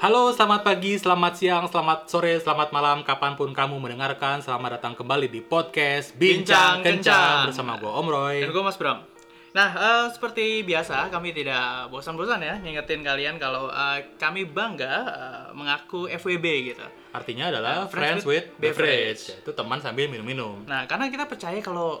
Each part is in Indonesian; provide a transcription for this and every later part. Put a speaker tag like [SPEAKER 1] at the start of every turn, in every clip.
[SPEAKER 1] Halo, selamat pagi, selamat siang, selamat sore, selamat malam, kapanpun kamu mendengarkan. Selamat datang kembali di podcast Bincang,
[SPEAKER 2] Bincang Kencang.
[SPEAKER 1] Kencang bersama gue Om Roy.
[SPEAKER 2] Dan gue Mas Bram. Nah, eh, seperti biasa kami tidak bosan-bosan ya ngingetin kalian kalau eh, kami bangga eh, mengaku FWB gitu.
[SPEAKER 1] Artinya adalah
[SPEAKER 2] Nah,
[SPEAKER 1] Friends
[SPEAKER 2] friends
[SPEAKER 1] with
[SPEAKER 2] with
[SPEAKER 1] Beverage,
[SPEAKER 2] beverage.
[SPEAKER 1] yaitu teman sambil minum-minum.
[SPEAKER 2] Nah, karena kita percaya kalau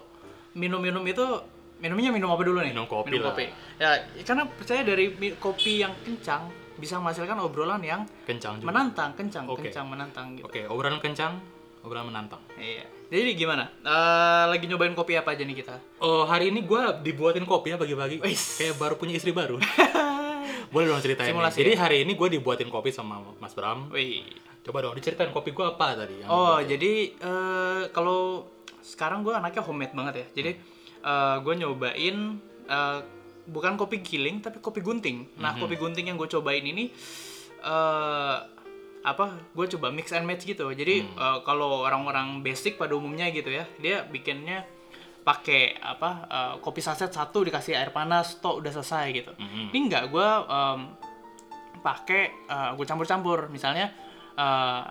[SPEAKER 2] minum-minum itu minumnya minum apa dulu nih?
[SPEAKER 1] Minum kopi lah.
[SPEAKER 2] Ya, karena percaya dari mi- kopi yang kencang bisa menghasilkan obrolan yang
[SPEAKER 1] Kencang juga.
[SPEAKER 2] menantang, kencang,
[SPEAKER 1] Oke.
[SPEAKER 2] kencang, menantang gitu.
[SPEAKER 1] Oke, obrolan kencang, obrolan menantang.
[SPEAKER 2] Iya. Jadi gimana? Eh, lagi nyobain kopi apa aja nih kita?
[SPEAKER 1] Oh, hari ini gue dibuatin kopi ya pagi-pagi.
[SPEAKER 2] Wis.
[SPEAKER 1] Kayak baru punya istri baru. Boleh dong ceritain. nih.
[SPEAKER 2] Simulasi
[SPEAKER 1] Jadi
[SPEAKER 2] ya?
[SPEAKER 1] hari ini gue dibuatin kopi sama Mas Bram.
[SPEAKER 2] Wih.
[SPEAKER 1] Coba dong diceritain kopi gue apa tadi. yang
[SPEAKER 2] Oh,
[SPEAKER 1] dibuatin.
[SPEAKER 2] jadi eh, kalau sekarang gue anaknya homemade banget ya. Jadi eh, gue nyobain eh, bukan kopi giling tapi kopi gunting. Nah,
[SPEAKER 1] Mhm.
[SPEAKER 2] kopi gunting yang gue cobain ini eh apa? Gue coba mix and match gitu. Jadi
[SPEAKER 1] Hmm.
[SPEAKER 2] eh, kalau orang-orang basic pada umumnya gitu ya, dia bikinnya pakai apa eh, kopi saset satu dikasih air panas, toh udah selesai gitu.
[SPEAKER 1] Mhm.
[SPEAKER 2] Ini enggak, gue pakai gue campur-campur misalnya eh,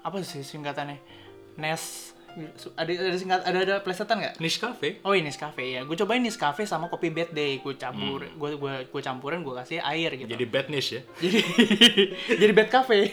[SPEAKER 2] apa sih singkatannya Nes ada ada singkat ada ada plesetan nggak
[SPEAKER 1] Niche Cafe.
[SPEAKER 2] oh ini Nescafe ya gue cobain Nescafe sama kopi bad day gue campur gue gue gue campurin gue kasih air gitu
[SPEAKER 1] Hmm. Jadi bad niche ya.
[SPEAKER 2] jadi jadi bad cafe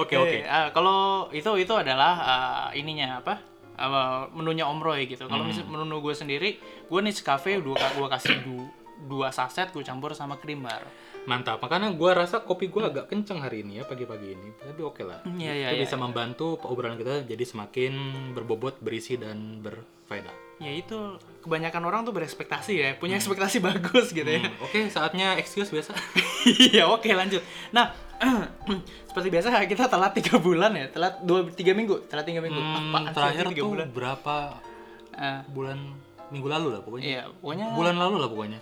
[SPEAKER 1] Oke oke.
[SPEAKER 2] Eh, ah, kalau itu itu adalah ah, ininya apa Ah, menunya Om Roy gitu kalau
[SPEAKER 1] Hmm.
[SPEAKER 2] mis- menu gue sendiri gue Nescafe dua gue kasih du, dua saset gue campur sama cream bar
[SPEAKER 1] Mantap. Makanya gue rasa kopi gue agak kenceng hari ini ya pagi-pagi ini. Tapi oke lah.
[SPEAKER 2] Iya, iya,
[SPEAKER 1] Itu
[SPEAKER 2] iya,
[SPEAKER 1] bisa membantu obrolan kita jadi semakin berbobot, berisi dan berfaedah.
[SPEAKER 2] ya itu kebanyakan orang tuh berekspektasi ya punya ekspektasi bagus gitu ya
[SPEAKER 1] Hmm, Oke, saatnya excuse biasa.
[SPEAKER 2] iya oke lanjut nah seperti biasa kita telat tiga bulan ya telat dua tiga minggu telat tiga minggu
[SPEAKER 1] Hmm,
[SPEAKER 2] Apaan sih
[SPEAKER 1] terakhir
[SPEAKER 2] tiga
[SPEAKER 1] tuh
[SPEAKER 2] bulan
[SPEAKER 1] berapa
[SPEAKER 2] Ah,
[SPEAKER 1] bulan minggu lalu lah pokoknya.
[SPEAKER 2] iya pokoknya
[SPEAKER 1] Bulan lalu lah pokoknya.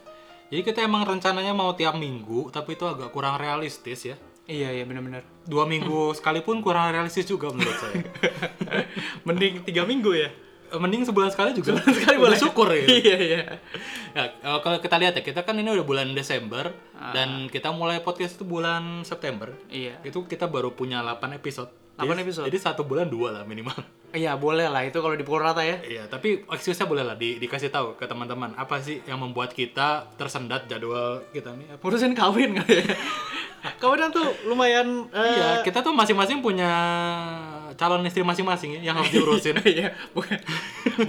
[SPEAKER 1] Jadi kita emang rencananya mau tiap minggu, tapi itu agak kurang realistis ya.
[SPEAKER 2] iya iya benar-benar
[SPEAKER 1] Dua minggu sekalipun kurang realistis juga menurut saya. Eh,
[SPEAKER 2] mending tiga minggu ya
[SPEAKER 1] Mending sebulan sekali juga. Sebulan
[SPEAKER 2] sekali boleh.
[SPEAKER 1] Syukur ya.
[SPEAKER 2] iya iya
[SPEAKER 1] Ya, eh, kalau kita lihat ya, kita kan ini udah bulan Desember
[SPEAKER 2] Ah.
[SPEAKER 1] dan kita mulai podcast itu bulan September.
[SPEAKER 2] iya
[SPEAKER 1] Itu kita baru punya 8 episode.
[SPEAKER 2] 8
[SPEAKER 1] Jadi-
[SPEAKER 2] episode.
[SPEAKER 1] Jadi satu bulan dua lah minimal.
[SPEAKER 2] iya boleh lah itu kalau dipukul rata ya
[SPEAKER 1] Iya, tapi excuse-nya boleh lah di- dikasih tahu ke teman-teman apa sih yang membuat kita tersendat jadwal kita nih. Apa-
[SPEAKER 2] ngurusin kawin kali ya kawinan tuh lumayan eh,
[SPEAKER 1] Iya, kita tuh masing-masing punya calon istri masing-masing ya yang harus diurusin.
[SPEAKER 2] iya bukan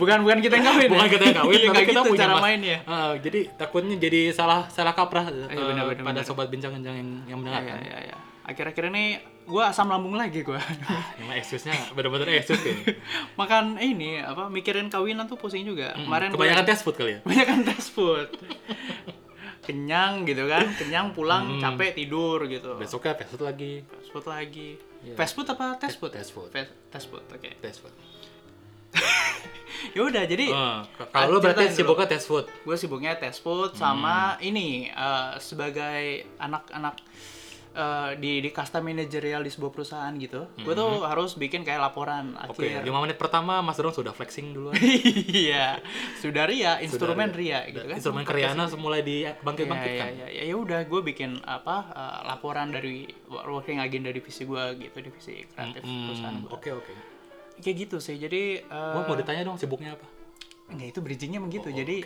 [SPEAKER 2] bukan bukan kita yang kawin ya.
[SPEAKER 1] Bukan kita yang kawin,
[SPEAKER 2] Iya,
[SPEAKER 1] tapi
[SPEAKER 2] nggak
[SPEAKER 1] kita
[SPEAKER 2] gitu
[SPEAKER 1] punya
[SPEAKER 2] cara
[SPEAKER 1] mas-
[SPEAKER 2] mainnya
[SPEAKER 1] Eh, jadi takutnya jadi salah salah kaprah eh,
[SPEAKER 2] Iya, benar, benar,
[SPEAKER 1] pada
[SPEAKER 2] benar.
[SPEAKER 1] sobat bincang-bincang yang, yang
[SPEAKER 2] Iya,
[SPEAKER 1] mendengarkan.
[SPEAKER 2] iya, iya. Akhir-akhir ini gue asam lambung lagi gue.
[SPEAKER 1] Emang excuse-nya benar-benar excuse ya. kayaknya.
[SPEAKER 2] Makan ini apa mikirin kawinan tuh pusing juga. Kemarin gua-
[SPEAKER 1] Kebanyakan tes food kali ya?
[SPEAKER 2] kebanyakan fast food. Kenyang gitu kan, kenyang pulang capek tidur gitu.
[SPEAKER 1] Besoknya tes food lagi.
[SPEAKER 2] Fast food lagi. Fast food apa fast food?
[SPEAKER 1] Tes Iya. food.
[SPEAKER 2] Fast fast food. Oke.
[SPEAKER 1] Tes food.
[SPEAKER 2] Ya udah jadi
[SPEAKER 1] Eh, kalau lu berarti
[SPEAKER 2] Ceritain dulu.
[SPEAKER 1] sibuknya tes food.
[SPEAKER 2] gue sibuknya tes food sama ini eh, sebagai anak-anak eh, di di custom managerial di sebuah perusahaan gitu. Gue tuh harus bikin kayak laporan
[SPEAKER 1] Oke,
[SPEAKER 2] akhir.
[SPEAKER 1] 5 menit pertama Mas Dorong sudah flexing dulu.
[SPEAKER 2] Iya, sudah ria, instrumen ria, gitu kan.
[SPEAKER 1] Instrumen Kriana mulai kan? dibangkit-bangkitkan.
[SPEAKER 2] Ya, ya, ya, ya udah, gue bikin apa eh, laporan dari working agenda divisi gue gitu, divisi kreatif perusahaan
[SPEAKER 1] Hmm,
[SPEAKER 2] gua.
[SPEAKER 1] Oke oke.
[SPEAKER 2] Kayak gitu sih, jadi eh,
[SPEAKER 1] Gua mau ditanya dong sibuknya apa?
[SPEAKER 2] nggak itu bridgingnya begitu, jadi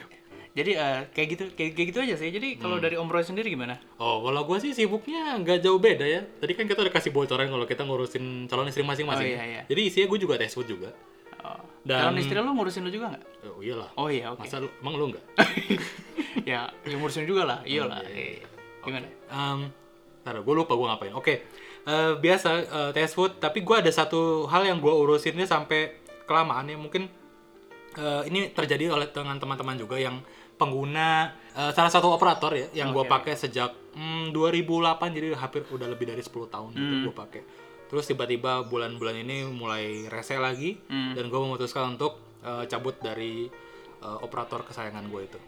[SPEAKER 2] jadi eh, kayak gitu, kayak, kayak gitu aja sih. Jadi kalau dari Om Roy sendiri gimana?
[SPEAKER 1] Oh, kalau gua sih sibuknya nggak jauh beda ya. Tadi kan kita udah kasih bocoran kalau kita ngurusin calon istri masing-masing. ya.
[SPEAKER 2] Oh, iya, iya.
[SPEAKER 1] Jadi isinya gue juga tes food juga.
[SPEAKER 2] Oh.
[SPEAKER 1] Dan-
[SPEAKER 2] Calon istri lu ngurusin lu juga nggak?
[SPEAKER 1] Oh iyalah.
[SPEAKER 2] Oh iya, oke.
[SPEAKER 1] Masa lu, emang lu nggak?
[SPEAKER 2] ya, ya ngurusin juga lah, iyalah. Gimana?
[SPEAKER 1] Um, ntar gue lupa gue ngapain. Oke, Eh, biasa eh, tes food. Tapi gue ada satu hal yang gue urusinnya sampai kelamaan ya mungkin eh, ini terjadi oleh dengan teman-teman juga yang pengguna eh, salah satu operator ya yang gue pakai sejak mm, 2008 jadi hampir udah lebih dari 10 tahun gitu gue pakai. Terus tiba-tiba bulan-bulan ini mulai rese lagi dan gue memutuskan untuk eh, cabut dari eh, operator kesayangan gue itu.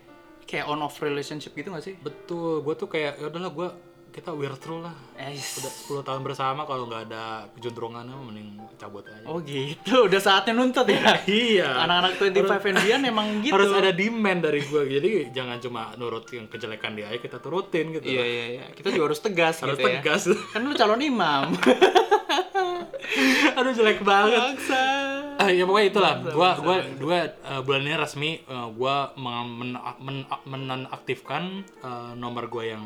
[SPEAKER 2] Kayak on off relationship gitu nggak sih?
[SPEAKER 1] Betul, gue tuh kayak ya udahlah gue kita weird through lah udah 10 tahun bersama kalau nggak ada kejundrongannya mending cabut aja
[SPEAKER 2] Oh gitu, udah saatnya nuntut ya.
[SPEAKER 1] iya
[SPEAKER 2] Anak-anak 25 and beyond emang gitu.
[SPEAKER 1] harus ada demand dari gue jadi jangan cuma nurut yang kejelekan dia aja kita turutin gitu
[SPEAKER 2] Iya iya iya. Kita juga harus tegas
[SPEAKER 1] harus
[SPEAKER 2] gitu
[SPEAKER 1] tegas
[SPEAKER 2] ya. Kan lu calon imam.
[SPEAKER 1] aduh jelek banget
[SPEAKER 2] Bangsa.
[SPEAKER 1] Ah, ya pokoknya itulah gua gua dua eh, bulan ini resmi eh, gua meng- men- men- menonaktifkan eh, nomor gua yang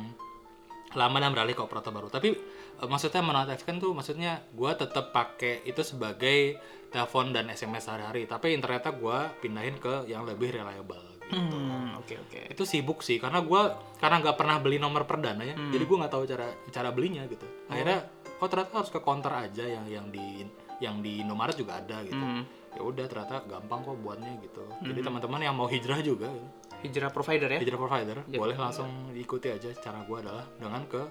[SPEAKER 1] lama dan beralih ke operator baru tapi eh, maksudnya menonaktifkan tuh maksudnya gua tetap pakai itu sebagai telepon dan SMS sehari-hari tapi ternyata gua pindahin ke yang lebih reliable gitu.
[SPEAKER 2] Hmm, oke oke.
[SPEAKER 1] itu sibuk sih karena gua karena nggak pernah beli nomor perdana ya jadi gua nggak tahu cara cara belinya gitu akhirnya oh ternyata harus ke counter aja yang yang di yang di Indomaret juga ada gitu
[SPEAKER 2] Hmm.
[SPEAKER 1] ya udah ternyata gampang kok buatnya gitu jadi teman-teman yang mau hijrah juga ya,
[SPEAKER 2] Hijrah provider ya.
[SPEAKER 1] hijrah provider boleh langsung diikuti aja cara gua adalah dengan ke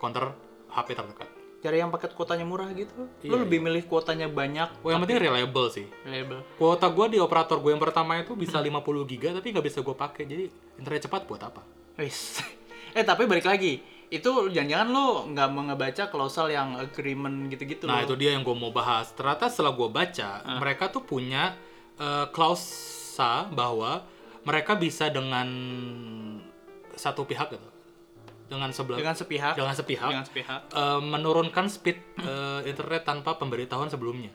[SPEAKER 1] counter HP terdekat
[SPEAKER 2] Cari yang paket kuotanya murah gitu. Lu lebih milih kuotanya banyak,
[SPEAKER 1] oh yang penting reliable sih
[SPEAKER 2] reliable.
[SPEAKER 1] kuota gua di operator gue yang pertama itu bisa 50 giga tapi nggak bisa gua pakai jadi internet cepat buat apa
[SPEAKER 2] Wis. eh tapi balik lagi, itu jangan-jangan lu nggak mau ngebaca klausul yang agreement gitu-gitu
[SPEAKER 1] Nah itu
[SPEAKER 2] lu.
[SPEAKER 1] dia yang gue mau bahas. Ternyata setelah gue baca,
[SPEAKER 2] Ah.
[SPEAKER 1] mereka tuh punya eh, klausa bahwa mereka bisa dengan satu pihak gitu, dengan sebelah, dengan,
[SPEAKER 2] dengan sepihak,
[SPEAKER 1] sepihak,
[SPEAKER 2] dengan Hmm. sepihak.
[SPEAKER 1] eh, menurunkan speed eh, internet tanpa pemberitahuan sebelumnya.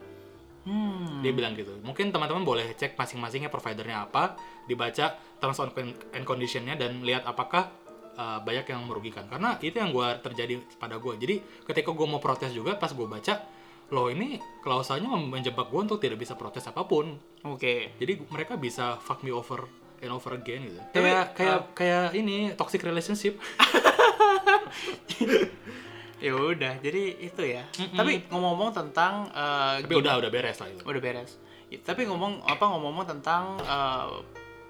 [SPEAKER 2] Hmm.
[SPEAKER 1] Dia bilang gitu. Mungkin teman-teman boleh cek masing-masingnya providernya apa, dibaca terms on- and conditionnya dan lihat apakah uh, banyak yang merugikan. Karena itu yang gua terjadi pada gua. Jadi ketika gua mau protes juga, pas gua baca, loh ini klausanya menjebak gua untuk tidak bisa protes apapun.
[SPEAKER 2] Oke.
[SPEAKER 1] Jadi mereka bisa fuck me over and over again gitu.
[SPEAKER 2] eh,
[SPEAKER 1] Kayak kayak kayak ini toxic relationship.
[SPEAKER 2] Ya udah, jadi itu ya. Tapi ngomong-ngomong tentang eh,
[SPEAKER 1] Tapi udah udah beres lah gitu. itu.
[SPEAKER 2] udah beres. Ya, tapi ngomong apa ngomong-ngomong tentang eh,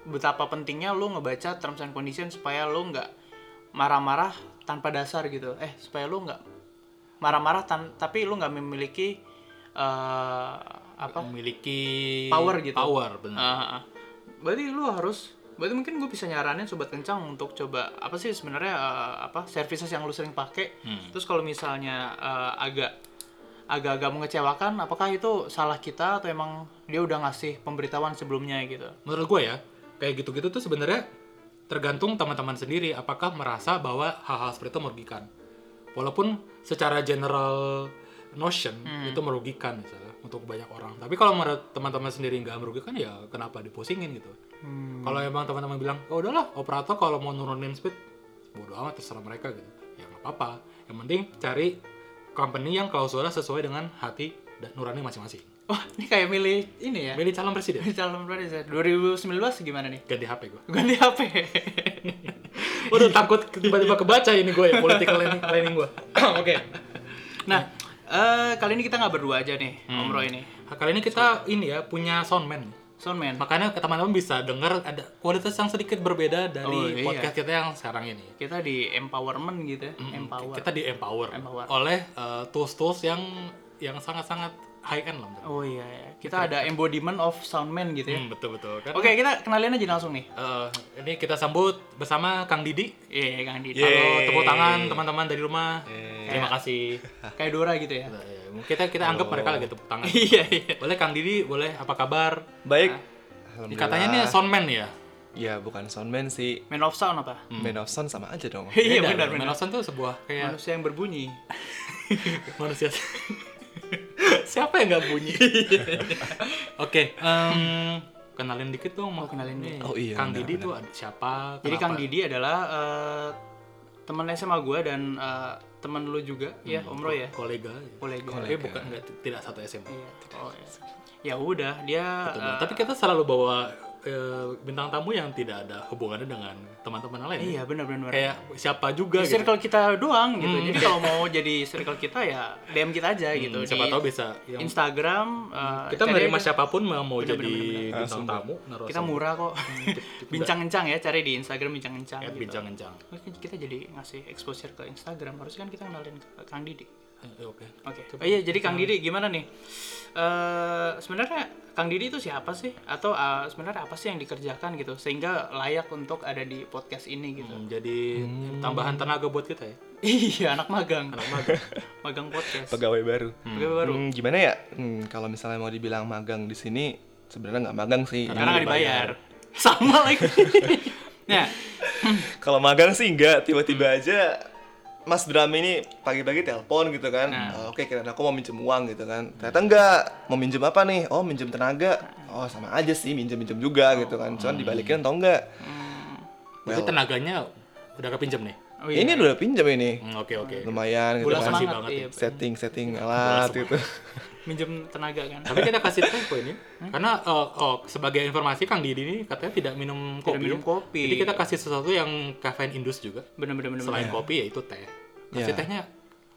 [SPEAKER 2] betapa pentingnya lu ngebaca terms and condition supaya lu nggak marah-marah tanpa dasar gitu. Eh, supaya lu nggak marah-marah tan- tapi lu nggak memiliki eh, apa?
[SPEAKER 1] Memiliki
[SPEAKER 2] Power gitu.
[SPEAKER 1] Power benar.
[SPEAKER 2] Ah, ah, ah. berarti lu harus berarti mungkin gue bisa nyaranin sobat kencang untuk coba apa sih sebenarnya eh, apa services yang lu sering pakai terus kalau misalnya eh, agak agak-agak mengecewakan apakah itu salah kita atau emang dia udah ngasih pemberitahuan sebelumnya gitu
[SPEAKER 1] menurut gue ya kayak gitu-gitu tuh sebenarnya tergantung teman-teman sendiri apakah merasa bahwa hal-hal seperti itu merugikan walaupun secara general notion itu merugikan misalnya untuk banyak orang tapi kalau menurut teman-teman sendiri nggak merugikan ya kenapa dipusingin gitu
[SPEAKER 2] Hmm.
[SPEAKER 1] kalau emang teman-teman bilang oh udahlah operator kalau mau nurunin speed bodo amat terserah mereka gitu ya nggak apa-apa yang penting cari company yang klausulnya sesuai dengan hati dan nurani masing-masing
[SPEAKER 2] wah ini kayak milih ini ya
[SPEAKER 1] milih calon presiden
[SPEAKER 2] milih calon presiden 2019 gimana nih
[SPEAKER 1] ganti HP gue
[SPEAKER 2] ganti HP
[SPEAKER 1] Waduh takut tiba-tiba kebaca ini gue ya political leaning, leaning gue.
[SPEAKER 2] oke nah eh, kali ini kita nggak berdua aja nih Om Roy ini
[SPEAKER 1] Nah, kali ini kita ini ya punya soundman.
[SPEAKER 2] soundman
[SPEAKER 1] Makanya ke teman-teman bisa dengar ada kualitas yang sedikit berbeda dari
[SPEAKER 2] Oh, iya.
[SPEAKER 1] podcast kita yang sekarang ini.
[SPEAKER 2] kita di empowerment gitu ya empower
[SPEAKER 1] Kita di empower,
[SPEAKER 2] Empower.
[SPEAKER 1] oleh eh, tools-tools yang yang sangat-sangat high end lah. menurut
[SPEAKER 2] oh iya ya kita ada embodiment of soundman
[SPEAKER 1] gue.
[SPEAKER 2] gitu ya
[SPEAKER 1] Hmm, betul-betul kan.
[SPEAKER 2] oke kita kenalin aja langsung nih
[SPEAKER 1] Eh, ini kita sambut bersama Kang Didi.
[SPEAKER 2] iya Kang Didi
[SPEAKER 1] Halo, tepuk tangan teman-teman dari rumah. Terima kasih.
[SPEAKER 2] kayak Dora gitu ya
[SPEAKER 1] Eh, Kita kita anggap mereka lagi tepuk tangan.
[SPEAKER 2] iya iya
[SPEAKER 1] Boleh Kang Didi, boleh apa kabar?
[SPEAKER 3] Baik.
[SPEAKER 1] Ini
[SPEAKER 3] Alhamdulillah.
[SPEAKER 1] katanya nih soundman ya.
[SPEAKER 3] Ya bukan soundman sih.
[SPEAKER 2] man of sound apa
[SPEAKER 3] Man of sound sama aja dong.
[SPEAKER 2] iya
[SPEAKER 1] Beda,
[SPEAKER 2] benar
[SPEAKER 1] loh.
[SPEAKER 2] benar
[SPEAKER 1] Menosan tuh sebuah kayak
[SPEAKER 2] manusia yang berbunyi
[SPEAKER 1] manusia. Siapa yang nggak bunyi? Oke, em, kenalin dikit dong mau kenalin nih.
[SPEAKER 3] Oh iya,
[SPEAKER 1] Kang
[SPEAKER 3] benar,
[SPEAKER 1] Didi tuh ad- siapa?
[SPEAKER 2] jadi Kang
[SPEAKER 1] kenapa?
[SPEAKER 2] Didi adalah eh, teman SMA gue dan eh, teman lu juga ya Om Roy ya
[SPEAKER 1] Hmm. kolega. ya.
[SPEAKER 2] kolega
[SPEAKER 1] Tapi bukan nggak- tidak satu SMA.
[SPEAKER 2] Iya. Oh, iya. ya udah dia eh,
[SPEAKER 1] Betul. Tapi kita selalu bawa eh, bintang tamu yang tidak ada hubungannya dengan teman-teman lain.
[SPEAKER 2] eh, iya benar benar benar.
[SPEAKER 1] Kayak siapa juga gitu. Hmm.
[SPEAKER 2] circle kita doang gitu jadi kalau mau jadi circle kita ya DM kita aja gitu
[SPEAKER 1] Siapa
[SPEAKER 2] di-
[SPEAKER 1] tahu bisa yang
[SPEAKER 2] Instagram eh,
[SPEAKER 1] kita
[SPEAKER 2] cari
[SPEAKER 1] menerima
[SPEAKER 2] aja.
[SPEAKER 1] siapapun yang mau jadi bintang tamu, naruh
[SPEAKER 2] kita murah kok bincang-encang ya cari di Instagram bincang-encang
[SPEAKER 1] at
[SPEAKER 2] gitu.
[SPEAKER 1] bincang-bincang.
[SPEAKER 2] Mungkin kita jadi ngasih exposure ke Instagram harusnya kan kita kenalin ke Kang Didi
[SPEAKER 1] Eh, Oke.
[SPEAKER 2] Oke. Oh iya, jadi Kang Didi gimana nih? Eh sebenarnya Kang Didi itu siapa sih? Atau eh, sebenarnya apa sih yang dikerjakan gitu sehingga layak untuk ada di podcast ini gitu?
[SPEAKER 1] Hmm, Jadi tambahan tenaga buat kita ya.
[SPEAKER 2] iya, anak magang. Anak magang. magang podcast.
[SPEAKER 3] Pegawai baru.
[SPEAKER 2] Pegawai baru.
[SPEAKER 3] Hmm, gimana ya? Hmm, kalau misalnya mau dibilang magang di sini sebenarnya nggak magang sih.
[SPEAKER 2] Karena nggak dibayar. Sama lagi. nah,
[SPEAKER 3] Kalau magang sih enggak, tiba-tiba aja Mas Bram ini pagi-pagi telepon gitu kan. "Eh, Oke, kira aku mau minjem uang gitu kan. Ternyata enggak. Mau minjem apa nih? Oh, minjem tenaga. Oh, sama aja sih minjem-minjem juga gitu kan. Cuman dibalikin atau enggak?
[SPEAKER 1] Berarti tenaganya udah kepinjam nih.
[SPEAKER 2] oh iya.
[SPEAKER 3] Ini udah pinjam ini.
[SPEAKER 1] Hmm, Oke oke.
[SPEAKER 3] Lumayan gitu
[SPEAKER 1] Bulan
[SPEAKER 3] kan.
[SPEAKER 1] semangat,
[SPEAKER 2] iya.
[SPEAKER 3] Setting-setting alat gitu.
[SPEAKER 2] minjem tenaga kan.
[SPEAKER 1] Tapi kita kasih tempo ini,
[SPEAKER 2] Hmm?
[SPEAKER 1] karena eh, oh, sebagai informasi Kang Didi ini katanya tidak minum kopi.
[SPEAKER 2] minum kopi.
[SPEAKER 1] Jadi kita kasih sesuatu yang kafein indus juga.
[SPEAKER 2] Bener-bener bener.
[SPEAKER 1] Selain kopi yaitu teh. Kasih
[SPEAKER 3] Iya.
[SPEAKER 1] tehnya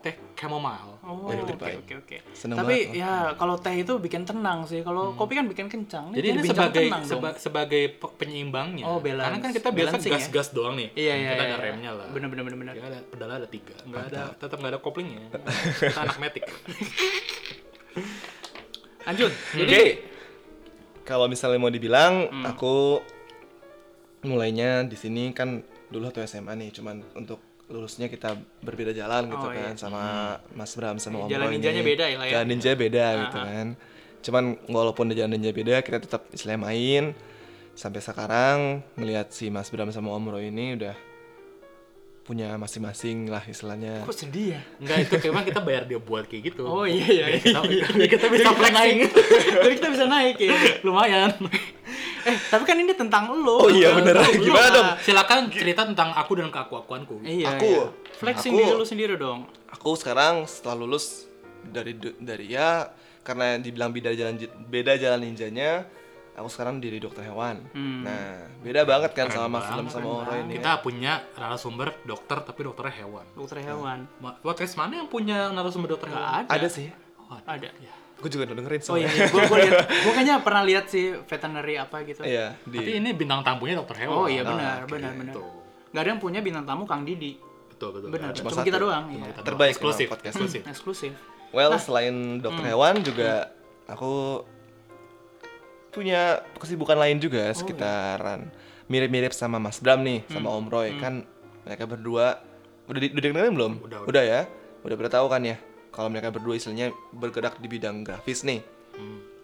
[SPEAKER 1] teh chamomile.
[SPEAKER 2] Oh,
[SPEAKER 1] Dari
[SPEAKER 2] oke
[SPEAKER 1] Dubai.
[SPEAKER 2] oke oke.
[SPEAKER 3] Seneng
[SPEAKER 2] Tapi
[SPEAKER 3] banget,
[SPEAKER 2] ya kalau teh itu bikin tenang sih. Kalau kopi kan bikin kencang.
[SPEAKER 1] Jadi ini
[SPEAKER 2] bincang
[SPEAKER 1] sebagai
[SPEAKER 2] tenang dong.
[SPEAKER 1] seba- sebagai pe- penyeimbangnya.
[SPEAKER 2] Oh, balance.
[SPEAKER 1] Karena kan kita biasa
[SPEAKER 2] Balancing ya.
[SPEAKER 1] gas-gas doang nih.
[SPEAKER 2] Iya iya.
[SPEAKER 1] Kita
[SPEAKER 2] iya,
[SPEAKER 1] ada
[SPEAKER 2] iya.
[SPEAKER 1] remnya lah.
[SPEAKER 2] Bener bener bener bener.
[SPEAKER 1] Ya, ada pedalnya ada tiga. Nggak ada, tetap nggak ada ya. koplingnya. kita anak metik.
[SPEAKER 2] Lanjut.
[SPEAKER 3] Oke.
[SPEAKER 2] Jadi Hmm.
[SPEAKER 3] Kalau misalnya mau dibilang, aku mulainya di sini kan dulu waktu SMA nih, cuman untuk lulusnya kita berbeda jalan gitu
[SPEAKER 2] Oh, iya.
[SPEAKER 3] kan sama Mas Bram sama Om
[SPEAKER 2] Jalan
[SPEAKER 3] Roy
[SPEAKER 2] ninjanya
[SPEAKER 3] ini.
[SPEAKER 2] beda ya lah ya.
[SPEAKER 3] Jalan ninja beda gitu kan. Cuman walaupun di jalan ninja beda, kita tetap istilahnya main sampai sekarang ngelihat si Mas Bram sama Om Roy ini udah punya masing-masing lah istilahnya.
[SPEAKER 2] kok sedih ya?
[SPEAKER 1] Nggak itu memang kita bayar dia buat kayak gitu.
[SPEAKER 2] Oh iya iya.
[SPEAKER 1] Jadi kita, jadi kita bisa
[SPEAKER 2] Jadi kita
[SPEAKER 1] flexing.
[SPEAKER 2] naik. Jadi kita bisa naik ya. Lumayan. Eh, tapi kan ini tentang lo.
[SPEAKER 3] Oh iya, bener. Gimana dong?
[SPEAKER 1] Silakan cerita tentang aku dan keaku-akuanku.
[SPEAKER 2] Iya.
[SPEAKER 3] Aku.
[SPEAKER 2] iya. Flexing
[SPEAKER 3] Aku.
[SPEAKER 2] diri lu sendiri dong.
[SPEAKER 3] aku sekarang setelah lulus dari du- dari ya karena dibilang beda jalan beda jalan ninjanya aku sekarang jadi dokter hewan nah beda banget kan sama mas Ilham sama orang ini
[SPEAKER 1] Kita punya narasumber dokter tapi dokternya hewan.
[SPEAKER 2] Dokter hewan.
[SPEAKER 1] Ma- Podcast mana yang punya narasumber dokter
[SPEAKER 2] Gak
[SPEAKER 1] hewan?
[SPEAKER 2] ada.
[SPEAKER 3] ada sih
[SPEAKER 1] Oh, ada.
[SPEAKER 2] Ada.
[SPEAKER 1] Ya.
[SPEAKER 3] aku juga udah dengerin
[SPEAKER 2] Oh iya,
[SPEAKER 3] soalnya
[SPEAKER 2] gue gue liat, gue kayaknya pernah lihat sih veterinary apa gitu.
[SPEAKER 3] iya
[SPEAKER 1] Tapi
[SPEAKER 3] di
[SPEAKER 1] ini bintang tamunya dokter hewan.
[SPEAKER 2] Oh iya benar, benar benar.
[SPEAKER 1] Tuh.
[SPEAKER 2] Gak ada yang punya bintang tamu Kang Didi.
[SPEAKER 1] Betul betul. benar.
[SPEAKER 2] Benar. Cuma,
[SPEAKER 3] satu.
[SPEAKER 2] kita doang. iya.
[SPEAKER 1] Kita
[SPEAKER 3] Terbaik
[SPEAKER 1] doang. eksklusif
[SPEAKER 3] memang podcast.
[SPEAKER 1] eksklusif.
[SPEAKER 2] Eksklusif.
[SPEAKER 3] well selain dokter
[SPEAKER 2] Hmm.
[SPEAKER 3] hewan juga aku punya kesibukan lain
[SPEAKER 2] Oh,
[SPEAKER 3] juga
[SPEAKER 2] iya.
[SPEAKER 3] sekitaran mirip-mirip sama Mas Bram nih sama
[SPEAKER 2] Hmm.
[SPEAKER 3] Om Roy kan mereka berdua udah di, udah dengerin belum?
[SPEAKER 1] Udah, udah.
[SPEAKER 3] ya? Udah pada tahu kan ya kalau mereka berdua istilahnya bergerak di bidang grafis nih.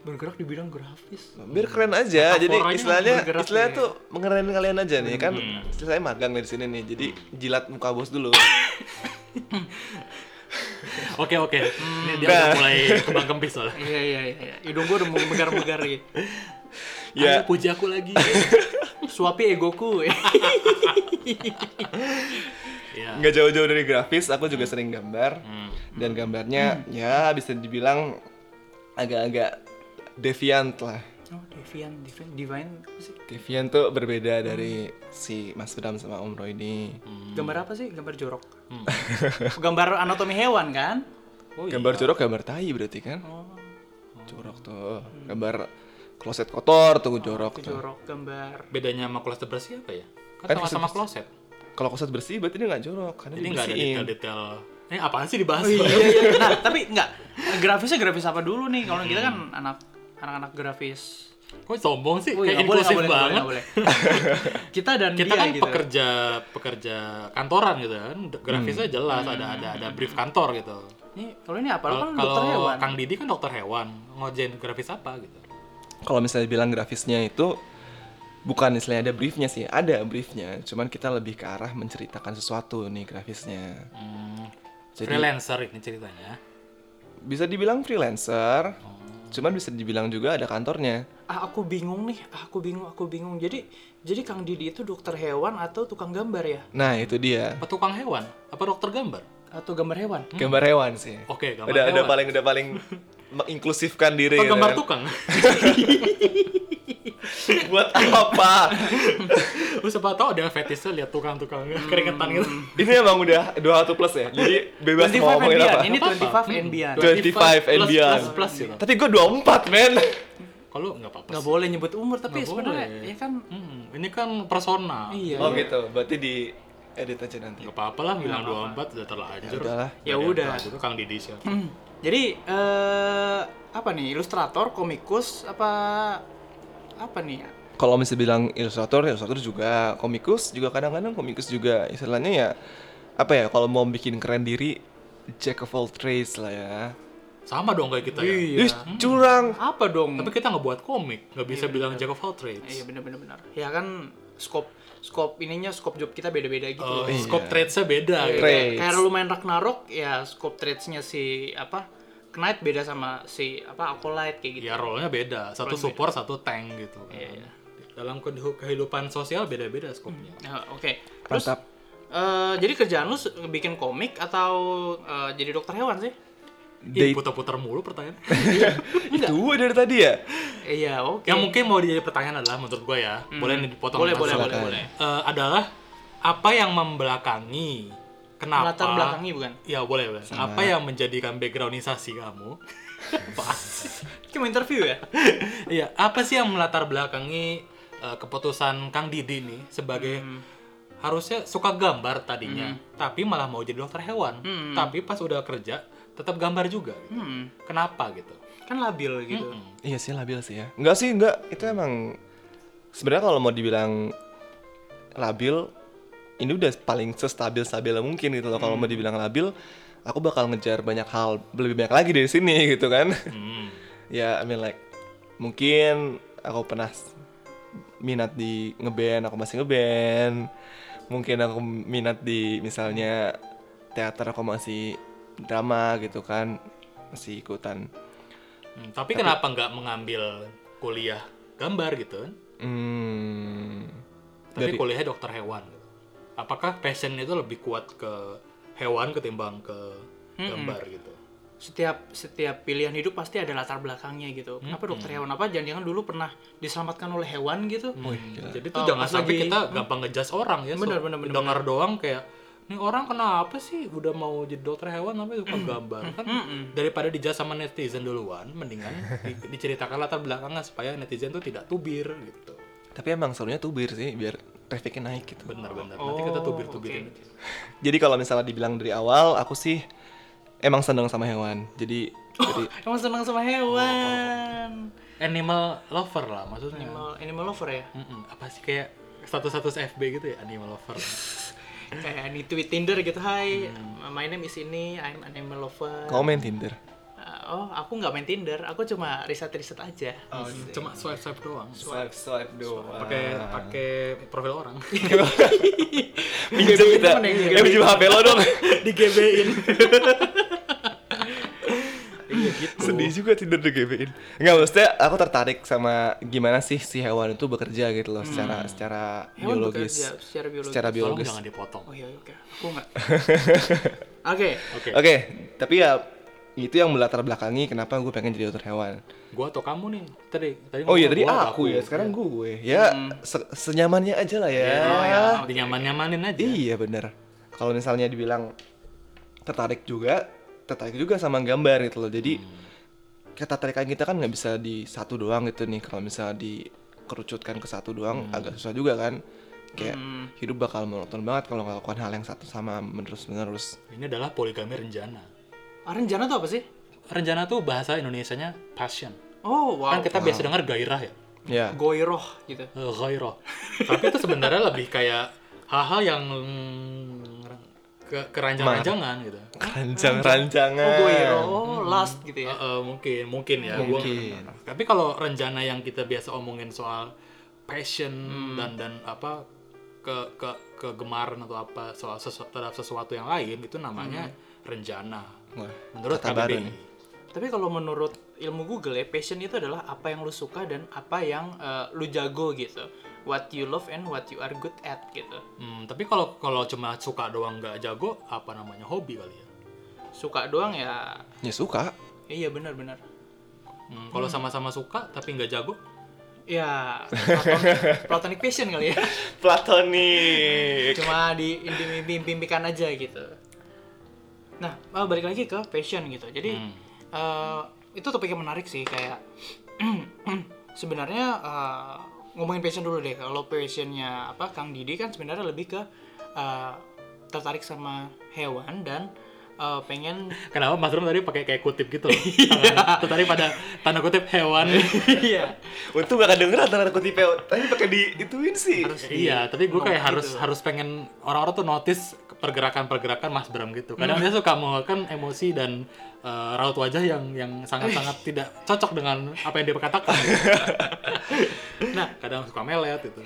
[SPEAKER 2] Bergerak di bidang grafis.
[SPEAKER 3] Biar keren aja. Jadi
[SPEAKER 2] Hmm. Metaforanya
[SPEAKER 3] istilahnya
[SPEAKER 2] bergerak nih ya.
[SPEAKER 3] istilahnya
[SPEAKER 2] Hmm.
[SPEAKER 3] tuh mengerenin kalian aja nih kan istilahnya magang nih di sini nih. Jadi jilat muka bos dulu.
[SPEAKER 1] Oke oke.
[SPEAKER 2] Hmm.
[SPEAKER 1] Ini dia
[SPEAKER 3] Nah.
[SPEAKER 1] udah mulai kembang kempis soalnya.
[SPEAKER 2] Iya iya iya. Hidung gue udah mau megar-megar gitu.
[SPEAKER 1] Ya.
[SPEAKER 3] ya,
[SPEAKER 1] puji aku lagi.
[SPEAKER 2] Suapi egoku.
[SPEAKER 1] Iya.
[SPEAKER 3] nggak jauh-jauh dari grafis aku juga sering gambar.
[SPEAKER 1] Hmm.
[SPEAKER 3] dan gambarnya ya bisa dibilang agak-agak deviant lah.
[SPEAKER 2] Oh, Devian, Devian, Divine apa sih?
[SPEAKER 3] Deviant tuh berbeda dari si Mas Bram sama Om Roy ini.
[SPEAKER 1] Hmm.
[SPEAKER 2] Gambar apa sih? Gambar jorok. Gambar anatomi hewan kan?
[SPEAKER 1] Oh, iya.
[SPEAKER 3] Gambar jorok gambar tai berarti kan?
[SPEAKER 2] Oh,
[SPEAKER 3] Jorok tuh. Gambar kloset kotor tuh
[SPEAKER 1] Oh,
[SPEAKER 3] jorok tuh.
[SPEAKER 2] jorok gambar.
[SPEAKER 1] Bedanya sama kloset bersih apa ya?
[SPEAKER 3] Kan
[SPEAKER 1] Kan sama-sama kloset.
[SPEAKER 3] Kalau kloset bersih berarti dia nggak jorok karena
[SPEAKER 1] Jadi nggak ada
[SPEAKER 3] dibersihin.
[SPEAKER 1] detail-detail. Ini apaan sih dibahas?
[SPEAKER 2] iya iya. Nah, tapi enggak grafisnya grafis apa dulu nih? Kalau kita kan
[SPEAKER 1] Hmm.
[SPEAKER 2] anak anak-anak grafis.
[SPEAKER 1] Kok sombong sih?
[SPEAKER 2] Oh, iya,
[SPEAKER 1] Kayak
[SPEAKER 2] nggak boleh,
[SPEAKER 1] inklusif
[SPEAKER 2] nggak boleh, nggak
[SPEAKER 1] banget.
[SPEAKER 2] boleh, nggak boleh. kita dan
[SPEAKER 1] Kita
[SPEAKER 2] dia
[SPEAKER 1] kan
[SPEAKER 2] gitu.
[SPEAKER 1] pekerja pekerja kantoran gitu kan. Grafisnya jelas ada ada ada brief kantor gitu.
[SPEAKER 2] Ini Hmm. kalau ini apa? Lo kan
[SPEAKER 1] Kalau
[SPEAKER 2] dokter
[SPEAKER 1] kalau
[SPEAKER 2] hewan.
[SPEAKER 1] Kang Didi kan dokter hewan, ngerjain grafis apa gitu.
[SPEAKER 3] Kalau misalnya bilang grafisnya itu bukan istilahnya ada briefnya sih, ada briefnya. Cuman kita lebih ke arah menceritakan sesuatu nih grafisnya.
[SPEAKER 1] Hmm.
[SPEAKER 3] Jadi-
[SPEAKER 1] freelancer ini ceritanya.
[SPEAKER 3] Bisa dibilang freelancer, cuman bisa dibilang juga ada kantornya.
[SPEAKER 2] Ah, aku bingung nih. Ah, aku bingung, aku bingung. Jadi jadi Kang Didi itu dokter hewan atau tukang gambar ya?
[SPEAKER 3] Nah itu dia
[SPEAKER 1] Apa tukang hewan? Apa dokter gambar?
[SPEAKER 3] Iya,
[SPEAKER 2] Atau gambar hewan?
[SPEAKER 3] gambar hewan sih.
[SPEAKER 1] Hmm. Oke, gambar
[SPEAKER 3] udah, udah
[SPEAKER 1] hewan.
[SPEAKER 3] paling udah paling menginklusifkan diri.
[SPEAKER 1] Apa
[SPEAKER 3] gitu
[SPEAKER 1] gambar
[SPEAKER 3] kan.
[SPEAKER 1] tukang?
[SPEAKER 3] Buat apa?
[SPEAKER 1] Lu siapa tau ada fetishnya lihat tukang-tukang
[SPEAKER 2] Hmm.
[SPEAKER 1] keringetan gitu.
[SPEAKER 3] Ini emang udah 21 plus ya. Jadi bebas
[SPEAKER 2] 25
[SPEAKER 3] mau ngomongin
[SPEAKER 2] and
[SPEAKER 3] apa.
[SPEAKER 2] beyond.
[SPEAKER 3] Hmm.
[SPEAKER 2] Ini 25 and beyond.
[SPEAKER 3] 25 and
[SPEAKER 1] Nah, plus,
[SPEAKER 3] beyond.
[SPEAKER 1] Plus, plus, gitu.
[SPEAKER 3] Tapi gue 24 men.
[SPEAKER 1] Kalau nggak apa-apa
[SPEAKER 2] Iya. Nggak
[SPEAKER 1] sih.
[SPEAKER 2] boleh nyebut umur tapi
[SPEAKER 1] Nggak
[SPEAKER 2] sebenarnya
[SPEAKER 1] boleh.
[SPEAKER 2] ya kan
[SPEAKER 1] Hmm, ini kan persona.
[SPEAKER 2] iya.
[SPEAKER 3] Oh gitu. Berarti di edit aja nanti.
[SPEAKER 1] Gak apa-apa lah, bilang 24 udah terlanjur.
[SPEAKER 3] Ya udahlah.
[SPEAKER 1] Nggak
[SPEAKER 2] Ya
[SPEAKER 1] ada yang
[SPEAKER 2] udah.
[SPEAKER 1] tahu juga Kang Didi siapa.
[SPEAKER 2] Hmm. Jadi eh apa nih ilustrator, komikus apa apa nih?
[SPEAKER 3] Kalau misalnya bilang ilustrator, ilustrator juga komikus juga kadang-kadang komikus juga istilahnya ya apa ya kalau mau bikin keren diri jack of all trades lah ya.
[SPEAKER 1] Sama dong kayak kita ya.
[SPEAKER 2] Iya.
[SPEAKER 3] Ih, curang.
[SPEAKER 2] Apa dong?
[SPEAKER 1] Tapi kita nggak buat komik, nggak bisa bilang jack of all trades. Eh,
[SPEAKER 2] Iya benar-benar benar. Ya kan scope scope ininya scope job kita beda-beda gitu.
[SPEAKER 1] Eh,
[SPEAKER 3] Oh,
[SPEAKER 2] loh.
[SPEAKER 1] Scope trades-nya beda.
[SPEAKER 2] Iya,
[SPEAKER 1] gitu.
[SPEAKER 3] Trades.
[SPEAKER 2] Kayak lu main Ragnarok ya scope trades-nya si apa? Knight beda sama si apa Acolyte kayak gitu.
[SPEAKER 1] Ya role-nya beda, satu support, satu tank gitu. kan.
[SPEAKER 2] Iya.
[SPEAKER 1] Dalam ke- kehidupan sosial beda-beda skopnya.
[SPEAKER 2] Nah, oke. Terus
[SPEAKER 3] Mantap.
[SPEAKER 2] eh, jadi kerjaan lu se- bikin komik atau eh, jadi dokter hewan sih?
[SPEAKER 1] Ih,
[SPEAKER 3] Date
[SPEAKER 1] putar-putar mulu pertanyaan.
[SPEAKER 3] itu dari tadi ya.
[SPEAKER 2] Iya, oke.
[SPEAKER 1] Yang mungkin mau jadi pertanyaan adalah menurut gue ya, boleh nih dipotong
[SPEAKER 2] Hmm. Boleh,
[SPEAKER 1] langsung.
[SPEAKER 2] boleh, boleh,
[SPEAKER 3] Silakan.
[SPEAKER 2] boleh.
[SPEAKER 1] Eh, adalah apa yang membelakangi kenapa
[SPEAKER 2] Latar belakangi bukan?
[SPEAKER 1] Ya boleh, boleh. Apa yang menjadikan backgroundisasi kamu? Apa sih?
[SPEAKER 2] Cuma interview ya?
[SPEAKER 1] Iya, apa sih yang melatar belakangi eh, keputusan Kang Didi nih sebagai harusnya suka gambar tadinya, tapi malah mau jadi dokter hewan. Tapi pas udah kerja tetap gambar juga. gitu.
[SPEAKER 2] Hmm,
[SPEAKER 1] Kenapa gitu?
[SPEAKER 2] kan labil gitu.
[SPEAKER 3] Iya sih labil sih ya. Enggak sih, enggak. Itu emang sebenarnya kalau mau dibilang labil ini udah paling sestabil-stabil mungkin gitu loh. Kalau mau dibilang labil, aku bakal ngejar banyak hal lebih banyak lagi dari sini gitu kan.
[SPEAKER 1] Hmm.
[SPEAKER 3] ya, I mean like mungkin aku pernah s- minat di ngeband, aku masih ngeband. Mungkin aku minat di misalnya teater aku masih drama gitu kan. Masih ikutan.
[SPEAKER 1] Hmm, tapi, kenapa nggak mengambil kuliah gambar gitu kan?
[SPEAKER 3] Hmm.
[SPEAKER 1] Tapi
[SPEAKER 3] Dari-
[SPEAKER 1] kuliahnya dokter hewan. gitu. Apakah passion itu lebih kuat ke hewan ketimbang ke gambar gitu?
[SPEAKER 2] Setiap setiap pilihan hidup pasti ada latar belakangnya gitu. Kenapa dokter hewan apa? Jangan-jangan dulu pernah diselamatkan oleh hewan gitu?
[SPEAKER 3] Iya.
[SPEAKER 1] Jadi tuh
[SPEAKER 2] Oh,
[SPEAKER 1] jangan
[SPEAKER 2] pas
[SPEAKER 1] sampai
[SPEAKER 2] lagi-
[SPEAKER 1] kita gampang ngejudge orang ya.
[SPEAKER 2] Bener, bener, bener,
[SPEAKER 1] Dengar doang kayak ini orang kenapa sih udah mau jadi dokter hewan tapi suka gambar kan daripada dijudge sama netizen duluan mendingan di- diceritakan latar belakangnya supaya netizen tuh tidak tubir gitu
[SPEAKER 3] Tapi emang serunya tubir sih biar trafficnya naik gitu.
[SPEAKER 1] bener-bener nanti kita
[SPEAKER 2] Oh,
[SPEAKER 1] tubir-tubirin
[SPEAKER 2] oke.
[SPEAKER 3] Jadi kalau misalnya dibilang dari awal, aku sih emang seneng sama hewan. Jadi jadi
[SPEAKER 2] Emang senang sama hewan.
[SPEAKER 1] animal lover lah maksudnya
[SPEAKER 2] Animal, animal lover ya?
[SPEAKER 1] Mm-mm, apa sih kayak status-status FB gitu ya animal lover
[SPEAKER 2] Kayak di tweet Tinder gitu, Hai,
[SPEAKER 1] Hmm.
[SPEAKER 2] my name is ini, I'm an animal lover.
[SPEAKER 3] komen Tinder.
[SPEAKER 2] Uh, oh, aku nggak main Tinder, aku cuma riset-riset aja.
[SPEAKER 1] Oh,
[SPEAKER 2] iya.
[SPEAKER 1] cuma swipe swipe doang
[SPEAKER 3] Swipe swipe doang.
[SPEAKER 1] pakai pakai profil orang
[SPEAKER 3] Pinjam kita.
[SPEAKER 2] Temen yang Oh.
[SPEAKER 3] Eh pinjam HP lo dong.
[SPEAKER 1] di GB-in Iya, gitu.
[SPEAKER 3] Sedih juga Tinder di GB-in. Enggak maksudnya aku tertarik sama gimana sih si hewan itu bekerja gitu loh secara secara
[SPEAKER 2] Hewan
[SPEAKER 3] biologis.
[SPEAKER 2] bekerja secara biologis.
[SPEAKER 3] Secara
[SPEAKER 1] tolong
[SPEAKER 3] biologis.
[SPEAKER 1] jangan dipotong
[SPEAKER 2] Oh iya, iya, oke. Aku nggak. Oke.
[SPEAKER 1] oke
[SPEAKER 3] Oke, tapi ya itu yang melatar belakangi kenapa gue pengen jadi dokter hewan.
[SPEAKER 1] gua atau kamu nih tadi tadi
[SPEAKER 3] Oh iya
[SPEAKER 1] ngomong
[SPEAKER 3] tadi
[SPEAKER 1] gua iya. atau
[SPEAKER 3] aku ya, sekarang gue. Ya se- senyamannya aja lah ya.
[SPEAKER 1] Ah, dinyaman-nyamanin aja
[SPEAKER 3] Iya bener. Kalau misalnya dibilang tertarik juga, tertarik juga sama gambar gitu loh. Jadi ketertarikan kita kan nggak bisa di satu doang gitu nih. Kalau misalnya dikerucutkan ke satu doang agak susah juga kan.
[SPEAKER 1] Ya.
[SPEAKER 3] Kayak
[SPEAKER 2] Hmm.
[SPEAKER 3] hidup bakal monoton banget kalau nggak lakukan hal yang satu sama menerus-menerus.
[SPEAKER 1] ini adalah poligami rencana
[SPEAKER 2] Ah, Renjana tuh apa sih?
[SPEAKER 1] rencana tuh bahasa Indonesianya passion
[SPEAKER 2] Oh, wow.
[SPEAKER 1] kan kita biasa dengar gairah ya
[SPEAKER 3] Ya.
[SPEAKER 2] Goiroh gitu.
[SPEAKER 1] Eh, gairah tapi itu sebenarnya lebih kayak hal-hal yang ke keranjang-ranjangan gitu Ya,
[SPEAKER 3] Rancang-rancangan.
[SPEAKER 2] Oh, goiroh. Oh, last gitu ya.
[SPEAKER 1] Eh, eh, mungkin mungkin ya gua-
[SPEAKER 3] Mungkin.
[SPEAKER 1] tapi kalau rencana yang kita biasa omongin soal passion
[SPEAKER 3] Hmm.
[SPEAKER 1] dan dan apa ke ke kegemaran atau apa soal sesu- terhadap sesuatu yang lain itu namanya rencana
[SPEAKER 3] Hmm. Wah,
[SPEAKER 1] menurut
[SPEAKER 3] kata baru
[SPEAKER 1] KBBI
[SPEAKER 3] nih.
[SPEAKER 2] Tapi kalau menurut ilmu Google ya, passion itu adalah apa yang lu suka dan apa yang eh, lu jago gitu. What you love and what you are good at gitu.
[SPEAKER 1] Hmm, tapi kalau kalau cuma suka doang nggak jago apa namanya hobi kali ya
[SPEAKER 2] Suka doang ya.
[SPEAKER 3] Ya suka.
[SPEAKER 2] Iya, benar-benar.
[SPEAKER 1] Hmm, kalau sama-sama suka tapi nggak jago
[SPEAKER 2] Ya, platonic, platonic passion kali ya.
[SPEAKER 3] Platonik.
[SPEAKER 2] Cuma di dipimpikan aja gitu. Nah, eh, balik lagi ke passion gitu. Jadi eh, itu topik yang menarik sih kayak sebenarnya eh, ngomongin passion dulu deh. Kalau passionnya apa Kang Didi kan sebenarnya lebih ke eh, tertarik sama hewan dan eh, pengen
[SPEAKER 1] Kenapa Mas Rum tadi pakai kayak kutip gitu? loh,
[SPEAKER 3] Iya.
[SPEAKER 1] tangannya. Tertarik pada tanda kutip hewan.
[SPEAKER 2] iya
[SPEAKER 3] Untung gak kedengeran antara kutipnya. Tadi pakai diituin sih.
[SPEAKER 2] harus di-
[SPEAKER 1] iya, tapi gue kayak
[SPEAKER 2] note
[SPEAKER 1] harus
[SPEAKER 2] gitu.
[SPEAKER 1] harus pengen orang-orang tuh notice pergerakan-pergerakan Mas Bram gitu. Kadang
[SPEAKER 2] Nah.
[SPEAKER 1] dia suka mengeluarkan emosi dan eh, raut wajah yang yang sangat-sangat tidak cocok dengan apa yang dia katakan. nah, kadang suka melet gitu.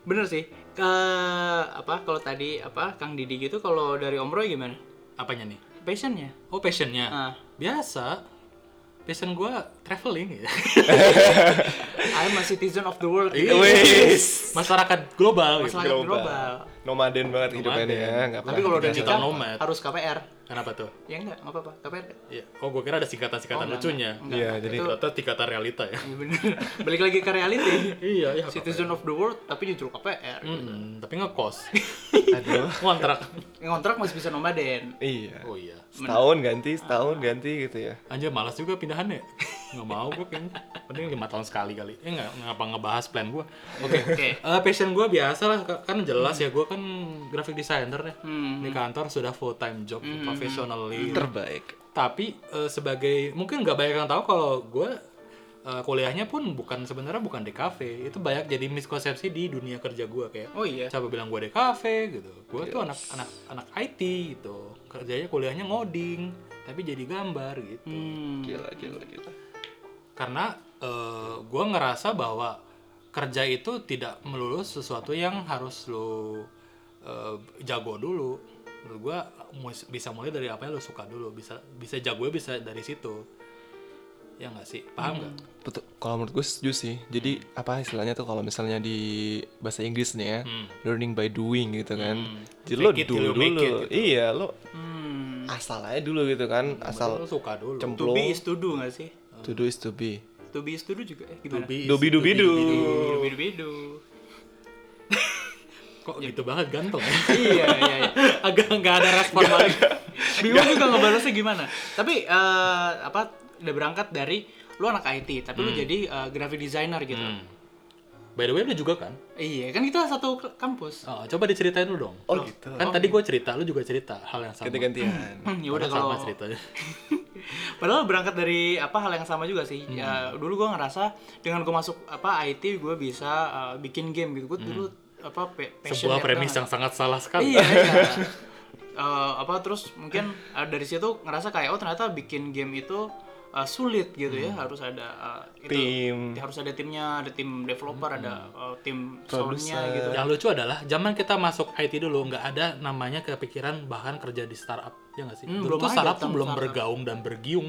[SPEAKER 2] bener sih ke apa kalau tadi apa Kang Didi gitu kalau dari Om Roy gimana
[SPEAKER 1] Apanya nih?
[SPEAKER 2] passionnya
[SPEAKER 1] Oh, passionnya.
[SPEAKER 2] ah
[SPEAKER 1] Biasa. Passion gue traveling. ya.
[SPEAKER 2] I'm a citizen of the world
[SPEAKER 1] Iya.
[SPEAKER 3] Wis.
[SPEAKER 1] Masyarakat global. Gitu.
[SPEAKER 2] masalah global,
[SPEAKER 3] Nomaden banget hidupnya nih ya. nggak
[SPEAKER 1] Tapi
[SPEAKER 2] tapi
[SPEAKER 3] pernah
[SPEAKER 2] kalau udah
[SPEAKER 1] Digital
[SPEAKER 2] nikah
[SPEAKER 1] nomad.
[SPEAKER 2] harus KPR
[SPEAKER 1] Kenapa tuh?
[SPEAKER 2] ya enggak nggak apa-apa KPR
[SPEAKER 1] Iya. Oh, gue kira ada singkatan-singkatan
[SPEAKER 2] Oh, enggak,
[SPEAKER 1] lucunya.
[SPEAKER 2] enggak,
[SPEAKER 3] Iya,
[SPEAKER 2] enggak.
[SPEAKER 3] jadi
[SPEAKER 2] Itu-
[SPEAKER 1] Ternyata tingkatan realita ya.
[SPEAKER 2] Iya bener. Balik lagi ke reality.
[SPEAKER 1] iya, iya.
[SPEAKER 2] Citizen of the world tapi justru KPR.
[SPEAKER 1] Hmm. Mm-mm, tapi ngekos.
[SPEAKER 3] Aduh.
[SPEAKER 1] Kontrak.
[SPEAKER 2] Ngontrak masih bisa nomaden.
[SPEAKER 3] Iya.
[SPEAKER 1] Oh iya.
[SPEAKER 3] Setahun ganti, setahun ganti gitu ya.
[SPEAKER 1] Anjir malas juga pindahan ya. Nggak mau gue kayaknya. Mending lima tahun sekali kali. Eh nggak ngapa ngebahas plan gue. Oke.
[SPEAKER 2] Oke.
[SPEAKER 1] Eh, passion gue biasa lah. Kan jelas ya gue kan graphic designer ya.
[SPEAKER 2] Hmm.
[SPEAKER 1] Di kantor sudah full time job professionally.
[SPEAKER 3] Terbaik.
[SPEAKER 1] tapi eh, sebagai mungkin nggak banyak yang tahu kalau gue eh, kuliahnya pun bukan sebenarnya bukan di kafe itu banyak jadi miskonsepsi di dunia kerja gue kayak
[SPEAKER 2] Oh iya.
[SPEAKER 1] siapa bilang gue di kafe gitu gue tuh anak anak anak IT gitu kerjanya kuliahnya ngoding tapi jadi gambar gitu
[SPEAKER 2] Hmm.
[SPEAKER 3] Gila, gila, gila.
[SPEAKER 1] karena eh, gue ngerasa bahwa kerja itu tidak melulu sesuatu yang harus lo eh, jago dulu menurut gue bisa mulai dari apa yang lo suka dulu bisa bisa jago bisa dari situ ya nggak sih paham nggak
[SPEAKER 3] Betul. Kalau menurut gue setuju sih. Jadi apa istilahnya tuh kalau misalnya di bahasa Inggris nih ya,
[SPEAKER 1] Hmm.
[SPEAKER 3] learning by doing gitu kan.
[SPEAKER 1] Hmm.
[SPEAKER 3] Jadi lo
[SPEAKER 1] Fake it till
[SPEAKER 3] dulu
[SPEAKER 1] you make
[SPEAKER 3] dulu.
[SPEAKER 1] it gitu.
[SPEAKER 3] Iya, lo
[SPEAKER 2] Hmm.
[SPEAKER 3] asal aja dulu gitu kan.
[SPEAKER 1] lo
[SPEAKER 3] Asal
[SPEAKER 1] suka dulu
[SPEAKER 3] Cem-
[SPEAKER 2] To be is to do nggak sih?
[SPEAKER 3] to do is to be.
[SPEAKER 2] To be is to do juga. Eh, gimana? Iya,
[SPEAKER 1] be is-
[SPEAKER 3] Dobi dobi do.
[SPEAKER 2] To be to be do.
[SPEAKER 1] kok gitu banget ganteng ya?
[SPEAKER 2] iya, iya, iya.
[SPEAKER 1] agak nggak ada respon balik
[SPEAKER 2] Bingung juga ngebalasnya gimana. Tapi eh, apa udah berangkat dari lu anak IT, tapi lu jadi eh, graphic designer gitu.
[SPEAKER 1] Hmm. by the way lo juga kan
[SPEAKER 2] Iya, kan kita satu k- kampus.
[SPEAKER 1] Oh, coba diceritain lu dong
[SPEAKER 3] Oh gitu.
[SPEAKER 1] kan tadi gue cerita lu juga cerita hal yang sama
[SPEAKER 3] Ganti-gantian.
[SPEAKER 1] Oh,
[SPEAKER 2] Hmm, ya udah
[SPEAKER 1] Padahal
[SPEAKER 2] kalau
[SPEAKER 1] sama ceritanya
[SPEAKER 2] Padahal berangkat dari apa hal yang sama juga sih.
[SPEAKER 1] Hmm.
[SPEAKER 2] Ya, dulu gue ngerasa dengan gue masuk apa IT gue bisa uh, bikin game gitu. Gue dulu apa pe-
[SPEAKER 1] Hmm. sebuah
[SPEAKER 2] passionate
[SPEAKER 1] premis
[SPEAKER 2] banget.
[SPEAKER 1] yang sangat salah sekali
[SPEAKER 2] ya, Iya. iya. Eh, apa terus mungkin eh, dari situ ngerasa kayak oh ternyata bikin game itu eh, sulit gitu ya
[SPEAKER 1] Hmm.
[SPEAKER 2] harus ada eh, itu
[SPEAKER 3] Tim.
[SPEAKER 2] harus ada timnya ada tim developer ada
[SPEAKER 1] Hmm.
[SPEAKER 2] eh, tim soundnya gitu
[SPEAKER 1] Yang lucu adalah zaman kita masuk IT dulu nggak ada namanya kepikiran bahkan kerja di startup ya nggak sih?
[SPEAKER 2] Hmm,
[SPEAKER 1] dulu
[SPEAKER 2] belum
[SPEAKER 1] tuh
[SPEAKER 2] ada
[SPEAKER 1] startup tuh
[SPEAKER 2] term
[SPEAKER 1] belum
[SPEAKER 2] startup. Hmm.
[SPEAKER 1] bergaung dan bergiung,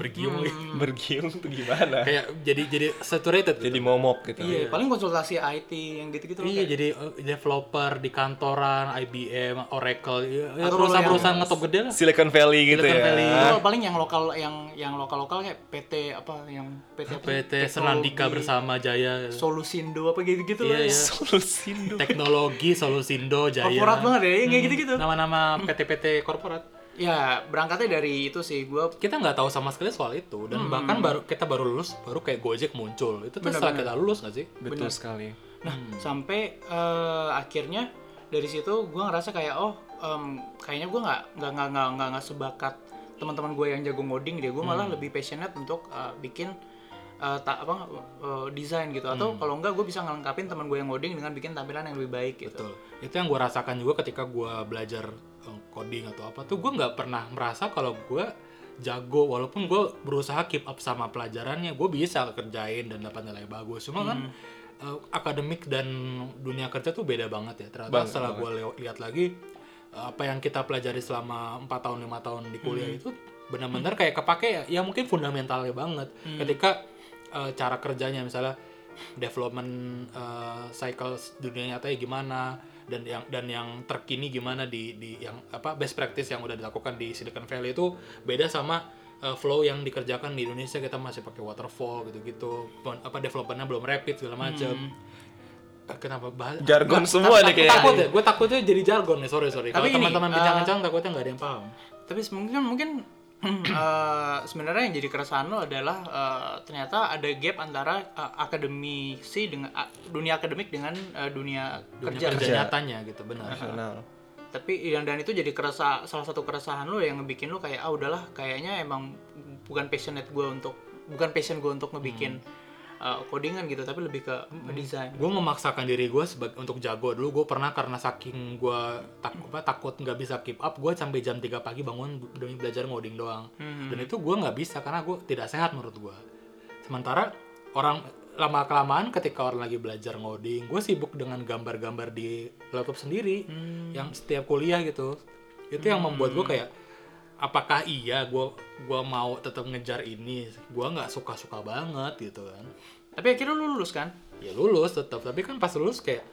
[SPEAKER 1] bergiung gitu.
[SPEAKER 3] Bergiung tuh gimana?
[SPEAKER 1] kayak jadi jadi saturated. gitu.
[SPEAKER 3] Jadi momok gitu.
[SPEAKER 2] iya paling konsultasi IT yang gitu gitu
[SPEAKER 1] Iya jadi eh, developer di kantoran, IBM, Oracle, ya, ya,
[SPEAKER 2] Atau
[SPEAKER 1] perusahaan-perusahaan ngetop gede lah.
[SPEAKER 3] Silicon Valley gitu
[SPEAKER 1] Silicon
[SPEAKER 3] ya.
[SPEAKER 1] Valley.
[SPEAKER 2] Kalau paling yang lokal yang yang lokal lokal kayak PT apa yang PT apa sih?
[SPEAKER 1] PT Senandika
[SPEAKER 2] Teknologi,
[SPEAKER 1] bersama Jaya, gitu.
[SPEAKER 2] Solusindo apa gitu gitu
[SPEAKER 1] Iya,
[SPEAKER 2] loh.
[SPEAKER 1] iya.
[SPEAKER 3] Solusindo.
[SPEAKER 1] teknologi Solusindo Jaya.
[SPEAKER 2] Korporat banget ya,
[SPEAKER 1] Hmm.
[SPEAKER 2] yang kayak gitu-gitu.
[SPEAKER 1] Nah. Nama-nama PT-PT korporat.
[SPEAKER 2] Ya berangkatnya dari itu sih gue
[SPEAKER 1] kita nggak tahu sama sekali soal itu dan
[SPEAKER 3] Hmm.
[SPEAKER 1] bahkan baru kita baru lulus baru kayak Gojek muncul itu tuh setelah kita lulus nggak sih
[SPEAKER 3] Betul sekali.
[SPEAKER 2] Nah,
[SPEAKER 1] Hmm.
[SPEAKER 2] sampai eh, akhirnya dari situ gue ngerasa kayak oh em, kayaknya gue nggak nggak nggak nggak nggak nggak sebakat teman-teman gue yang jago ngoding deh gue malah
[SPEAKER 1] Hmm.
[SPEAKER 2] lebih passionate untuk eh, bikin eh, ta- apa eh, desain gitu atau
[SPEAKER 1] Hmm.
[SPEAKER 2] kalau enggak gue bisa ngelengkapin teman gue yang ngoding dengan bikin tampilan yang lebih baik gitu.
[SPEAKER 1] betul itu yang gue rasakan juga ketika gue belajar eh, coding atau apa tuh gue nggak pernah merasa kalau gue jago walaupun gue berusaha keep up sama pelajarannya gue bisa kerjain dan dapat nilai bagus cuma kan
[SPEAKER 3] Hmm.
[SPEAKER 1] eh, akademik dan dunia kerja tuh beda banget ya ternyata
[SPEAKER 3] Banget,
[SPEAKER 1] setelah gue lihat lagi eh, apa yang kita pelajari selama empat tahun lima tahun di kuliah itu benar-benar kayak kepake ya, ya mungkin fundamentalnya banget ketika eh, cara kerjanya misalnya development eh, cycles dunia nyatanya gimana dan yang dan yang terkini gimana di di yang apa best practice yang udah dilakukan di Silicon Valley itu beda sama eh, flow yang dikerjakan di Indonesia kita masih pakai waterfall gitu-gitu Pon- apa developmentnya belum rapid segala macam kenapa bahas
[SPEAKER 3] Jargon semua nih kayaknya.
[SPEAKER 1] takut ya gue takutnya jadi jargon nih sorry sorry
[SPEAKER 2] Tapi
[SPEAKER 1] kalau
[SPEAKER 2] ini,
[SPEAKER 1] teman-teman
[SPEAKER 2] eh,
[SPEAKER 1] bincang-bincang takutnya nggak ada yang paham
[SPEAKER 2] Tapi mungkin mungkin eh, sebenarnya yang jadi keresahan lo adalah eh, ternyata ada gap antara eh, akademisi dengan a- dunia akademik dengan eh, dunia,
[SPEAKER 1] dunia
[SPEAKER 2] kerja.
[SPEAKER 1] kerja, nyatanya gitu benar
[SPEAKER 3] Kenal.
[SPEAKER 2] Tapi yang dan itu jadi keresa salah satu keresahan lo yang ngebikin lo kayak ah udahlah kayaknya emang bukan passionate gue untuk bukan passion gue untuk ngebikin
[SPEAKER 1] Hmm.
[SPEAKER 2] eh, codingan gitu tapi lebih ke desain.
[SPEAKER 1] gue memaksakan diri gue sebagai untuk jago dulu gue pernah karena saking gue tak, apa, takut nggak bisa keep up gue sampai jam 3 pagi bangun bu- demi belajar ngoding doang dan itu gue nggak bisa karena gue tidak sehat menurut gue sementara orang lama kelamaan ketika orang lagi belajar ngoding gue sibuk dengan gambar-gambar di laptop sendiri yang setiap kuliah gitu itu yang membuat gue kayak apakah iya gue gua mau tetap ngejar ini gue nggak suka-suka banget gitu kan
[SPEAKER 2] Tapi akhirnya lo lulus kan?
[SPEAKER 1] ya lulus tetap tapi kan pas lulus kayak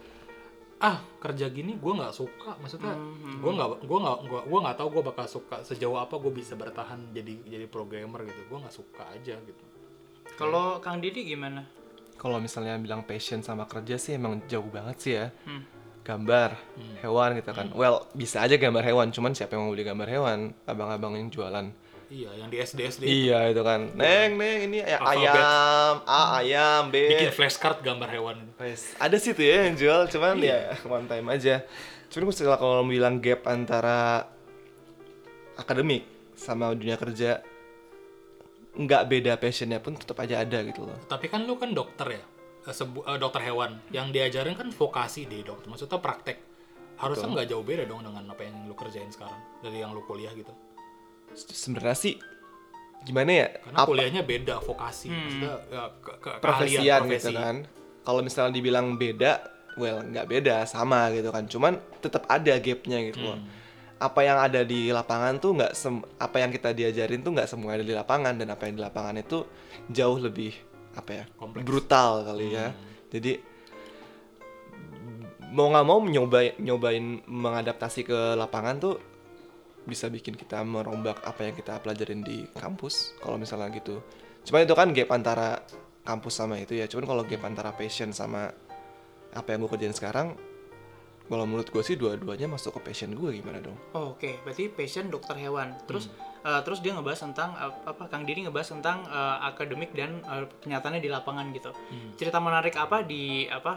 [SPEAKER 1] ah kerja gini gue nggak suka maksudnya gue nggak gue nggak gue gue nggak tahu gue bakal suka sejauh apa gue bisa bertahan jadi jadi programmer gitu gue nggak suka aja gitu
[SPEAKER 2] Kalau Kang Didi gimana?
[SPEAKER 3] Kalau misalnya bilang passion sama kerja sih emang jauh banget sih ya.
[SPEAKER 2] Hmm.
[SPEAKER 3] Gambar, hewan gitu kan. Well, bisa aja gambar hewan, cuman siapa yang mau beli gambar hewan? Abang-abang yang jualan.
[SPEAKER 1] iya yang di SD SD
[SPEAKER 3] Iya itu kan. Neng, neng ini ay-
[SPEAKER 1] Alfabet.
[SPEAKER 3] ayam, A ayam, B.
[SPEAKER 1] bikin flashcard gambar hewan
[SPEAKER 3] Wes, ada sih tuh ya yang jual, cuman ya one time aja. Cuman gue setelah kalau bilang gap antara akademik sama dunia kerja nggak beda passionnya pun tetap aja ada gitu loh.
[SPEAKER 1] tapi kan lu kan dokter ya Eh, sebu- eh, dokter hewan yang diajarin kan vokasi di dokter maksudnya praktek harusnya nggak jauh beda dong dengan apa yang lu kerjain sekarang dari yang lu kuliah gitu
[SPEAKER 3] Se- Sebenarnya sih gimana ya?
[SPEAKER 1] karena kuliahnya beda vokasi maksudnya eh, ke- ke- keahlian,
[SPEAKER 3] profesian
[SPEAKER 1] profesi.
[SPEAKER 3] gitu kan. Kalau misalnya dibilang beda, well nggak beda, sama gitu kan. Cuman tetap ada gapnya gitu loh.
[SPEAKER 1] Hmm.
[SPEAKER 3] Apa yang ada di lapangan tuh nggak sem- apa yang kita diajarin tuh nggak semua ada di lapangan dan apa yang di lapangan itu jauh lebih apa ya
[SPEAKER 1] Kompleks. Hmm.
[SPEAKER 3] brutal kali ya. Jadi mau nggak mau nyoba nyobain mengadaptasi ke lapangan tuh bisa bikin kita merombak apa yang kita pelajarin di kampus kalau misalnya gitu cuma itu kan gap antara kampus sama itu ya cuman kalau gap antara passion sama apa yang gue kerjain sekarang kalau menurut gue sih dua-duanya masuk ke passion gue gimana dong
[SPEAKER 2] Oh, Oke, berarti passion dokter hewan. Terus eh,
[SPEAKER 3] Hmm.
[SPEAKER 2] terus dia ngebahas tentang eh, apa Kang Didi ngebahas tentang eh, akademik dan eh, kenyataannya di lapangan gitu.
[SPEAKER 3] Hmm.
[SPEAKER 2] Cerita menarik apa di apa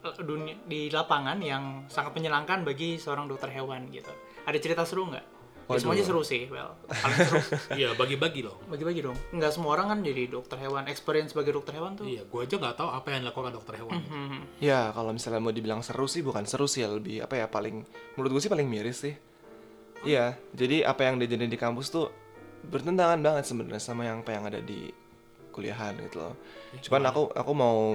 [SPEAKER 2] eh, dunia di lapangan yang sangat menyenangkan bagi seorang dokter hewan gitu. Ada cerita seru nggak? Ya,
[SPEAKER 3] Waduh.
[SPEAKER 2] semuanya seru sih, well, paling seru.
[SPEAKER 1] iya bagi-bagi loh
[SPEAKER 2] Bagi-bagi dong. Nggak semua orang kan jadi dokter hewan. Experience sebagai dokter hewan tuh.
[SPEAKER 1] Iya, gue aja nggak tahu apa yang dilakukan dokter hewan.
[SPEAKER 2] Hmm.
[SPEAKER 3] ya kalau misalnya mau dibilang seru sih bukan seru sih ya lebih apa ya paling menurut gue sih paling miris sih iya jadi apa yang diajarin di kampus tuh bertentangan banget sebenarnya sama yang apa yang ada di kuliahan gitu loh cuman aku aku mau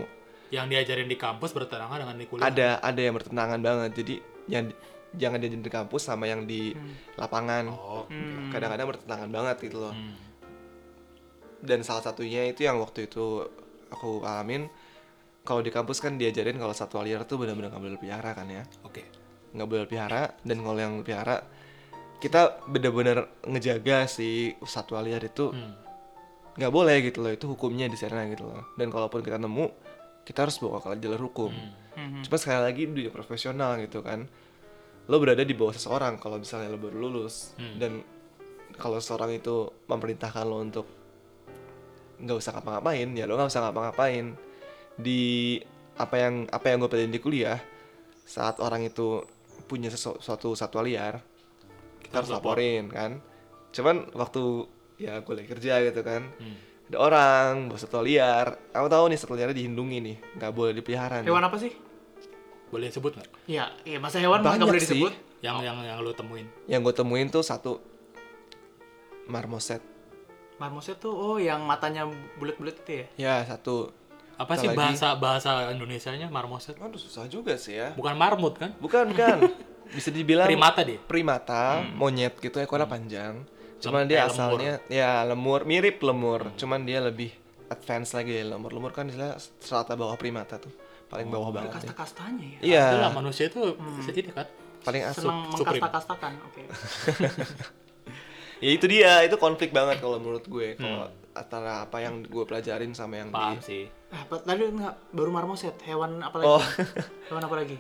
[SPEAKER 1] Yang diajarin di kampus bertentangan dengan di kuliah.
[SPEAKER 3] ada ada yang bertentangan banget jadi yang di- jangan diajarin di kampus sama yang di lapangan
[SPEAKER 1] Hmm. Oh,
[SPEAKER 2] Hmm.
[SPEAKER 1] Hmm.
[SPEAKER 3] kadang-kadang bertentangan banget gitu loh dan salah satunya itu yang waktu itu aku alamin kalau di kampus kan diajarin kalau satwa liar tuh benar-benar nggak boleh pelihara kan ya
[SPEAKER 1] oke.
[SPEAKER 2] Hmm.
[SPEAKER 3] nggak boleh pelihara dan kalau yang pelihara kita benar-benar ngejaga si satwa liar itu
[SPEAKER 1] Hmm.
[SPEAKER 3] nggak boleh gitu loh itu hukumnya di sana gitu loh dan kalaupun kita nemu kita harus bawa ke jalur hukum
[SPEAKER 1] Hmm.
[SPEAKER 2] hmm, Mhm.
[SPEAKER 3] cuma sekali lagi dunia profesional gitu kan lo berada di bawah seseorang kalau misalnya lo baru lulus dan kalau seorang itu memerintahkan lo untuk nggak usah ngapa-ngapain ya lo nggak usah ngapa-ngapain di apa yang apa yang gue pelajarin di kuliah saat orang itu punya sesuatu satwa liar kita harus laporin kan cuman waktu ya gue lagi kerja gitu kan ada orang bawa satwa liar aku tahu nih satwa liarnya dihindungi nih nggak boleh dipelihara nih.
[SPEAKER 2] Hewan apa sih?
[SPEAKER 1] Boleh sebut nggak?
[SPEAKER 2] Iya, iya masa hewan masa
[SPEAKER 3] banyak
[SPEAKER 2] nggak boleh
[SPEAKER 3] sih
[SPEAKER 2] disebut.
[SPEAKER 1] Yang yang yang lu temuin.
[SPEAKER 3] yang gue temuin tuh satu marmoset
[SPEAKER 2] Marmoset tuh oh yang matanya bulat-bulat itu ya.
[SPEAKER 3] ya satu
[SPEAKER 1] Apa
[SPEAKER 3] Apa
[SPEAKER 1] sih
[SPEAKER 3] lagi?
[SPEAKER 1] bahasa bahasa Indonesianya marmoset?
[SPEAKER 3] aduh susah juga sih ya
[SPEAKER 1] Bukan marmut kan?
[SPEAKER 3] bukan bukan bisa dibilang
[SPEAKER 1] Primata dia.
[SPEAKER 3] primata monyet gitu ekornya panjang cuman
[SPEAKER 1] Lem-
[SPEAKER 3] dia
[SPEAKER 1] kayak Hmm.
[SPEAKER 3] asalnya ya lemur mirip lemur cuman dia lebih advance lagi ya lemur lemur kan istilah serata bawah primata tuh
[SPEAKER 1] Oh,
[SPEAKER 3] paling bawah banget ya.
[SPEAKER 2] Kasta-kastanya ya.
[SPEAKER 3] iya
[SPEAKER 1] Itulah manusia itu
[SPEAKER 2] Hmm.
[SPEAKER 1] bisa jadi kan.
[SPEAKER 3] paling asup
[SPEAKER 2] senang
[SPEAKER 1] Supreme.
[SPEAKER 2] mengkasta-kastakan. Oke.
[SPEAKER 3] ya itu dia itu konflik banget kalau menurut gue
[SPEAKER 1] Hmm.
[SPEAKER 3] kalau antara apa yang gue pelajarin sama
[SPEAKER 2] Iya.
[SPEAKER 3] yang
[SPEAKER 1] Paham
[SPEAKER 3] di
[SPEAKER 1] sih.
[SPEAKER 2] Ah, pa- tadi enggak baru marmoset, hewan apa lagi?
[SPEAKER 3] oh
[SPEAKER 2] Hewan apa lagi?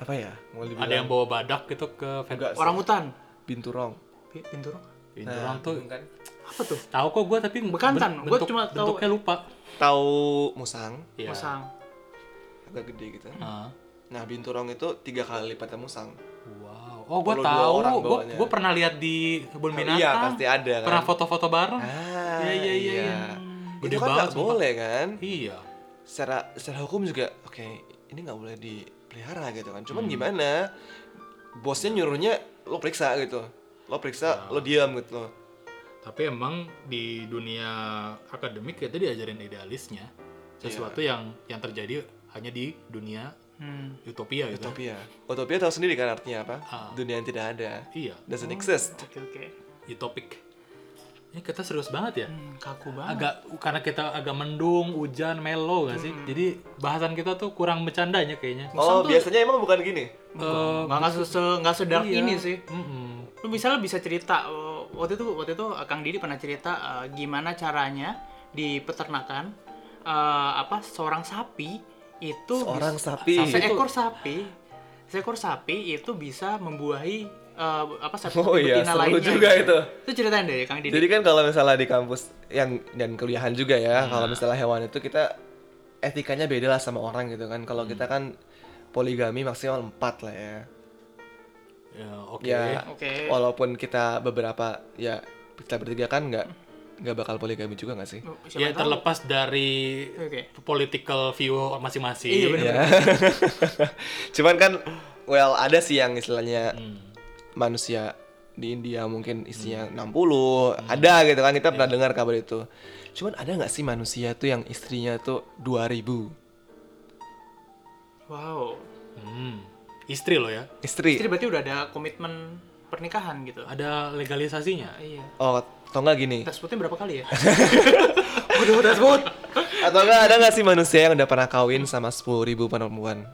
[SPEAKER 3] apa ya mau dibilang
[SPEAKER 2] Iya.
[SPEAKER 1] Ada yang bawa badak gitu ke ven-
[SPEAKER 3] Enggak sih.
[SPEAKER 2] Orang hutan.
[SPEAKER 3] binturong
[SPEAKER 2] Pinturong.
[SPEAKER 1] Orang tuh
[SPEAKER 4] kan
[SPEAKER 2] Apa tuh?
[SPEAKER 1] tahu kok gue tapi
[SPEAKER 2] Bekantan,
[SPEAKER 1] ben-
[SPEAKER 2] gua
[SPEAKER 1] bentuk-
[SPEAKER 2] cuma tahu-
[SPEAKER 1] bentuknya lupa.
[SPEAKER 3] Tahu musang
[SPEAKER 1] Iya.
[SPEAKER 2] Musang.
[SPEAKER 3] agak gede gitu.
[SPEAKER 1] Ah.
[SPEAKER 3] Nah, binturong itu tiga kali lipatnya musang.
[SPEAKER 1] Wow. Oh, gue
[SPEAKER 3] Perlu dua
[SPEAKER 1] tahu.
[SPEAKER 3] orang
[SPEAKER 1] Gue
[SPEAKER 3] bawanya.
[SPEAKER 1] gue pernah lihat di kebun binatang.
[SPEAKER 3] Iya, pasti ada kan.
[SPEAKER 1] Pernah foto-foto bareng.
[SPEAKER 3] Ah,
[SPEAKER 1] Iya, iya, iya, iya.
[SPEAKER 3] Itu
[SPEAKER 1] Gede
[SPEAKER 3] kan
[SPEAKER 1] banget,
[SPEAKER 3] nggak
[SPEAKER 1] sumpah.
[SPEAKER 3] boleh kan?
[SPEAKER 1] Iya.
[SPEAKER 3] Secara secara hukum juga oke, ini nggak boleh dipelihara gitu kan.
[SPEAKER 1] Hmm.
[SPEAKER 3] Cuman gimana? Bosnya nyuruhnya lo periksa gitu. Lo
[SPEAKER 1] Ah.
[SPEAKER 3] periksa, lo diam gitu lo.
[SPEAKER 1] Tapi emang di dunia akademik kita diajarin idealisnya
[SPEAKER 3] Iya.
[SPEAKER 1] sesuatu yang yang terjadi hanya di dunia
[SPEAKER 2] Hmm.
[SPEAKER 1] utopia gitu.
[SPEAKER 3] Utopia. Utopia tahu sendiri kan artinya apa?
[SPEAKER 1] Ah.
[SPEAKER 3] Dunia yang tidak ada.
[SPEAKER 1] Iya,
[SPEAKER 3] Doesn't exist.
[SPEAKER 2] Oke oke.
[SPEAKER 1] utopik. Ini kita serius banget ya.
[SPEAKER 2] Hmm, kaku banget.
[SPEAKER 1] Agak karena kita agak mendung, hujan, melo gak sih? Jadi bahasan kita tuh kurang bercandanya kayaknya.
[SPEAKER 3] Oh, biasanya emang bukan gini.
[SPEAKER 1] Eh,
[SPEAKER 2] Enggak nggak se nggak sedark
[SPEAKER 1] Iya.
[SPEAKER 2] ini sih.
[SPEAKER 1] Hmm. Mm-mm.
[SPEAKER 2] Lu misalnya bisa cerita eh, waktu itu waktu itu Kang Didi pernah cerita eh, gimana caranya di peternakan eh, apa seorang sapi itu
[SPEAKER 3] Orang
[SPEAKER 2] bisa-
[SPEAKER 3] sapi.
[SPEAKER 2] seekor sapi seekor sapi itu bisa membuahi eh, apa sapi
[SPEAKER 3] Oh iya,
[SPEAKER 2] betina
[SPEAKER 3] seru
[SPEAKER 2] lainnya.
[SPEAKER 3] juga itu.
[SPEAKER 2] Itu ceritain deh Kang Didi.
[SPEAKER 3] Jadi kan kalau misalnya di kampus yang dan kuliahan juga ya, kalau misalnya hewan itu kita etikanya beda lah sama orang gitu kan. Kalau kita kan poligami maksimal 4 lah ya.
[SPEAKER 1] Ya, oke.
[SPEAKER 3] Ya,
[SPEAKER 2] Oke.
[SPEAKER 3] walaupun kita beberapa ya kita bertiga kan nggak nggak bakal poligami juga nggak sih?
[SPEAKER 2] Oh, siapa
[SPEAKER 1] Ya
[SPEAKER 2] tahu?
[SPEAKER 1] terlepas dari
[SPEAKER 2] Oke.
[SPEAKER 1] political view masing-masing.
[SPEAKER 2] Iya benar.
[SPEAKER 3] Ya. Cuman kan well ada sih yang istilahnya manusia di India mungkin isinya 60 ada gitu kan kita pernah dengar kabar itu. Cuman ada nggak sih manusia tuh yang istrinya tuh 2000
[SPEAKER 2] Wow.
[SPEAKER 1] Hmm. Istri lo ya.
[SPEAKER 3] istri?
[SPEAKER 2] Istri berarti udah ada komitmen pernikahan gitu.
[SPEAKER 1] Ada legalisasinya.
[SPEAKER 2] Iya.
[SPEAKER 3] Oh, atau nggak gini?
[SPEAKER 2] Kita sebutin berapa kali ya?
[SPEAKER 3] Udah udah sebut. atau nggak ada nggak sih manusia yang udah pernah kawin sama 10.000 ribu perempuan?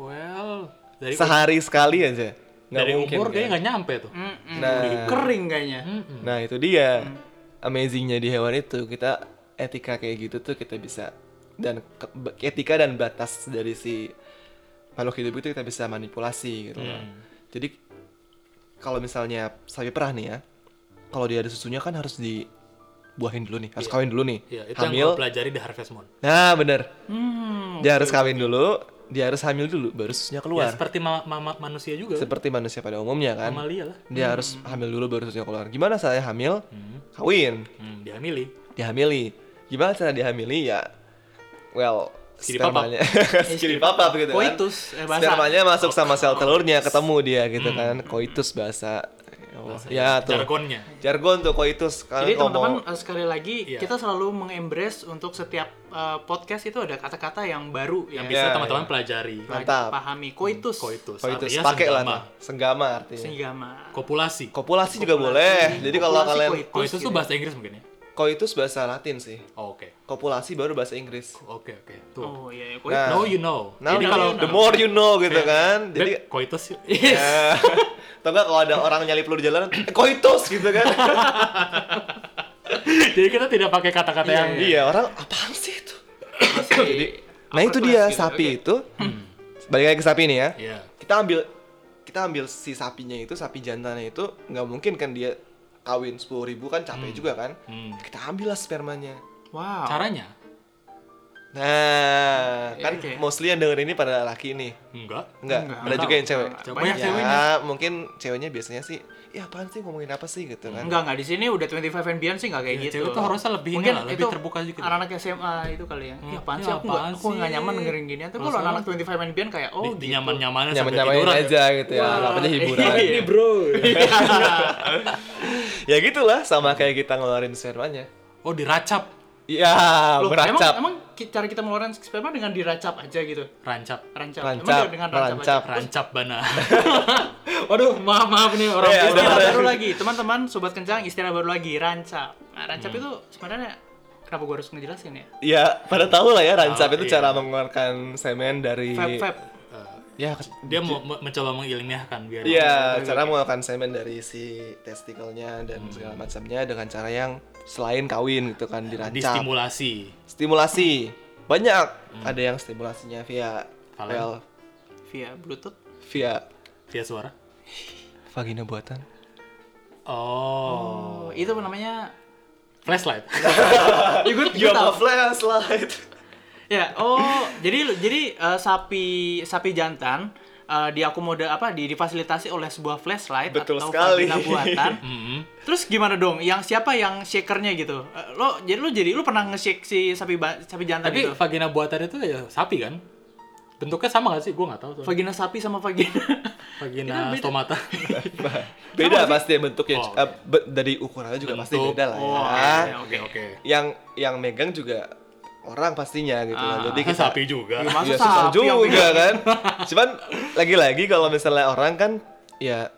[SPEAKER 1] Well, dari
[SPEAKER 3] Sehari sekali aja. Nggak
[SPEAKER 1] dari
[SPEAKER 3] mungkin,
[SPEAKER 1] umur
[SPEAKER 3] kan?
[SPEAKER 1] kayaknya nggak nyampe tuh.
[SPEAKER 2] Mm-mm.
[SPEAKER 3] Nah.
[SPEAKER 2] Kering kayaknya.
[SPEAKER 3] Nah itu dia amazingnya di hewan itu kita etika kayak gitu tuh kita bisa dan ke- be- etika dan batas dari si makhluk hidup itu kita bisa manipulasi gitu loh.
[SPEAKER 1] Hmm.
[SPEAKER 3] Jadi kalau misalnya sapi perah nih ya, kalau dia ada susunya kan harus dibuahin dulu nih, harus kawin dulu nih,
[SPEAKER 1] Ya, itu yang
[SPEAKER 3] hamil.
[SPEAKER 1] gue pelajari di Harvest Moon. Ya,
[SPEAKER 3] Nah bener,
[SPEAKER 2] Hmm.
[SPEAKER 3] dia harus kawin dulu, dia harus hamil dulu, baru
[SPEAKER 1] Ya,
[SPEAKER 3] susunya keluar.
[SPEAKER 1] seperti ma- ma- manusia juga.
[SPEAKER 3] Seperti manusia pada umumnya kan,
[SPEAKER 1] Mamalia lah.
[SPEAKER 3] dia harus hamil dulu baru susunya keluar. Gimana saya hamil? Kawin.
[SPEAKER 1] Hmm, dihamili.
[SPEAKER 3] dihamili gimana cara dihamili ya well
[SPEAKER 1] Skidipapap.
[SPEAKER 3] spermanya skidipapap gitu kan
[SPEAKER 2] Koitus, eh, bahasa.
[SPEAKER 3] spermanya masuk sama sel telurnya ketemu dia gitu kan koitus bahasa Ya
[SPEAKER 1] Oh,
[SPEAKER 3] Allah. ya
[SPEAKER 1] iya.
[SPEAKER 3] tuh
[SPEAKER 1] Jargonnya.
[SPEAKER 3] jargon tuh koitus kan
[SPEAKER 2] Jadi teman-teman eh, sekali lagi
[SPEAKER 1] Iya.
[SPEAKER 2] kita selalu mengembrace untuk setiap eh, podcast itu ada kata-kata yang baru
[SPEAKER 1] Yang
[SPEAKER 2] ya.
[SPEAKER 1] bisa
[SPEAKER 3] Iya,
[SPEAKER 1] teman-teman pelajari.
[SPEAKER 3] Mantap. Hmm,
[SPEAKER 2] pahami koitus,
[SPEAKER 1] Koitus.
[SPEAKER 3] koitus
[SPEAKER 1] artinya
[SPEAKER 3] pakai
[SPEAKER 1] ah, iya,
[SPEAKER 3] lah
[SPEAKER 1] senggama.
[SPEAKER 3] tuh senggama artinya
[SPEAKER 2] senggama.
[SPEAKER 1] Kopulasi.
[SPEAKER 3] kopulasi juga boleh jadi kalau
[SPEAKER 2] Populasi
[SPEAKER 3] kalian
[SPEAKER 2] koitus
[SPEAKER 1] Koitus
[SPEAKER 2] gitu
[SPEAKER 1] tuh bahasa Inggris mungkin ya?
[SPEAKER 3] koitus bahasa latin sih
[SPEAKER 1] Oh, oke.
[SPEAKER 3] kopulasi baru bahasa inggris
[SPEAKER 1] Oke, oke.
[SPEAKER 2] ya.
[SPEAKER 1] Tuh.
[SPEAKER 2] Oh iya, iya,
[SPEAKER 3] Nah.
[SPEAKER 2] koitus.
[SPEAKER 1] Know you know.
[SPEAKER 3] Now
[SPEAKER 1] Jadi
[SPEAKER 3] you
[SPEAKER 1] kalau
[SPEAKER 3] know, the more you know gitu kan jadi
[SPEAKER 1] Beb, koitus yuk.
[SPEAKER 3] Eh, atau enggak kalau ada orang nyalip lu di jalanan "Eh, koitus gitu kan
[SPEAKER 1] Jadi kita tidak pakai kata-kata yang
[SPEAKER 3] iya orang apaan sih itu
[SPEAKER 2] Masih
[SPEAKER 3] Nah
[SPEAKER 2] upper
[SPEAKER 3] itu
[SPEAKER 2] class
[SPEAKER 3] dia
[SPEAKER 2] gitu,
[SPEAKER 3] sapi
[SPEAKER 2] oke.
[SPEAKER 3] itu. Balik lagi ke sapi nih ya.
[SPEAKER 1] Iya.
[SPEAKER 3] Kita ambil kita ambil si sapinya itu, sapi jantannya itu nggak mungkin kan dia kawin 10.000 ribu kan capek juga kan.
[SPEAKER 1] Hmm.
[SPEAKER 3] Kita ambil lah spermanya.
[SPEAKER 2] Wow.
[SPEAKER 1] Caranya?
[SPEAKER 3] Nah, kan
[SPEAKER 2] Oke.
[SPEAKER 3] mostly yang denger ini pada laki nih.
[SPEAKER 1] Enggak. Iya.
[SPEAKER 2] Enggak,
[SPEAKER 3] Enggak, ada
[SPEAKER 2] enggak
[SPEAKER 3] juga
[SPEAKER 2] tahu,
[SPEAKER 3] yang cewek.
[SPEAKER 2] enggak,
[SPEAKER 1] Coba yang
[SPEAKER 2] enggak.
[SPEAKER 3] Ya,
[SPEAKER 1] cewek.
[SPEAKER 2] Banyak.
[SPEAKER 1] ceweknya.
[SPEAKER 3] mungkin ceweknya biasanya sih, ya apaan sih ngomongin apa sih gitu kan.
[SPEAKER 2] Enggak, enggak di sini udah 25 and beyond sih enggak kayak
[SPEAKER 1] Iya,
[SPEAKER 2] gitu.
[SPEAKER 1] cewek tuh harusnya lebih
[SPEAKER 2] Mungkin
[SPEAKER 1] ini lah, lebih
[SPEAKER 2] itu
[SPEAKER 1] terbuka juga.
[SPEAKER 2] Anak-anak SMA itu kali ya. Ya apaan
[SPEAKER 1] Ya,
[SPEAKER 2] sih aku enggak
[SPEAKER 1] apaan
[SPEAKER 2] aku enggak
[SPEAKER 1] sih?
[SPEAKER 2] nyaman dengerin ginian. Tapi kalau
[SPEAKER 1] Masalah.
[SPEAKER 2] anak-anak 25 and beyond kayak oh
[SPEAKER 1] Di, di
[SPEAKER 2] gitu.
[SPEAKER 1] nyaman-nyamanan sampai
[SPEAKER 3] Nyaman-nyamanin
[SPEAKER 1] tiduran.
[SPEAKER 3] aja gitu ya, namanya hiburan.
[SPEAKER 2] Iya, ini bro.
[SPEAKER 3] ya gitulah sama kayak kita ngeluarin spermanya.
[SPEAKER 1] Oh, diracap.
[SPEAKER 3] Iya,
[SPEAKER 2] Loh,
[SPEAKER 3] meracap.
[SPEAKER 2] Emang, emang ki- cara kita mengeluarkan sperma dengan diracap aja gitu.
[SPEAKER 1] Rancap.
[SPEAKER 2] Rancap.
[SPEAKER 3] Rancap,
[SPEAKER 2] emang dengan rancap,
[SPEAKER 3] rancap.
[SPEAKER 2] aja?
[SPEAKER 1] Rancap bana. Waduh, maaf maaf nih orang.
[SPEAKER 3] Eh, ada-
[SPEAKER 2] Istilah
[SPEAKER 3] ada-
[SPEAKER 2] baru lagi, teman-teman, sobat kencang, istilah baru lagi, rancap. Nah, rancap
[SPEAKER 1] Hmm.
[SPEAKER 2] itu sebenarnya kenapa gua harus ngejelasin ya?
[SPEAKER 3] Ya, pada tahu lah ya rancap
[SPEAKER 1] Ah,
[SPEAKER 3] itu
[SPEAKER 1] iya.
[SPEAKER 3] cara mengeluarkan semen dari
[SPEAKER 2] Vape, vape.
[SPEAKER 1] Eh,
[SPEAKER 3] ya ke-
[SPEAKER 1] dia mau mau- mencoba mengilmiahkan biar
[SPEAKER 3] Iya, cara mengeluarkan semen dari si testikelnya dan segala macamnya dengan cara yang selain kawin gitu kan dirancap.
[SPEAKER 1] distimulasi.
[SPEAKER 3] Stimulasi. Banyak. Ada yang stimulasinya via
[SPEAKER 1] Valen.
[SPEAKER 3] well,
[SPEAKER 2] Via Bluetooth.
[SPEAKER 3] via
[SPEAKER 1] Via suara.
[SPEAKER 3] vagina buatan.
[SPEAKER 1] Oh,
[SPEAKER 2] Oh, itu namanya
[SPEAKER 1] flashlight.
[SPEAKER 2] ya gue
[SPEAKER 3] You have a
[SPEAKER 2] tahu.
[SPEAKER 3] flashlight.
[SPEAKER 2] Ya, oh, jadi lu- jadi eh, sapi sapi jantan eh, diakomoda apa di- difasilitasi oleh sebuah flashlight
[SPEAKER 3] Betul
[SPEAKER 2] atau
[SPEAKER 3] sekali.
[SPEAKER 2] vagina buatan.
[SPEAKER 1] Hmm.
[SPEAKER 2] Terus gimana dong? Yang siapa yang shakernya gitu? Eh, lo jadi lo jadi lo pernah nge-shake si sapi ba- sapi jantan
[SPEAKER 1] Tapi
[SPEAKER 2] gitu? itu?
[SPEAKER 1] vagina buatan itu ya sapi kan? Bentuknya sama gak sih? Gue gak tahu. soalnya.
[SPEAKER 2] Vagina sapi sama vagina.
[SPEAKER 1] Vagina stomata.
[SPEAKER 3] Beda pasti bentuknya
[SPEAKER 1] Oh,
[SPEAKER 3] eh, be- dari ukurannya juga pasti
[SPEAKER 1] Bentuk.
[SPEAKER 3] beda lah ya.
[SPEAKER 2] Oh, oke,
[SPEAKER 1] Oke oke.
[SPEAKER 3] Yang yang megang juga orang pastinya gitu
[SPEAKER 2] Ah.
[SPEAKER 3] loh. Jadi
[SPEAKER 1] Ini
[SPEAKER 3] kita
[SPEAKER 1] sapi juga.
[SPEAKER 2] Gimana? Masa
[SPEAKER 3] ya, susah
[SPEAKER 2] sapi yang
[SPEAKER 3] juga
[SPEAKER 2] megang?
[SPEAKER 3] kan. Cuman lagi-lagi kalau misalnya orang kan ya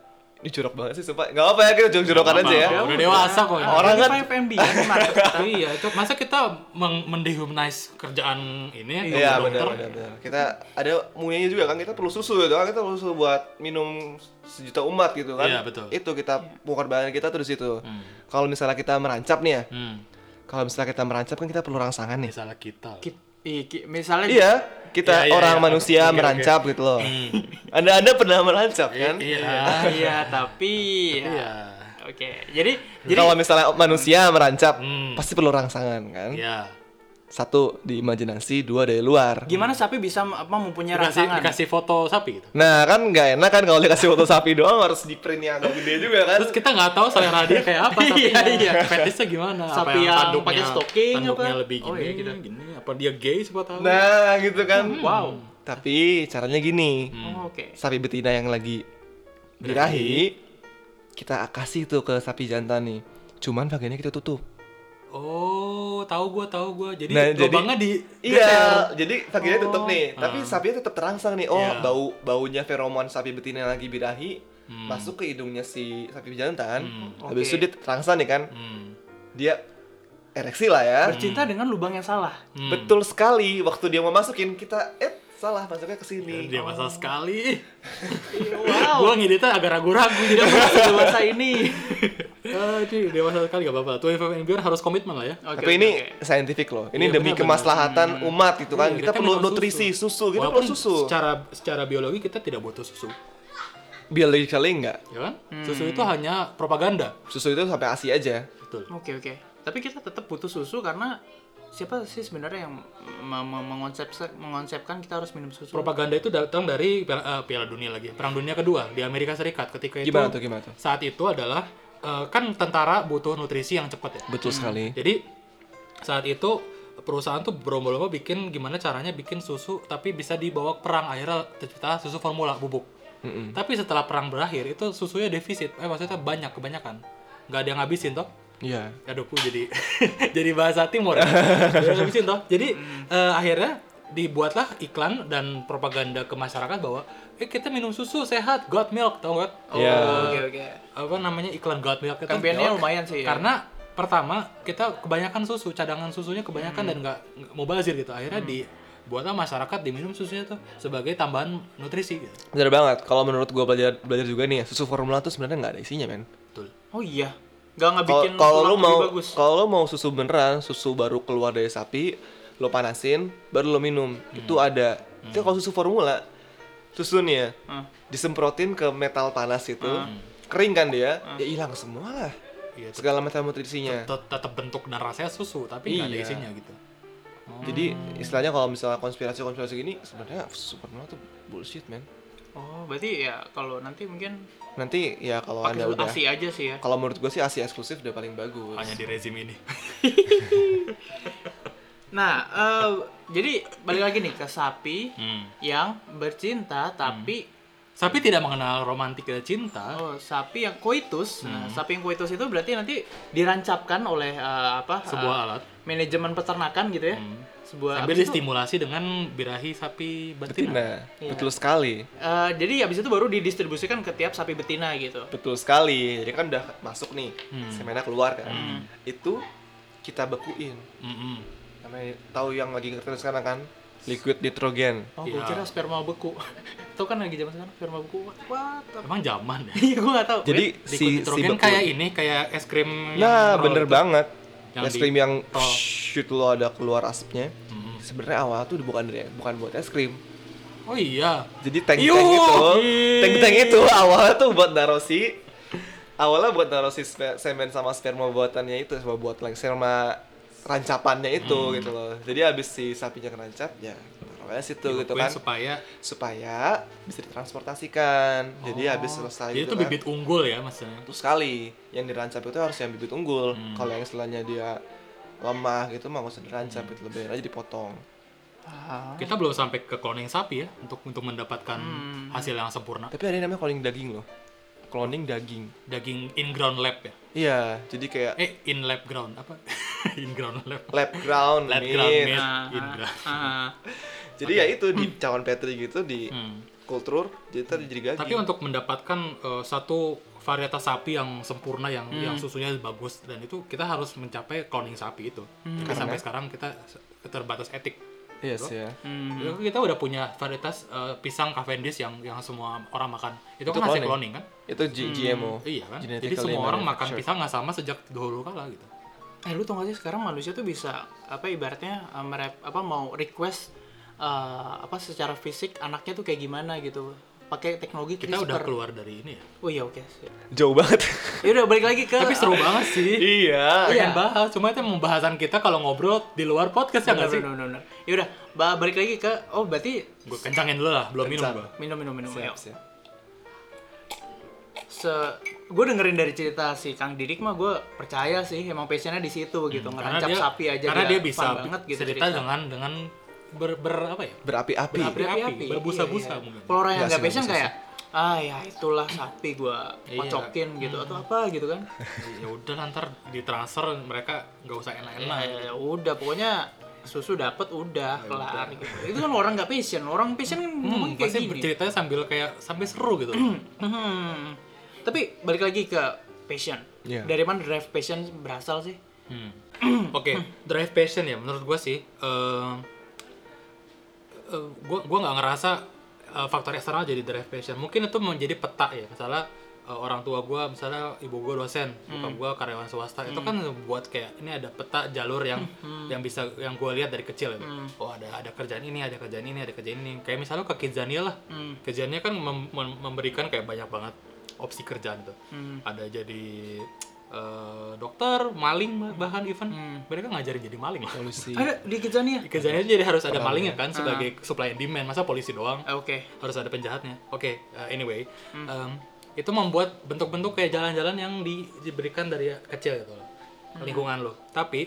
[SPEAKER 3] ini jorok banget sih sumpah. Gak apa ya kita jorok-jorokan aja ya.
[SPEAKER 1] apa-apa. Udah dewasa kok ini.
[SPEAKER 3] Orang kan-
[SPEAKER 2] PMB ya, kemarin.
[SPEAKER 1] iya, itu masa kita meng- mendehumanize kerjaan ini? ya,
[SPEAKER 3] Iya
[SPEAKER 1] dokter?
[SPEAKER 3] benar benar benar. Kita ada murianya juga kan kita perlu susu gitu kan kita perlu susu buat minum sejuta umat gitu kan.
[SPEAKER 1] Iya, betul.
[SPEAKER 3] Itu kita pengorbanan kita terus itu. Kalau misalnya kita merancap nih ya.
[SPEAKER 1] Hmm,
[SPEAKER 3] Kalau misalnya kita merancap kan kita perlu rangsangan nih.
[SPEAKER 1] misalnya kita.
[SPEAKER 2] Ki- i- ki- misalnya
[SPEAKER 3] Iya, kita
[SPEAKER 1] Iya, iya,
[SPEAKER 3] orang
[SPEAKER 1] iya.
[SPEAKER 3] manusia
[SPEAKER 1] Oke, oke.
[SPEAKER 3] merancap gitu loh. Anda Anda pernah merancap kan?
[SPEAKER 1] Iya.
[SPEAKER 2] Ah, iya, tapi ya.
[SPEAKER 1] Iya.
[SPEAKER 2] Oke. Jadi jadi
[SPEAKER 3] Kalau misalnya manusia merancap
[SPEAKER 1] Hmm.
[SPEAKER 3] pasti perlu rangsangan kan?
[SPEAKER 1] Iya.
[SPEAKER 3] Satu di imajinasi, dua dari luar.
[SPEAKER 2] gimana sapi bisa apa mempunyai
[SPEAKER 1] Dikasih,
[SPEAKER 2] rangsangan?
[SPEAKER 1] dikasih foto sapi gitu.
[SPEAKER 3] Nah kan nggak enak kan kalau dikasih foto sapi doang harus di print yang agak gede juga kan?
[SPEAKER 1] Terus kita nggak tahu selera dia kayak apa sapinya.
[SPEAKER 2] Iya, iya.
[SPEAKER 1] Fetisnya gimana?
[SPEAKER 2] Sapi yang pakai stocking apa?
[SPEAKER 1] tanduknya lebih gini,
[SPEAKER 2] Oh, iya, gitu.
[SPEAKER 1] gini. Apa dia gay siapa tahu?
[SPEAKER 3] Nah gitu kan.
[SPEAKER 1] Hmm.
[SPEAKER 2] Wow.
[SPEAKER 3] Tapi caranya gini,
[SPEAKER 2] Oh, Oke.
[SPEAKER 3] sapi betina yang lagi birahi, kita kasih tuh ke sapi jantan nih. Cuman bagiannya kita tutup.
[SPEAKER 1] Oh, tahu gua, tahu gua. Jadi
[SPEAKER 3] Nah, jadi-
[SPEAKER 1] lubangnya di
[SPEAKER 3] Iya, jadi bagiannya tutup nih, tapi sapinya tetap terangsang nih. Oh,
[SPEAKER 1] Oh. Ah. Iya.
[SPEAKER 3] bau baunya feromon sapi betina yang lagi birahi
[SPEAKER 1] Hmm.
[SPEAKER 3] masuk ke hidungnya si sapi jantan. Habis itu
[SPEAKER 2] Oke.
[SPEAKER 3] dia terangsang nih kan.
[SPEAKER 1] Hmm.
[SPEAKER 3] Dia ereksi lah ya.
[SPEAKER 2] Bercinta dengan lubang yang salah.
[SPEAKER 3] Betul
[SPEAKER 1] Hmm.
[SPEAKER 3] sekali. Waktu dia mau masukin kita eh salah masuknya ke sini.
[SPEAKER 1] Hmm, Iya, Dia
[SPEAKER 2] oh.
[SPEAKER 1] masa sekali.
[SPEAKER 2] Wow.
[SPEAKER 1] Gua ngeditnya agak ragu-ragu
[SPEAKER 2] Tidak
[SPEAKER 1] jadi Eh,
[SPEAKER 2] pernah sedewasa ini.
[SPEAKER 1] Aduh, dewasa sekali gak apa-apa. Tuh and Beyond harus komitmen lah ya.
[SPEAKER 2] Oke,
[SPEAKER 3] Tapi
[SPEAKER 2] oke,
[SPEAKER 3] ini
[SPEAKER 2] oke.
[SPEAKER 3] scientific loh. Ini
[SPEAKER 1] Iya,
[SPEAKER 3] demi
[SPEAKER 1] benar,
[SPEAKER 3] kemaslahatan umat gitu kan.
[SPEAKER 1] Iya,
[SPEAKER 3] kita, perlu
[SPEAKER 1] memang
[SPEAKER 3] nutrisi
[SPEAKER 2] Oh,
[SPEAKER 3] susu,
[SPEAKER 2] gitu,
[SPEAKER 3] kita
[SPEAKER 1] Walaupun
[SPEAKER 3] perlu susu.
[SPEAKER 1] Secara secara biologi kita tidak butuh susu,
[SPEAKER 3] Biologically enggak.
[SPEAKER 1] ya kan?
[SPEAKER 2] Hmm.
[SPEAKER 1] Susu itu hanya propaganda.
[SPEAKER 3] Susu itu sampai ASI aja.
[SPEAKER 1] Betul.
[SPEAKER 2] Oke oke. Tapi kita tetap butuh susu karena siapa sih sebenarnya yang me- me- mengonsep- mengonsepkan kita harus minum susu?
[SPEAKER 1] Gitu. Propaganda itu datang dari Piala, eh, Piala Dunia lagi, Perang Dunia Kedua di Amerika Serikat. Ketika itu
[SPEAKER 3] Gimana tuh gimana tuh?
[SPEAKER 1] saat itu adalah eh, kan tentara butuh nutrisi yang cepat ya.
[SPEAKER 3] Betul sekali.
[SPEAKER 1] Jadi saat itu perusahaan tuh berlomba-lomba bikin gimana caranya bikin susu tapi bisa dibawa ke perang akhirnya tercipta susu formula bubuk. Tapi setelah perang berakhir itu susunya defisit, eh maksudnya banyak kebanyakan, nggak ada yang habisin toh.
[SPEAKER 3] Iya.
[SPEAKER 1] Aduh, aku jadi jadi bahasa timur. ya. Nggak ada yang habisin toh. Jadi eh, akhirnya dibuatlah iklan dan propaganda ke masyarakat bahwa eh kita minum susu sehat, God milk, tau nggak? Eh,
[SPEAKER 2] Oh,
[SPEAKER 3] Iya.
[SPEAKER 2] Oke oke.
[SPEAKER 1] Apa namanya iklan God milk itu?
[SPEAKER 2] Kampanyenya lumayan sih ya.
[SPEAKER 1] karena pertama kita kebanyakan susu cadangan susunya kebanyakan dan nggak nggak mubazir gitu akhirnya dibuatlah masyarakat diminum susunya tuh sebagai tambahan nutrisi gitu.
[SPEAKER 3] Bener banget. Kalau menurut gua belajar belajar juga nih ya, susu formula tuh sebenarnya nggak ada isinya, men.
[SPEAKER 1] betul
[SPEAKER 2] Oh iya. Gak
[SPEAKER 3] Kalau
[SPEAKER 2] ngebikin
[SPEAKER 3] kalau lu
[SPEAKER 2] tulang
[SPEAKER 3] mau
[SPEAKER 2] lebih bagus.
[SPEAKER 3] kalau lu mau susu beneran, susu baru keluar dari sapi, lo panasin, baru lo minum.
[SPEAKER 2] Hmm.
[SPEAKER 3] Itu ada. Itu kalau susu formula, susu nih ya,
[SPEAKER 2] Hmm.
[SPEAKER 3] disemprotin ke metal panas itu, kering kan dia,
[SPEAKER 2] Hmm.
[SPEAKER 3] ya hilang semua lah.
[SPEAKER 1] Iya, tet-
[SPEAKER 3] Segala metal nutrisinya.
[SPEAKER 1] tet- tetap bentuk dan rasanya susu tapi nggak ada
[SPEAKER 3] Iya.
[SPEAKER 1] isinya gitu
[SPEAKER 2] Hmm.
[SPEAKER 3] Jadi istilahnya kalau misalnya konspirasi-konspirasi gini sebenarnya susu formula tuh bullshit, men.
[SPEAKER 2] Oh berarti ya kalau nanti mungkin
[SPEAKER 3] Nanti ya kalau
[SPEAKER 2] pakai
[SPEAKER 3] Anda
[SPEAKER 2] susu
[SPEAKER 3] udah
[SPEAKER 2] ASI aja sih ya.
[SPEAKER 3] kalau menurut gue sih ASI eksklusif udah paling bagus.
[SPEAKER 1] hanya di rezim ini
[SPEAKER 2] Nah eh, jadi balik lagi nih ke sapi
[SPEAKER 1] Hmm.
[SPEAKER 2] yang bercinta tapi
[SPEAKER 1] sapi tidak mengenal romantik dan cinta
[SPEAKER 2] oh,
[SPEAKER 3] Hmm.
[SPEAKER 2] sapi yang koitus. Nah sapi yang koitus itu berarti nanti dirancapkan oleh eh, apa? eh,
[SPEAKER 1] sebuah alat
[SPEAKER 2] manajemen peternakan gitu ya.
[SPEAKER 3] Hmm.
[SPEAKER 2] Sebuah
[SPEAKER 1] sambil
[SPEAKER 2] abis itu,
[SPEAKER 1] distimulasi dengan birahi sapi betina
[SPEAKER 3] Betina, nah,
[SPEAKER 2] Iya.
[SPEAKER 3] betul sekali.
[SPEAKER 2] eh, jadi habis itu baru didistribusikan ke tiap sapi betina gitu.
[SPEAKER 3] Betul sekali. Jadi kan udah masuk nih,
[SPEAKER 1] Hmm.
[SPEAKER 3] semena keluar kan. Itu kita bekuin.
[SPEAKER 1] Mm-mm.
[SPEAKER 3] Namanya tahu yang lagi ngetren sekarang kan? Liquid nitrogen.
[SPEAKER 2] Oh,
[SPEAKER 1] Iya.
[SPEAKER 2] gue kira sperma beku. Tuh kan lagi zaman sekarang sperma beku. What? the-
[SPEAKER 1] emang zaman ya
[SPEAKER 2] Iya, gue gak tahu.
[SPEAKER 3] Jadi
[SPEAKER 1] Liquid
[SPEAKER 3] si si
[SPEAKER 1] nitrogen
[SPEAKER 3] beku-
[SPEAKER 1] kayak ini kayak es krim yang
[SPEAKER 3] Nah,
[SPEAKER 1] roll
[SPEAKER 3] bener
[SPEAKER 1] itu.
[SPEAKER 3] banget.
[SPEAKER 1] Yang di-
[SPEAKER 3] es
[SPEAKER 1] Oh. Hmm.
[SPEAKER 3] krim yang
[SPEAKER 1] roll.
[SPEAKER 3] shoot lo ada keluar asapnya. Sebenarnya awal tuh bukan dari bukan buat es krim.
[SPEAKER 1] oh iya
[SPEAKER 3] Jadi tank-tank
[SPEAKER 1] Yuh!
[SPEAKER 3] itu, tank-tank itu awalnya tuh buat naruh si awalnya buat naruh si spe- semen sama sperma buatannya itu sama buat like sperma rancapannya itu
[SPEAKER 1] Hmm.
[SPEAKER 3] gitu loh jadi habis si sapinya kerancap ya taruh aja situ gitu
[SPEAKER 1] Dilakuin
[SPEAKER 3] kan
[SPEAKER 1] supaya
[SPEAKER 3] supaya bisa ditransportasikan jadi habis selesai
[SPEAKER 1] Oh. jadi itu
[SPEAKER 3] gitu kan,
[SPEAKER 1] bibit unggul ya maksudnya
[SPEAKER 3] satu sekali yang dirancap itu harus yang bibit unggul
[SPEAKER 1] Hmm.
[SPEAKER 3] kalau yang setelahnya dia lemah gitu mah nggak usah
[SPEAKER 1] Hmm.
[SPEAKER 3] dirancap itu lebih aja dipotong
[SPEAKER 2] Ah.
[SPEAKER 1] kita belum sampai ke cloning sapi ya untuk untuk mendapatkan
[SPEAKER 2] Hmm.
[SPEAKER 1] hasil yang sempurna
[SPEAKER 3] tapi ada yang namanya cloning daging loh cloning daging
[SPEAKER 1] daging in ground lab ya
[SPEAKER 3] iya jadi kayak
[SPEAKER 1] eh in lab ground apa in ground lab
[SPEAKER 3] lab ground
[SPEAKER 1] lab
[SPEAKER 3] meat.
[SPEAKER 1] ground meat
[SPEAKER 2] Ah,
[SPEAKER 1] in
[SPEAKER 2] ah,
[SPEAKER 1] ground
[SPEAKER 2] ah.
[SPEAKER 3] jadi ya itu di cawan petri gitu di
[SPEAKER 1] Hmm.
[SPEAKER 3] kultur jadi ntar jadi
[SPEAKER 1] tapi
[SPEAKER 3] daging
[SPEAKER 1] untuk mendapatkan eh, satu varietas sapi yang sempurna yang
[SPEAKER 3] Hmm.
[SPEAKER 1] yang susunya bagus dan itu kita harus mencapai cloning sapi itu
[SPEAKER 3] Hmm.
[SPEAKER 1] Tapi sampai sekarang kita se- terbatas etik
[SPEAKER 3] iya sih ya
[SPEAKER 2] Hmm.
[SPEAKER 1] Ya, kita udah punya varietas eh, pisang Cavendish yang yang semua orang makan itu,
[SPEAKER 3] Itu
[SPEAKER 1] kan hasil
[SPEAKER 3] cloning.
[SPEAKER 1] cloning kan
[SPEAKER 3] itu G- GMO
[SPEAKER 1] iya kan jadi
[SPEAKER 3] Genetically
[SPEAKER 1] semua orang makan
[SPEAKER 3] manufactured.
[SPEAKER 1] pisang nggak sama sejak dahulu kala gitu
[SPEAKER 2] Eh lu tau gak sih sekarang manusia tuh bisa apa ibaratnya eh, merep, apa mau request eh, apa secara fisik anaknya tuh kayak gimana gitu pakai teknologi
[SPEAKER 1] kita
[SPEAKER 2] CRISPR.
[SPEAKER 1] udah keluar dari ini ya
[SPEAKER 2] Oh iya oke.
[SPEAKER 3] jauh banget
[SPEAKER 2] Ya udah balik lagi ke Oh,
[SPEAKER 1] tapi seru banget sih
[SPEAKER 3] iya
[SPEAKER 1] pengen bahas cuma itu pembahasan kita kalau ngobrol di luar podcast ya nggak sih
[SPEAKER 2] Ya udah ba- balik lagi ke oh berarti
[SPEAKER 1] gue kencangin dulu lah belum minum
[SPEAKER 3] Kencang.
[SPEAKER 1] gue
[SPEAKER 2] minum minum minum ayo.
[SPEAKER 3] siap siap
[SPEAKER 2] se gue dengerin dari cerita si Kang Didik mah gue percaya sih emang passionnya di situ gitu ngerancap sapi aja
[SPEAKER 1] Hmm, karena dia, bisa
[SPEAKER 2] fun banget gitu
[SPEAKER 1] cerita dengan dengan ber, ber apa ya
[SPEAKER 3] berapi-api
[SPEAKER 1] berapi-api berbusa-busa
[SPEAKER 2] Iya, iya.
[SPEAKER 1] mungkin
[SPEAKER 2] Kalau orang yang
[SPEAKER 3] Nggak
[SPEAKER 2] nggak
[SPEAKER 3] sih,
[SPEAKER 2] passion
[SPEAKER 3] nggak
[SPEAKER 2] kayak ah ya itulah sapi gua
[SPEAKER 1] Iya.
[SPEAKER 2] kocokin gitu atau apa gitu kan.
[SPEAKER 1] ya udah lah, ntar ditransfer mereka nggak usah enak-enak
[SPEAKER 2] Nah, udah pokoknya susu dapat udah kelar gitu. Itu kan orang nggak passion. Orang passion kan
[SPEAKER 1] Ya hmm,
[SPEAKER 2] ngomong kayak
[SPEAKER 1] pasti
[SPEAKER 2] gini.
[SPEAKER 1] berceritanya sambil kayak sampai seru gitu
[SPEAKER 2] Hmm. Tapi balik lagi ke passion.
[SPEAKER 3] Iya.
[SPEAKER 2] Dari mana drive passion berasal sih?
[SPEAKER 1] Hmm. Oke, drive passion ya menurut gue sih. eh eh, gua gua nggak ngerasa eh, faktor eksternal jadi drive passion. Mungkin itu menjadi peta ya. Misalnya eh, orang tua gua, misalnya ibu gua dosen, bokap gua karyawan swasta. Itu kan buat kayak ini ada peta jalur yang yang bisa yang gua lihat dari kecil gitu. Oh, ada ada kerjaan ini, ada kerjaan ini, ada kerjaan ini. Kayak misalnya ke Kidzania lah. Kidzania kan mem- mem- memberikan kayak banyak banget opsi kerjaan tuh. Ada jadi eh, dokter, maling bahkan even mereka ngajarin jadi maling lah.
[SPEAKER 3] solusi
[SPEAKER 2] Ada di Kidzania.
[SPEAKER 1] Di Kejadian jadi harus ada malingnya kan sebagai supply and demand. Masa polisi doang?
[SPEAKER 2] Ah, Oke.
[SPEAKER 1] Harus ada penjahatnya. Oke, uh, anyway. um, itu membuat bentuk-bentuk kayak jalan-jalan yang di- diberikan dari kecil gitu loh. Lingkungan lo. Tapi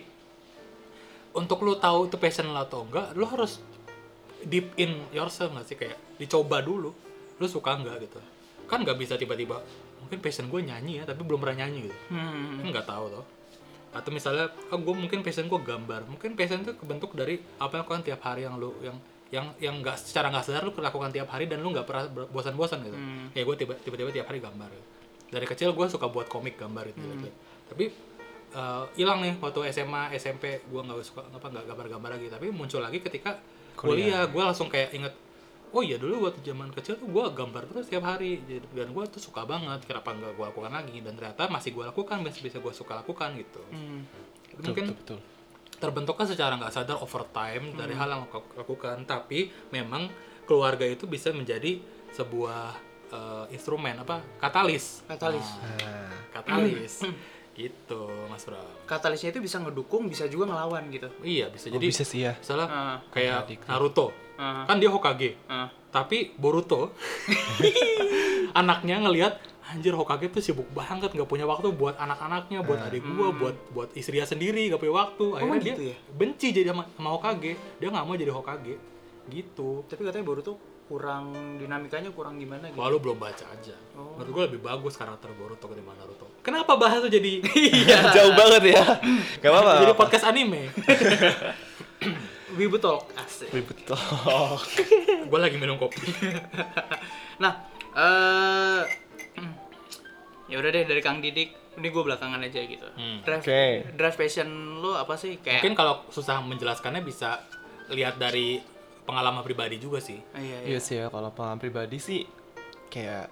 [SPEAKER 1] untuk lo tahu itu passion lo atau enggak, lo harus deep in yourself nggak sih kayak dicoba dulu. Lo suka nggak gitu. Kan nggak bisa tiba-tiba mungkin passion gue nyanyi ya, tapi belum pernah nyanyi gitu
[SPEAKER 2] Hmm.
[SPEAKER 1] kan nggak tahu toh atau misalnya ah, gue mungkin passion gue gambar mungkin passion itu kebentuk dari apa yang kau lakukan tiap hari yang lu yang yang yang nggak secara nggak sadar lu lakukan tiap hari dan lu nggak pernah ber- bosan-bosan gitu ya gue tiba tiba-tiba tiap hari gambar gitu. dari kecil gue suka buat komik gambar gitu gitu. tapi eh, hilang nih waktu SMA SMP gue nggak suka apa nggak gambar-gambar lagi tapi muncul lagi ketika kuliah gue langsung kayak inget oh iya dulu waktu zaman kecil tuh gue gambar terus tiap hari Jadi- dan gue tuh suka banget kenapa nggak gue lakukan lagi dan ternyata masih gue lakukan masih bisa gue suka lakukan gitu
[SPEAKER 2] Hmm.
[SPEAKER 1] mungkin
[SPEAKER 3] betul Hmm.
[SPEAKER 1] terbentukkan secara nggak sadar over time dari hal yang kau lakukan tapi memang keluarga itu bisa menjadi sebuah eh, instrumen apa katalis
[SPEAKER 2] Katalis. Hmm.
[SPEAKER 1] Nah,
[SPEAKER 3] Ah.
[SPEAKER 1] katalis gitu mas Bram
[SPEAKER 2] Katalisnya itu bisa ngedukung, bisa juga ngelawan gitu.
[SPEAKER 1] iya bisa
[SPEAKER 3] jadi
[SPEAKER 1] jadi
[SPEAKER 3] bisa sih ya
[SPEAKER 1] misalnya
[SPEAKER 2] Ah.
[SPEAKER 1] kayak Naruto
[SPEAKER 2] Ah.
[SPEAKER 1] kan dia Hokage
[SPEAKER 2] Ah.
[SPEAKER 1] tapi Boruto anaknya ngelihat anjir Hokage tuh sibuk banget nggak punya waktu buat anak-anaknya buat adik gua buat buat istrinya sendiri nggak punya waktu akhirnya
[SPEAKER 2] Hmm. gitu
[SPEAKER 1] dia
[SPEAKER 2] ya?
[SPEAKER 1] benci jadi sama, sama Hokage dia nggak mau jadi Hokage gitu
[SPEAKER 2] Tapi katanya Boruto kurang dinamikanya kurang gimana gitu.
[SPEAKER 1] Wah lu belum baca aja
[SPEAKER 2] Oh.
[SPEAKER 1] menurut gua lebih bagus karakter Boruto ketimbang Naruto kenapa bahas tuh jadi iya
[SPEAKER 3] jauh banget ya gak apa-apa
[SPEAKER 1] jadi podcast anime
[SPEAKER 2] Wibu Talk asik.
[SPEAKER 3] ribet toh
[SPEAKER 1] gua lagi minum kopi
[SPEAKER 2] Nah, eh hmm, ya udah deh dari Kang Didik, ini gue belakangan aja gitu.
[SPEAKER 1] Hmm.
[SPEAKER 2] Drive,
[SPEAKER 3] Oke.
[SPEAKER 2] drive passion lo apa sih kayak?
[SPEAKER 1] mungkin kalau susah menjelaskannya bisa lihat dari pengalaman pribadi juga sih
[SPEAKER 2] Ah, iya, iya.
[SPEAKER 3] Iya sih ya kalau pengalaman pribadi sih kayak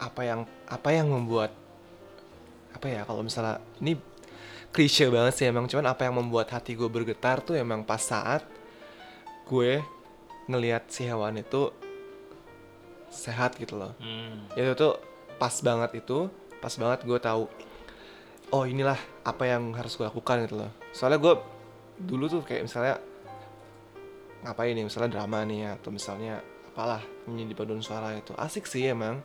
[SPEAKER 3] apa yang apa yang membuat apa ya kalau misalnya ini klise banget sih emang cuman apa yang membuat hati gue bergetar tuh emang pas saat gue ngelihat si hewan itu sehat gitu loh
[SPEAKER 1] hmm.
[SPEAKER 3] itu tuh pas banget itu pas banget gue tahu oh inilah apa yang harus gue lakukan gitu loh soalnya gue dulu tuh kayak misalnya ngapain nih misalnya drama nih ya, atau misalnya apalah menjadi paduan suara itu asik sih emang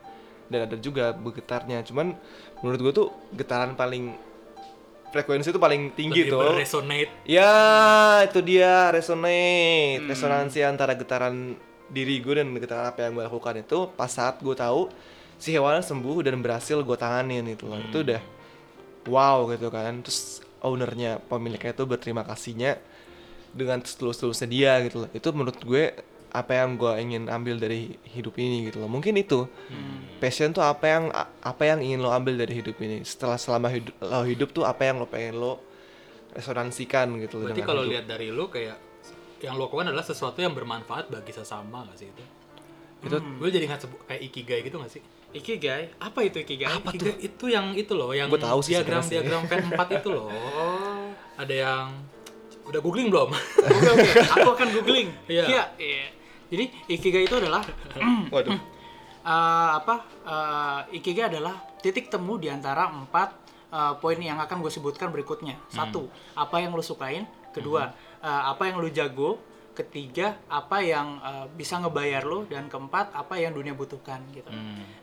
[SPEAKER 3] dan ada juga bergetarnya cuman menurut gue tuh getaran paling frekuensi itu paling tinggi
[SPEAKER 1] Lebih
[SPEAKER 3] tuh
[SPEAKER 1] berresonate.
[SPEAKER 3] Ya, itu dia resonate, resonansi antara getaran diri gue dan getaran apa yang gue lakukan itu pas saat gue tahu si hewan sembuh dan berhasil gue tanganin itu loh. Itu udah wow gitu kan. Terus ownernya pemiliknya itu berterima kasihnya dengan setulus-tulusnya dia gitu loh. Itu menurut gue apa yang gue ingin ambil dari hidup ini gitu loh. Mungkin itu
[SPEAKER 1] Hmm.
[SPEAKER 3] passion tuh apa yang apa yang ingin lo ambil dari hidup ini. Setelah selama hidup, lo hidup tuh apa yang lo pengen lo resonansikan gitu loh.
[SPEAKER 1] Berarti
[SPEAKER 3] dengan
[SPEAKER 1] kalau
[SPEAKER 3] hidup.
[SPEAKER 1] lihat dari lu kayak yang lo lakukan adalah sesuatu yang bermanfaat bagi sesama gak sih itu? Itu gue jadi nggak kayak ikigai gitu gak sih?
[SPEAKER 2] Ikigai, apa itu Ikigai?
[SPEAKER 1] Apa Itu yang itu loh, yang
[SPEAKER 3] Gua tahu sih
[SPEAKER 1] diagram
[SPEAKER 3] sebenarnya sih.
[SPEAKER 1] diagram Venn 4 itu loh.
[SPEAKER 2] Oh,
[SPEAKER 1] Ada yang udah googling belum?
[SPEAKER 2] oke oke, aku akan googling.
[SPEAKER 1] Iya.
[SPEAKER 2] Iya. iya. Jadi Ikigai itu adalah
[SPEAKER 3] Waduh.
[SPEAKER 2] eh, apa? eh, Ikigai adalah titik temu di antara empat eh, poin yang akan gue sebutkan berikutnya. Satu, apa yang lo sukain. Kedua, eh, apa yang lo jago. Ketiga, apa yang eh, bisa ngebayar lo. Dan keempat, apa yang dunia butuhkan gitu.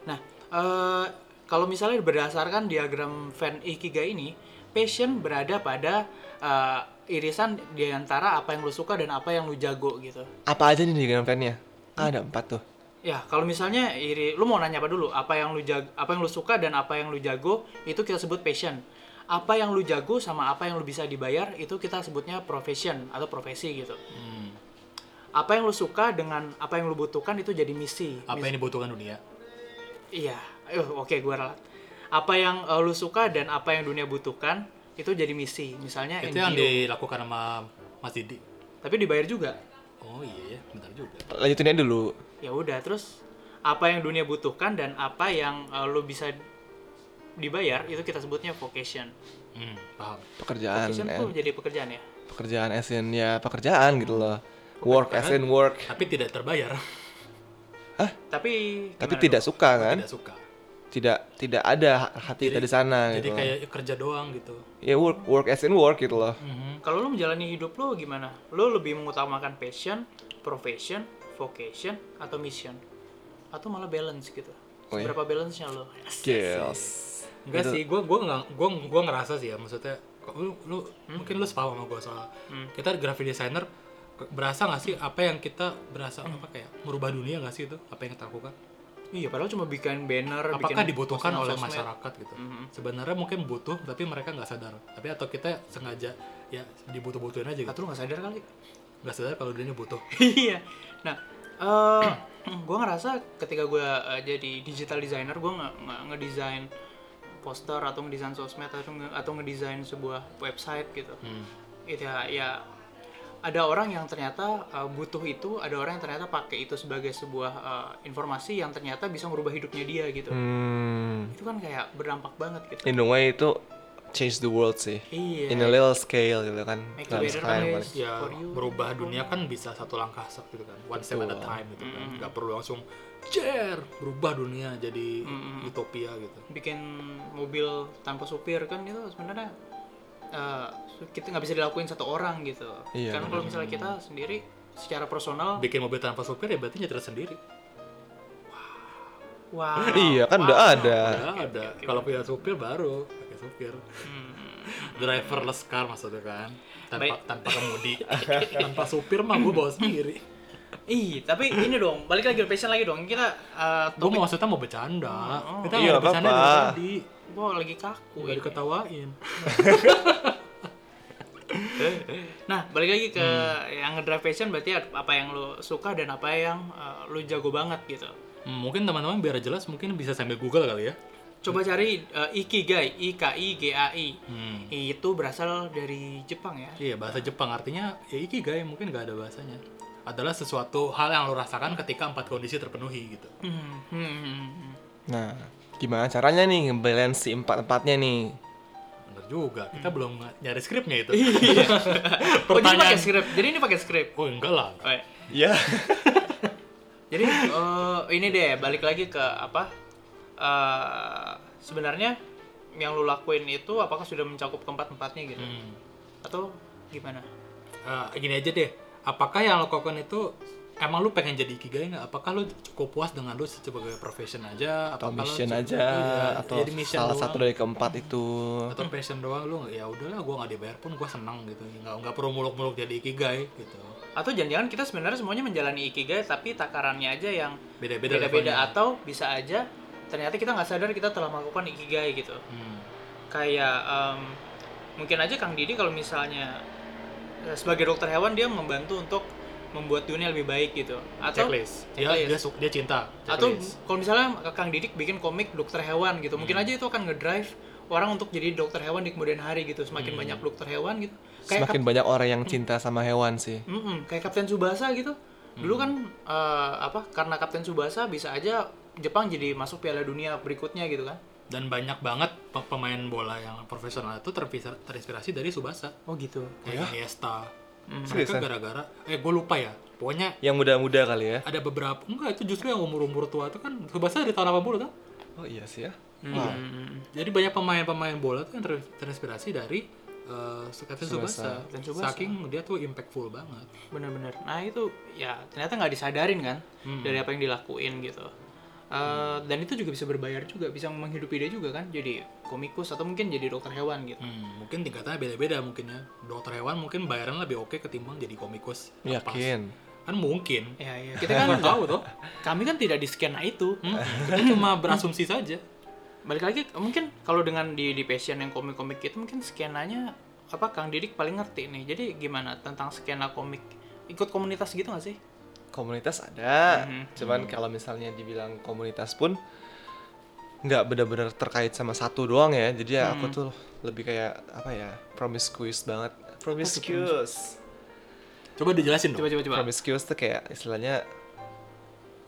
[SPEAKER 2] Nah, eh, kalau misalnya berdasarkan diagram Venn Ikigai ini, passion berada pada eh, irisan di antara apa yang lu suka dan apa yang lu jago gitu.
[SPEAKER 3] Apa aja nih dengan fan-nya? Kan ada empat tuh.
[SPEAKER 2] Ya, kalau misalnya iri, lu mau nanya apa dulu? Apa yang lu jag- apa yang lu suka dan apa yang lu jago itu kita sebut passion. Apa yang lu jago sama apa yang lu bisa dibayar itu kita sebutnya profession atau profesi gitu.
[SPEAKER 1] Hmm.
[SPEAKER 2] Apa yang lu suka dengan apa yang lu butuhkan itu jadi misi.
[SPEAKER 1] Apa yang dibutuhkan dunia?
[SPEAKER 2] Iya, Eh, oke gue ralat. Apa yang eh, lu suka dan apa yang dunia butuhkan itu jadi misi. Misalnya
[SPEAKER 1] Itu yang
[SPEAKER 2] NGO.
[SPEAKER 1] dilakukan sama Mas Didi.
[SPEAKER 2] Tapi dibayar juga.
[SPEAKER 1] Oh iya ya, bentar juga.
[SPEAKER 3] Lanjutin aja dulu.
[SPEAKER 2] Ya udah, terus apa yang dunia butuhkan dan apa yang eh, lu bisa dibayar itu kita sebutnya vocation.
[SPEAKER 1] Hmm, paham.
[SPEAKER 3] Pekerjaan,
[SPEAKER 2] Vocation
[SPEAKER 3] eh,
[SPEAKER 2] tuh jadi pekerjaan ya.
[SPEAKER 3] pekerjaan as in ya pekerjaan gitu loh. Work as in work.
[SPEAKER 1] Tapi tidak terbayar,
[SPEAKER 2] Tapi
[SPEAKER 3] Tapi
[SPEAKER 2] gimana
[SPEAKER 3] tidak
[SPEAKER 2] dong?
[SPEAKER 3] suka kan?
[SPEAKER 1] tidak suka.
[SPEAKER 3] Tidak tidak ada hati kita di sana
[SPEAKER 1] Jadi
[SPEAKER 3] gitu. loh.
[SPEAKER 1] kayak kerja doang gitu.
[SPEAKER 3] Ya work work as in work gitu loh.
[SPEAKER 1] Mhm.
[SPEAKER 2] Kalau lu menjalani hidup lu gimana? Lu lebih mengutamakan passion, profession, vocation atau mission? Atau malah balance gitu?
[SPEAKER 3] Oh iya.
[SPEAKER 2] Berapa balance-nya lu?
[SPEAKER 3] Skills.
[SPEAKER 2] Gitu.
[SPEAKER 1] Enggak sih, gue gua nggak gua gua ngerasa sih ya maksudnya kok lu lu
[SPEAKER 2] Hmm.
[SPEAKER 1] mungkin lu sepaham sama gue soal kita graphic designer ke- berasa nggak sih apa yang kita berasa
[SPEAKER 2] Hmm.
[SPEAKER 1] apa kayak merubah dunia nggak sih itu apa yang kita lakukan
[SPEAKER 2] Iya, padahal cuma bikin banner,
[SPEAKER 1] apakah
[SPEAKER 2] bikin
[SPEAKER 1] dibutuhkan
[SPEAKER 2] postingan
[SPEAKER 1] oleh
[SPEAKER 2] sosmed. Hmm.
[SPEAKER 1] masyarakat gitu sebenarnya mungkin butuh tapi mereka nggak sadar tapi atau kita sengaja ya dibutuh-butuhin aja
[SPEAKER 2] Atau
[SPEAKER 1] gitu
[SPEAKER 2] lu nggak sadar kali?
[SPEAKER 1] nggak sadar kalau dirinya butuh
[SPEAKER 2] Iya. nah, eh gue ngerasa ketika gue jadi digital designer, gue nge- nge- ngedesain poster atau ngedesain sosmed atau nge- atau ngedesain sebuah website gitu. Itu ya, ya ada orang yang ternyata eh, butuh itu, ada orang yang ternyata pakai itu sebagai sebuah eh, informasi yang ternyata bisa merubah hidupnya dia gitu.
[SPEAKER 3] Hmm. Iya.
[SPEAKER 2] Itu kan kayak berdampak banget gitu.
[SPEAKER 3] In a way itu change the world sih.
[SPEAKER 2] Iya.
[SPEAKER 3] In a little scale gitu kan.
[SPEAKER 2] Make it
[SPEAKER 3] Dalam
[SPEAKER 2] better
[SPEAKER 3] skala
[SPEAKER 2] kan,
[SPEAKER 3] yang
[SPEAKER 2] guys.
[SPEAKER 3] paling-
[SPEAKER 1] ya
[SPEAKER 2] For you.
[SPEAKER 1] merubah dunia kan bisa satu langkah satu gitu kan one step at a
[SPEAKER 3] Betul.
[SPEAKER 1] time gitu kan
[SPEAKER 2] Hmm.
[SPEAKER 1] nggak perlu langsung cer berubah dunia jadi
[SPEAKER 2] Hmm.
[SPEAKER 1] utopia gitu
[SPEAKER 2] bikin mobil tanpa supir kan itu sebenarnya eh, kita nggak bisa dilakuin satu orang gitu
[SPEAKER 3] Iya,
[SPEAKER 2] karena kalau misalnya kita sendiri secara personal
[SPEAKER 1] bikin mobil tanpa supir ya berarti nyetir sendiri
[SPEAKER 2] wow
[SPEAKER 3] Iya kan udah ada.
[SPEAKER 1] Nggak ada kalau punya supir baru pakai supir driverless car maksudnya kan tanpa
[SPEAKER 2] Hmm. Baik.
[SPEAKER 1] tanpa kemudi tanpa supir mah gue bawa sendiri
[SPEAKER 2] ih tapi ini dong balik lagi passion lagi dong kita eh,
[SPEAKER 1] gue
[SPEAKER 2] topik
[SPEAKER 1] mau maksudnya mau bercanda
[SPEAKER 2] Oh.
[SPEAKER 1] kita
[SPEAKER 3] Iya,
[SPEAKER 1] nggak ada bercanda
[SPEAKER 3] apa-apa.
[SPEAKER 1] dari tadi
[SPEAKER 2] Wah, lagi kaku
[SPEAKER 1] Nggak
[SPEAKER 2] ini.
[SPEAKER 1] diketawain
[SPEAKER 2] nah balik lagi ke
[SPEAKER 3] Hmm.
[SPEAKER 2] yang ngedrive passion berarti apa yang lo suka dan apa yang eh, lo jago banget gitu
[SPEAKER 1] Hmm, mungkin teman-teman biar jelas mungkin bisa sambil google kali ya
[SPEAKER 2] coba
[SPEAKER 3] Hmm.
[SPEAKER 2] cari eh, ikigai i k i g a i
[SPEAKER 1] hmm.
[SPEAKER 2] itu berasal dari Jepang ya
[SPEAKER 1] Iya, bahasa Jepang artinya ya ikigai mungkin nggak ada bahasanya. Adalah sesuatu hal yang lo rasakan ketika empat kondisi terpenuhi gitu.
[SPEAKER 2] Hmm, hmm, hmm, hmm.
[SPEAKER 3] Nah, gimana caranya nih ngebalance si empat-empatnya nih?
[SPEAKER 1] Bener juga, kita
[SPEAKER 2] Hmm.
[SPEAKER 1] belum nyari skripnya itu.
[SPEAKER 2] Oh, jadi
[SPEAKER 1] Pertanyaan.
[SPEAKER 2] Iya. pakai script. Jadi ini pakai script.
[SPEAKER 1] Oh enggak lah.
[SPEAKER 2] Oh, iya.
[SPEAKER 3] Ya.
[SPEAKER 2] oh, Jadi eh, ini deh balik lagi ke apa? eh, sebenarnya yang lu lakuin itu apakah sudah mencakup keempat empatnya gitu
[SPEAKER 1] Hmm.
[SPEAKER 2] atau gimana?
[SPEAKER 1] Eh, gini aja deh apakah yang lo lakukan itu emang lu pengen jadi ikigai nggak apakah lu cukup puas dengan lu sebagai profession aja
[SPEAKER 3] atau
[SPEAKER 1] Apakah lu
[SPEAKER 3] mission
[SPEAKER 1] cukup-
[SPEAKER 3] aja
[SPEAKER 1] iya,
[SPEAKER 3] atau
[SPEAKER 1] jadi mission
[SPEAKER 3] salah
[SPEAKER 1] doang?
[SPEAKER 3] satu dari keempat itu
[SPEAKER 1] atau passion doang lu ya udahlah gua nggak dibayar pun gua senang gitu nggak nggak perlu muluk-muluk jadi ikigai gitu
[SPEAKER 2] Atau jangan-jangan kita sebenarnya semuanya menjalani ikigai tapi takarannya aja yang
[SPEAKER 1] beda-beda levelnya.
[SPEAKER 2] beda-beda atau bisa aja ternyata kita nggak sadar kita telah melakukan ikigai gitu.
[SPEAKER 1] Hmm.
[SPEAKER 2] Kayak em, mungkin aja Kang Didi kalau misalnya eh, sebagai dokter hewan dia membantu untuk membuat dunia lebih baik gitu. Atau
[SPEAKER 1] checklist Iya, dia
[SPEAKER 2] Checklist.
[SPEAKER 1] dia su- dia cinta
[SPEAKER 2] atau
[SPEAKER 1] checklist.
[SPEAKER 2] kalau misalnya Kang Didik bikin komik dokter hewan gitu mungkin aja itu akan ngedrive orang untuk jadi dokter hewan di kemudian hari gitu semakin banyak dokter hewan gitu kayak
[SPEAKER 3] semakin banyak orang yang cinta sama hewan sih
[SPEAKER 2] Kap- Mm-mm, kayak Kapten Tsubasa gitu dulu kan eh, apa karena Kapten Tsubasa bisa aja Jepang jadi masuk Piala Dunia berikutnya gitu kan
[SPEAKER 1] dan banyak banget pe- pemain bola yang profesional itu terpisah- terinspirasi dari Subasa
[SPEAKER 2] oh gitu
[SPEAKER 1] kayak Iniesta mereka
[SPEAKER 3] Iya? Hmm. Seriusan?
[SPEAKER 1] gara-gara eh gue lupa ya pokoknya
[SPEAKER 3] yang muda-muda kali ya
[SPEAKER 1] ada beberapa enggak itu justru yang umur-umur tua itu kan Subasa dari tahun 80 kan
[SPEAKER 3] oh iya sih ya
[SPEAKER 2] Hmm.
[SPEAKER 1] jadi banyak pemain-pemain bola tuh yang ter- terinspirasi dari eh Captain Subasa.
[SPEAKER 3] Tsubasa.
[SPEAKER 2] Captain Tsubasa.
[SPEAKER 1] saking dia tuh impactful banget
[SPEAKER 2] bener-bener nah itu ya ternyata nggak disadarin kan dari apa yang dilakuin gitu Eh, dan itu juga bisa berbayar juga bisa menghidupi dia juga kan jadi komikus atau mungkin jadi dokter hewan gitu
[SPEAKER 1] Hmm, mungkin tingkatannya beda-beda mungkin ya dokter hewan mungkin bayaran lebih oke ketimbang jadi komikus
[SPEAKER 3] yakin
[SPEAKER 1] kan mungkin
[SPEAKER 2] Ya, ya. Kita kan
[SPEAKER 1] Nggak tahu tuh
[SPEAKER 2] Kami kan tidak di skena itu.
[SPEAKER 1] Hmm, kita cuma berasumsi saja
[SPEAKER 2] Balik lagi, mungkin kalau dengan di, di passion yang komik-komik itu mungkin skenanya apa Kang Didik paling ngerti nih. Jadi gimana tentang skena komik? Ikut komunitas gitu gak sih?
[SPEAKER 3] komunitas ada cuman kalau misalnya dibilang komunitas pun nggak benar-benar terkait sama satu doang ya jadi ya aku tuh lebih kayak apa ya promiscuous banget promiscuous
[SPEAKER 1] coba dijelasin dong
[SPEAKER 2] Coba coba coba.
[SPEAKER 3] promiscuous tuh kayak istilahnya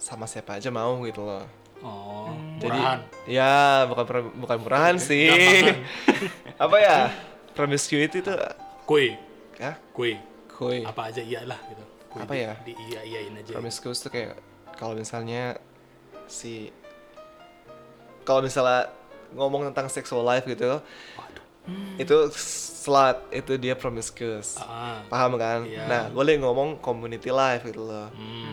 [SPEAKER 3] sama siapa aja mau gitu loh
[SPEAKER 1] oh
[SPEAKER 3] Jadi
[SPEAKER 1] murahan. kan?
[SPEAKER 3] ya bukan per- bukan murahan sih. apa ya? Promiscuity itu
[SPEAKER 1] kue
[SPEAKER 3] ya
[SPEAKER 1] kue
[SPEAKER 3] koi.
[SPEAKER 1] apa aja iyalah gitu Kue
[SPEAKER 3] Apa
[SPEAKER 1] di-
[SPEAKER 3] ya?
[SPEAKER 1] di iya iyain aja
[SPEAKER 3] Promiscuous itu kayak kalau misalnya si kalau misalnya ngomong tentang sexual life gitu Hmm. itu slut itu dia promiscuous
[SPEAKER 1] ah
[SPEAKER 3] paham kan
[SPEAKER 1] Iya.
[SPEAKER 3] nah gue lagi ngomong community life gitu loh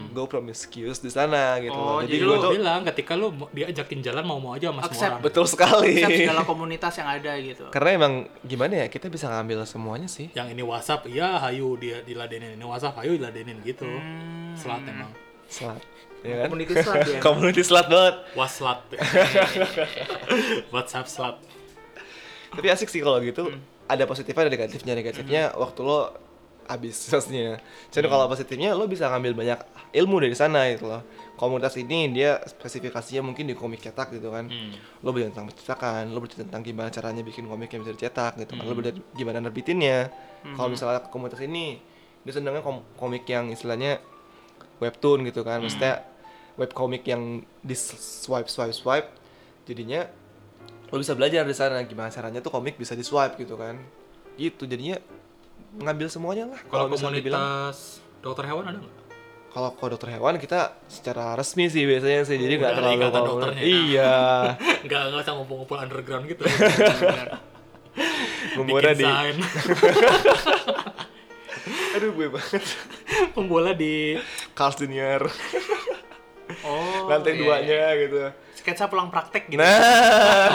[SPEAKER 3] gue promiscuous di sana gitu
[SPEAKER 2] Oh,
[SPEAKER 3] loh
[SPEAKER 1] jadi
[SPEAKER 2] Jadi
[SPEAKER 1] lu
[SPEAKER 3] gue tuh
[SPEAKER 1] bilang ketika lu mau- diajakin jalan mau mau aja sama semua
[SPEAKER 2] Accept.
[SPEAKER 1] orang
[SPEAKER 3] betul sekali
[SPEAKER 2] Siap segala komunitas yang ada gitu.
[SPEAKER 3] karena emang gimana ya kita bisa ngambil semuanya sih
[SPEAKER 1] yang ini WhatsApp iya hayu dia diladenin ini WhatsApp hayu diladenin gitu
[SPEAKER 2] Hmm,
[SPEAKER 1] selat emang
[SPEAKER 3] Selat. Ya kan?
[SPEAKER 2] Community selat ya.
[SPEAKER 3] Community selat banget.
[SPEAKER 1] waslat WhatsApp selat
[SPEAKER 3] Tapi asik sih kalau gitu. Ada positifnya, ada negatifnya. Negatifnya waktu lo habis sosnya. Jadi kalau positifnya lo bisa ngambil banyak ilmu dari sana gitu loh. Komunitas ini dia spesifikasinya mungkin di komik cetak gitu kan. Lo belajar tentang percetakan, lo belajar tentang gimana caranya bikin komik yang bisa dicetak gitu kan. Lo belajar gimana nerbitinnya. Kalau misalnya komunitas ini dia senangnya kom- komik yang istilahnya webtoon gitu
[SPEAKER 1] Hmm.
[SPEAKER 3] kan. Maksudnya webcomic yang di swipe swipe swipe jadinya lo bisa belajar di sana gimana caranya tuh komik bisa di swipe gitu kan gitu jadinya ngambil semuanya lah
[SPEAKER 1] kalau
[SPEAKER 3] kalau misalnya dibilang
[SPEAKER 1] komunitas dokter hewan ada nggak
[SPEAKER 3] kalau ke dokter hewan kita secara resmi sih biasanya sih jadi nggak
[SPEAKER 1] Udah ada
[SPEAKER 3] terlalu
[SPEAKER 1] ikatan
[SPEAKER 3] komun-
[SPEAKER 1] dokternya. ya.
[SPEAKER 3] iya
[SPEAKER 1] nggak nggak usah ngumpul-ngumpul underground gitu
[SPEAKER 3] membola
[SPEAKER 1] bikin
[SPEAKER 3] di
[SPEAKER 1] sign
[SPEAKER 3] aduh gue banget
[SPEAKER 1] pembola di
[SPEAKER 3] Carl Junior
[SPEAKER 2] Oh.
[SPEAKER 3] lantai
[SPEAKER 2] iya,
[SPEAKER 3] duanya
[SPEAKER 2] iya.
[SPEAKER 3] gitu
[SPEAKER 2] Sketsa pulang praktek gitu.
[SPEAKER 3] nah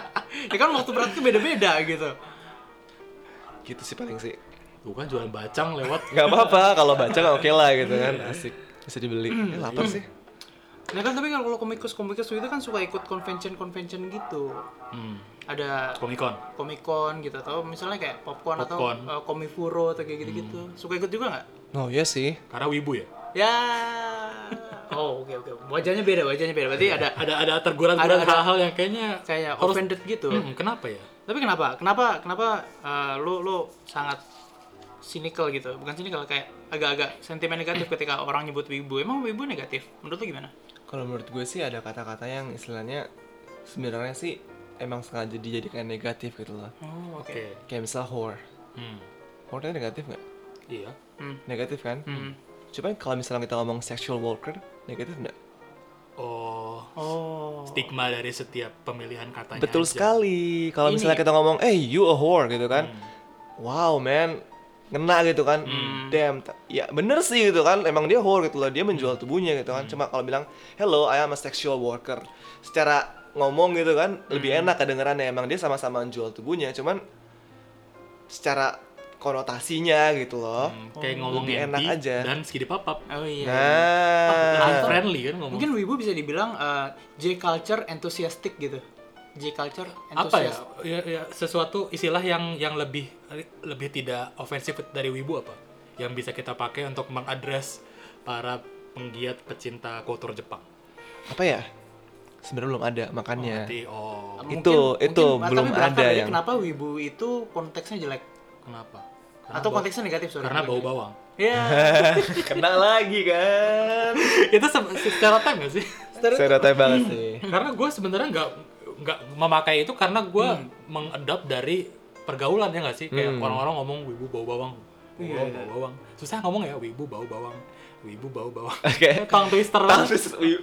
[SPEAKER 2] Ya kan waktu praktek beda-beda gitu.
[SPEAKER 3] gitu sih paling sih
[SPEAKER 1] bukan kan jualan bacang lewat
[SPEAKER 3] nggak apa-apa kalau baca nggak oke lah gitu kan
[SPEAKER 1] Iya.
[SPEAKER 3] asik bisa dibeli ya,
[SPEAKER 1] Hmm.
[SPEAKER 3] lapar sih
[SPEAKER 2] Nah kan tapi kalau komikus-komikus itu kan suka ikut convention-convention gitu.
[SPEAKER 1] hmm,
[SPEAKER 2] Ada
[SPEAKER 1] komikon
[SPEAKER 2] Comic Con gitu atau misalnya kayak popcorn,
[SPEAKER 1] Popcorn. Hmm.
[SPEAKER 2] atau uh, Komifuro atau kayak gitu-gitu. Suka ikut juga nggak?
[SPEAKER 3] oh iya sih
[SPEAKER 1] karena wibu ya
[SPEAKER 2] Ya. Oh, oke oke. Wajahnya beda, wajahnya beda. Berarti ada
[SPEAKER 1] ada ada terguran ada
[SPEAKER 2] Ada- ada-
[SPEAKER 1] hal-hal yang kayaknya
[SPEAKER 2] kayak
[SPEAKER 1] Harus-
[SPEAKER 2] offended gitu.
[SPEAKER 1] hmm, kenapa ya
[SPEAKER 2] Tapi kenapa? Kenapa kenapa uh, lo lo sangat cynical gitu? Bukan cynical kayak agak-agak sentimen negatif ketika orang nyebut wibu. Emang wibu negatif? Menurut lo gimana?
[SPEAKER 3] Kalau menurut gue sih ada kata-kata yang istilahnya sebenarnya sih emang sengaja dijadikan negatif gitu loh.
[SPEAKER 2] Oh,
[SPEAKER 1] oke
[SPEAKER 3] Kayak misal whore.
[SPEAKER 1] hmm,
[SPEAKER 3] Whore itu negatif nggak?
[SPEAKER 1] iya
[SPEAKER 2] Hmm.
[SPEAKER 3] Negatif kan? Cuman kalau misalnya kita ngomong sexual worker, negatif nggak?
[SPEAKER 1] oh
[SPEAKER 2] Oh.
[SPEAKER 1] stigma dari setiap pemilihan katanya
[SPEAKER 3] Betul
[SPEAKER 1] aja.
[SPEAKER 3] sekali. Kalau
[SPEAKER 2] Ini-
[SPEAKER 3] misalnya kita ngomong, eh you a whore gitu kan, wow man, ngena gitu kan, damn. Ta- Ya bener sih gitu kan, emang dia whore gitu loh, dia menjual tubuhnya gitu kan. Cuma kalau bilang, hello, I am a sexual worker, secara ngomong gitu kan, lebih enak kedengerannya. Emang dia sama-sama menjual tubuhnya, cuman secara konotasinya gitu loh.
[SPEAKER 1] Hmm, kayak
[SPEAKER 3] Oh,
[SPEAKER 1] ngomong
[SPEAKER 3] lebih enak
[SPEAKER 1] enak
[SPEAKER 3] aja.
[SPEAKER 1] dan segede papap
[SPEAKER 2] Oh iya.
[SPEAKER 1] Ah,
[SPEAKER 3] Nah,
[SPEAKER 1] unfriendly kan ngomong
[SPEAKER 2] Mungkin Wibu bisa dibilang eh, J culture enthusiastic gitu. J culture
[SPEAKER 1] apa ya?
[SPEAKER 2] enthusiastic.
[SPEAKER 1] Ya, ya, sesuatu istilah yang yang lebih lebih tidak ofensif dari wibu apa yang bisa kita pakai untuk mengadres para penggiat pecinta kultur Jepang
[SPEAKER 3] apa ya? Sebenarnya belum ada makannya.
[SPEAKER 1] Jadi, oh
[SPEAKER 3] Itu- itu
[SPEAKER 2] ah,
[SPEAKER 3] belum
[SPEAKER 2] tapi berangkat
[SPEAKER 3] ada
[SPEAKER 2] dari
[SPEAKER 3] yang-
[SPEAKER 2] Kenapa Wibu itu konteksnya jelek
[SPEAKER 1] kenapa karena
[SPEAKER 2] atau
[SPEAKER 1] bau-
[SPEAKER 2] konteksnya negatif sorry.
[SPEAKER 1] karena bau bawang
[SPEAKER 2] Iya.
[SPEAKER 3] Kena lagi kan.
[SPEAKER 1] itu se- secara time gak sih
[SPEAKER 3] Stereotip banget sih.
[SPEAKER 1] karena gue sebenarnya nggak nggak memakai itu karena gue mengadap dari pergaulan ya nggak sih kayak orang-orang ngomong wibu bau bawang wibu bau bawang susah ngomong ya wibu bau bawang wibu bau bawang
[SPEAKER 3] Oke.
[SPEAKER 1] tongue twister
[SPEAKER 3] Tapi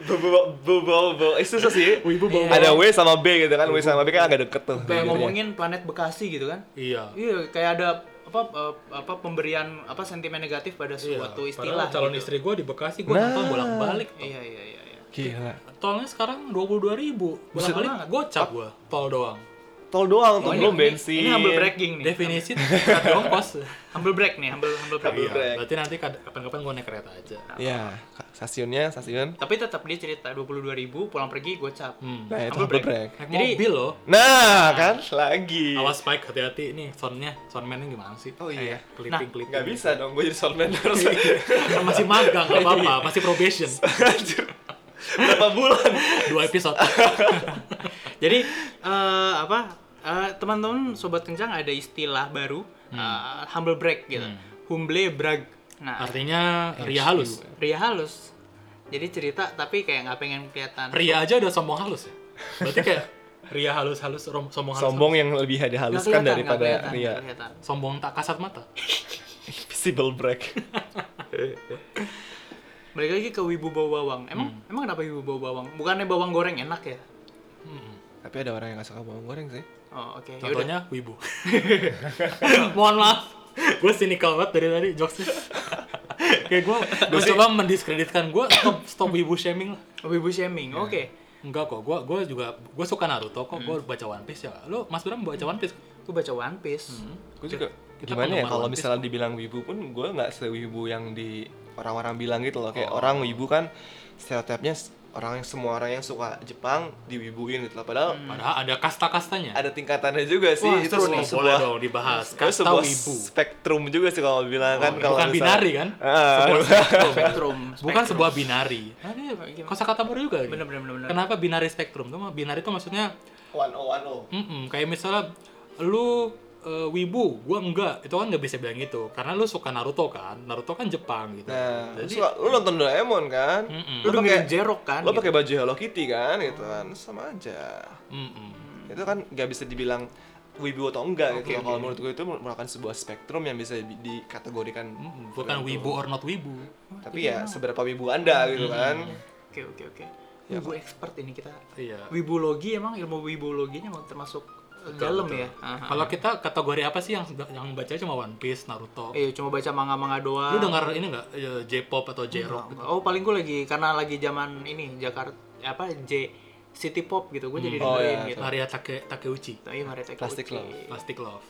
[SPEAKER 3] bobo itu susah sih.
[SPEAKER 1] wibu bau
[SPEAKER 3] Ada W sama B gitu kan, W sama B kan agak deket tuh.
[SPEAKER 2] Kayak
[SPEAKER 3] bibirnya.
[SPEAKER 2] ngomongin planet Bekasi gitu kan.
[SPEAKER 1] iya
[SPEAKER 2] Iya, kayak ada apa eh, apa pemberian apa sentimen negatif pada suatu istilah.
[SPEAKER 1] Iya, Padahal calon
[SPEAKER 2] gitu.
[SPEAKER 1] istri gue di Bekasi gue nonton bolak-balik.
[SPEAKER 2] Iya, iya, iya, iya.
[SPEAKER 3] Gila.
[SPEAKER 1] Tolnya sekarang dua puluh dua ribu. Bolak-balik gocap gue. Tol doang.
[SPEAKER 3] Tol doang
[SPEAKER 2] Oh,
[SPEAKER 3] tuh,
[SPEAKER 2] ini-
[SPEAKER 3] belum
[SPEAKER 2] ini-
[SPEAKER 3] bensin.
[SPEAKER 2] Ini humble bragging nih.
[SPEAKER 1] Definisi terhadap ongkos.
[SPEAKER 2] Humble brag nih, humble humble brag.
[SPEAKER 1] Iya,
[SPEAKER 3] break.
[SPEAKER 1] berarti nanti kad- kapan-kapan gue naik kereta aja.
[SPEAKER 3] Ya, stasiunnya stasiun.
[SPEAKER 2] Tapi tetap dia cerita 22.000 pulang pergi gocap.
[SPEAKER 1] Hmm.
[SPEAKER 3] Nah, itu
[SPEAKER 2] Humble
[SPEAKER 3] humble
[SPEAKER 2] brag.
[SPEAKER 3] brag.
[SPEAKER 1] Naik
[SPEAKER 2] Jadi-
[SPEAKER 1] mobil loh.
[SPEAKER 3] Nah, kan lagi.
[SPEAKER 1] Awas Spike hati-hati nih soundnya, soundmannya gimana sih?
[SPEAKER 3] Oh, iya.
[SPEAKER 1] Clipping, clipping.
[SPEAKER 3] Nggak bisa Iya. dong, gue jadi soundman terus.
[SPEAKER 1] Kan masih magang, gak apa-apa, masih probation.
[SPEAKER 3] Anjir. Berapa bulan?
[SPEAKER 1] Dua episode.
[SPEAKER 2] Jadi eh, apa eh, teman-teman sobat kencang ada istilah baru
[SPEAKER 3] Hmm.
[SPEAKER 2] eh, humble brag gitu. Humble brag. Nah,
[SPEAKER 1] Artinya Ria halus.
[SPEAKER 2] Ria halus. Jadi cerita tapi kayak nggak pengen kelihatan.
[SPEAKER 1] Ria aja udah sombong halus ya. Berarti kayak Ria halus-halus, rom- sombong halus.
[SPEAKER 3] Sombong yang lebih
[SPEAKER 2] Nggak
[SPEAKER 3] dihaluskan
[SPEAKER 2] kelihatan, nggak
[SPEAKER 3] kan daripada
[SPEAKER 2] kelihatan, nggak
[SPEAKER 3] Ria.
[SPEAKER 2] kelihatan.
[SPEAKER 1] sombong tak kasat mata.
[SPEAKER 3] Visible brag.
[SPEAKER 2] Balik lagi ke wibu bau bawang.
[SPEAKER 3] Hmm.
[SPEAKER 2] Emang emang kenapa wibu bau bawang? Bukannya bawang goreng enak ya?
[SPEAKER 3] Tapi ada orang yang gak suka bawang goreng sih.
[SPEAKER 2] Oh, oke.
[SPEAKER 3] Ya
[SPEAKER 2] Yaudah.
[SPEAKER 1] Contohnya Wibu. Mohon maaf. Gue cynical banget dari tadi jokesnya. Kayak gue, gue coba mendiskreditkan gue stop, stop Wibu shaming lah.
[SPEAKER 2] Wibu
[SPEAKER 3] Ya.
[SPEAKER 2] shaming. Oke.
[SPEAKER 1] Enggak kok, gue gue juga gue suka Naruto kok, gue baca One Piece ya. Lo Mas Bram baca One Piece?
[SPEAKER 2] Gue baca One Piece.
[SPEAKER 3] gue juga
[SPEAKER 1] Kita
[SPEAKER 3] gimana ya
[SPEAKER 1] penggemar
[SPEAKER 3] kalau
[SPEAKER 1] One Piece
[SPEAKER 3] misalnya dibilang wibu pun gue nggak sewibu yang di orang-orang bilang gitu loh kayak
[SPEAKER 1] Oh.
[SPEAKER 3] orang wibu kan stereotipnya s- orang yang semua orang yang suka Jepang diwibuin gitu loh padahal
[SPEAKER 1] Hmm. Padahal ada kasta-kastanya.
[SPEAKER 3] ada tingkatannya juga sih
[SPEAKER 1] Wah,
[SPEAKER 3] itu
[SPEAKER 1] seru
[SPEAKER 3] sebuah
[SPEAKER 1] nih, boleh dong dibahas.
[SPEAKER 3] itu
[SPEAKER 1] Kasta
[SPEAKER 3] sebuah
[SPEAKER 1] Wibu. Oh,
[SPEAKER 3] spektrum juga sih kalau bilang kan kalau
[SPEAKER 1] Bukan
[SPEAKER 3] misalnya-
[SPEAKER 1] binari kan?
[SPEAKER 3] Ah,
[SPEAKER 1] Sebuah spektrum.
[SPEAKER 2] Spektrum.
[SPEAKER 1] Bukan
[SPEAKER 2] Spektrum.
[SPEAKER 1] sebuah binari. Nah,
[SPEAKER 2] ya,
[SPEAKER 1] ini kosakata baru juga. nih.
[SPEAKER 2] Bener, bener, bener, bener.
[SPEAKER 1] Kenapa binari spektrum? Tuh, Binari itu maksudnya
[SPEAKER 3] one oh one oh
[SPEAKER 1] Mm-mm, kayak misalnya lu eh, wibu, gua enggak. Itu kan nggak bisa bilang gitu. Karena lu suka Naruto kan. Naruto kan Jepang gitu.
[SPEAKER 3] nah lu
[SPEAKER 1] Jadi
[SPEAKER 3] suka- lu nonton Doraemon kan
[SPEAKER 1] Mm-mm.
[SPEAKER 2] Lu
[SPEAKER 3] lu pakai
[SPEAKER 2] dengerin jerok kan?
[SPEAKER 3] lu
[SPEAKER 1] gitu.
[SPEAKER 3] pakai baju Hello Kitty kan gitu kan
[SPEAKER 1] Hmm.
[SPEAKER 3] sama aja
[SPEAKER 1] mm-mm.
[SPEAKER 3] itu kan nggak bisa dibilang wibu atau enggak
[SPEAKER 2] Oke,
[SPEAKER 3] gitu loh.
[SPEAKER 2] oke.
[SPEAKER 3] kalau menurut gue itu merupakan sebuah spektrum yang bisa di- dikategorikan
[SPEAKER 1] Mm-mm. Hmm, bukan
[SPEAKER 3] tergantung.
[SPEAKER 1] wibu Iya. or not wibu.
[SPEAKER 3] tapi ya seberapa wibu anda gitu
[SPEAKER 1] Hmm,
[SPEAKER 3] kan
[SPEAKER 2] Oke oke oke.
[SPEAKER 3] Ya,
[SPEAKER 2] Wibu expert ini kita.
[SPEAKER 1] Iya.
[SPEAKER 2] Wibologi emang ilmu wibologinya emang termasuk eh, dalam ya. Aha.
[SPEAKER 1] Kalau kita kategori apa sih yang yang baca cuma One Piece, Naruto.
[SPEAKER 2] Iya cuma baca manga-manga
[SPEAKER 1] Lu
[SPEAKER 2] doang.
[SPEAKER 3] Ah.
[SPEAKER 1] dengar ini enggak eh, J-pop atau J-rock?
[SPEAKER 2] Oh paling gue lagi karena lagi zaman ini Jakarta apa J City Pop gitu gue jadi
[SPEAKER 3] Oh,
[SPEAKER 2] dengerin
[SPEAKER 3] iya,
[SPEAKER 2] gitu. Nah, iya,
[SPEAKER 1] Maria Take Takeuchi,
[SPEAKER 2] Tapi mari take
[SPEAKER 3] Plastic
[SPEAKER 2] Uchi.
[SPEAKER 3] Love.
[SPEAKER 1] Plastic Love.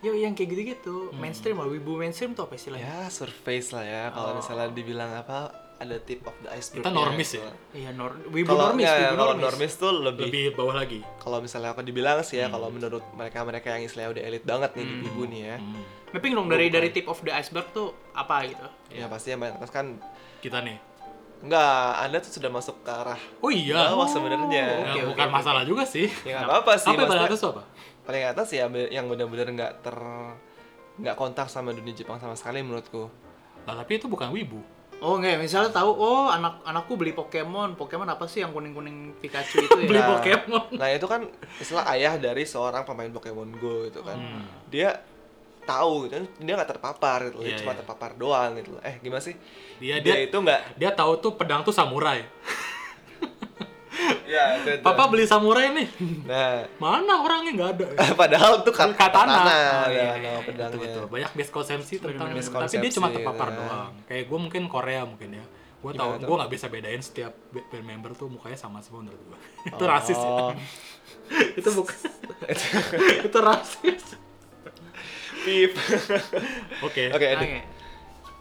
[SPEAKER 2] Yo Iya, yang kayak gitu-gitu mainstream lah wibu mainstream tuh apa
[SPEAKER 1] iya.
[SPEAKER 2] istilahnya?
[SPEAKER 3] ya surface lah ya kalau misalnya dibilang apa ada tip of the iceberg
[SPEAKER 1] Oh. Kita normis ya?
[SPEAKER 2] Iya nor wibu
[SPEAKER 3] kalau
[SPEAKER 2] normis,
[SPEAKER 3] ya,
[SPEAKER 2] wibu
[SPEAKER 3] kalau
[SPEAKER 2] normis.
[SPEAKER 3] normis tuh lebih,
[SPEAKER 1] Lebih bawah lagi.
[SPEAKER 3] kalau misalnya aku dibilang sih ya kalau menurut mereka mereka yang istilahnya udah elit banget nih di wibu nih ya
[SPEAKER 1] Hmm.
[SPEAKER 2] Mapping dong dari dari tip of the iceberg tuh apa gitu?
[SPEAKER 1] iya.
[SPEAKER 3] ya pasti yang paling atas kan
[SPEAKER 1] Kita nih.
[SPEAKER 3] enggak anda tuh sudah masuk ke arah
[SPEAKER 1] Oh iya.
[SPEAKER 3] bawah sebenarnya
[SPEAKER 1] Ya,
[SPEAKER 2] Oke, oke,
[SPEAKER 1] bukan
[SPEAKER 2] oke.
[SPEAKER 1] masalah juga sih.
[SPEAKER 3] ya nggak apa-apa
[SPEAKER 1] Apa
[SPEAKER 3] sih
[SPEAKER 1] yang paling
[SPEAKER 3] maksudnya-
[SPEAKER 1] atas tuh apa?
[SPEAKER 3] paling atas ya be- yang benar-benar nggak ter nggak kontak sama dunia Jepang sama sekali menurutku
[SPEAKER 1] Nah, tapi itu bukan wibu.
[SPEAKER 2] Oh enggak, misalnya tahu oh anak anakku beli Pokemon, Pokemon apa sih yang kuning-kuning Pikachu itu
[SPEAKER 1] Beli
[SPEAKER 2] ya?
[SPEAKER 3] Nah,
[SPEAKER 1] Pokemon.
[SPEAKER 3] nah itu kan istilah ayah dari seorang pemain Pokemon Go gitu kan
[SPEAKER 1] Hmm.
[SPEAKER 3] dia tahu gitu kan, dia nggak terpapar gitu loh, dia
[SPEAKER 1] Iya,
[SPEAKER 3] cuma
[SPEAKER 1] iya.
[SPEAKER 3] terpapar doang gitu loh. eh gimana sih
[SPEAKER 1] Dia-
[SPEAKER 3] dia
[SPEAKER 1] dia-
[SPEAKER 3] itu nggak
[SPEAKER 1] Dia tahu tuh pedang tuh samurai.
[SPEAKER 3] Iya, itu, itu.
[SPEAKER 1] Papa beli samurai nih.
[SPEAKER 3] Nah,
[SPEAKER 1] Mana orangnya nggak ada.
[SPEAKER 3] padahal itu kat-
[SPEAKER 1] Katana. Oh,
[SPEAKER 3] ya,
[SPEAKER 1] iya,
[SPEAKER 3] no,
[SPEAKER 1] iya, iya,
[SPEAKER 3] pedangnya.
[SPEAKER 1] betul, betul. Banyak miskonsepsi tentang tapi
[SPEAKER 3] Miskonsepsi,
[SPEAKER 1] dia cuma terpapar
[SPEAKER 3] nah.
[SPEAKER 1] doang. Kayak gue mungkin Korea mungkin ya. Gue tau,
[SPEAKER 3] Gimana tuh?
[SPEAKER 1] gue nggak bisa bedain setiap ba- band member tuh mukanya sama semua menurut gue. itu rasis ya.
[SPEAKER 3] Oh,
[SPEAKER 1] itu bukan. itu rasis.
[SPEAKER 3] Pip.
[SPEAKER 1] Oke.
[SPEAKER 3] Oke, edit.
[SPEAKER 2] Oke.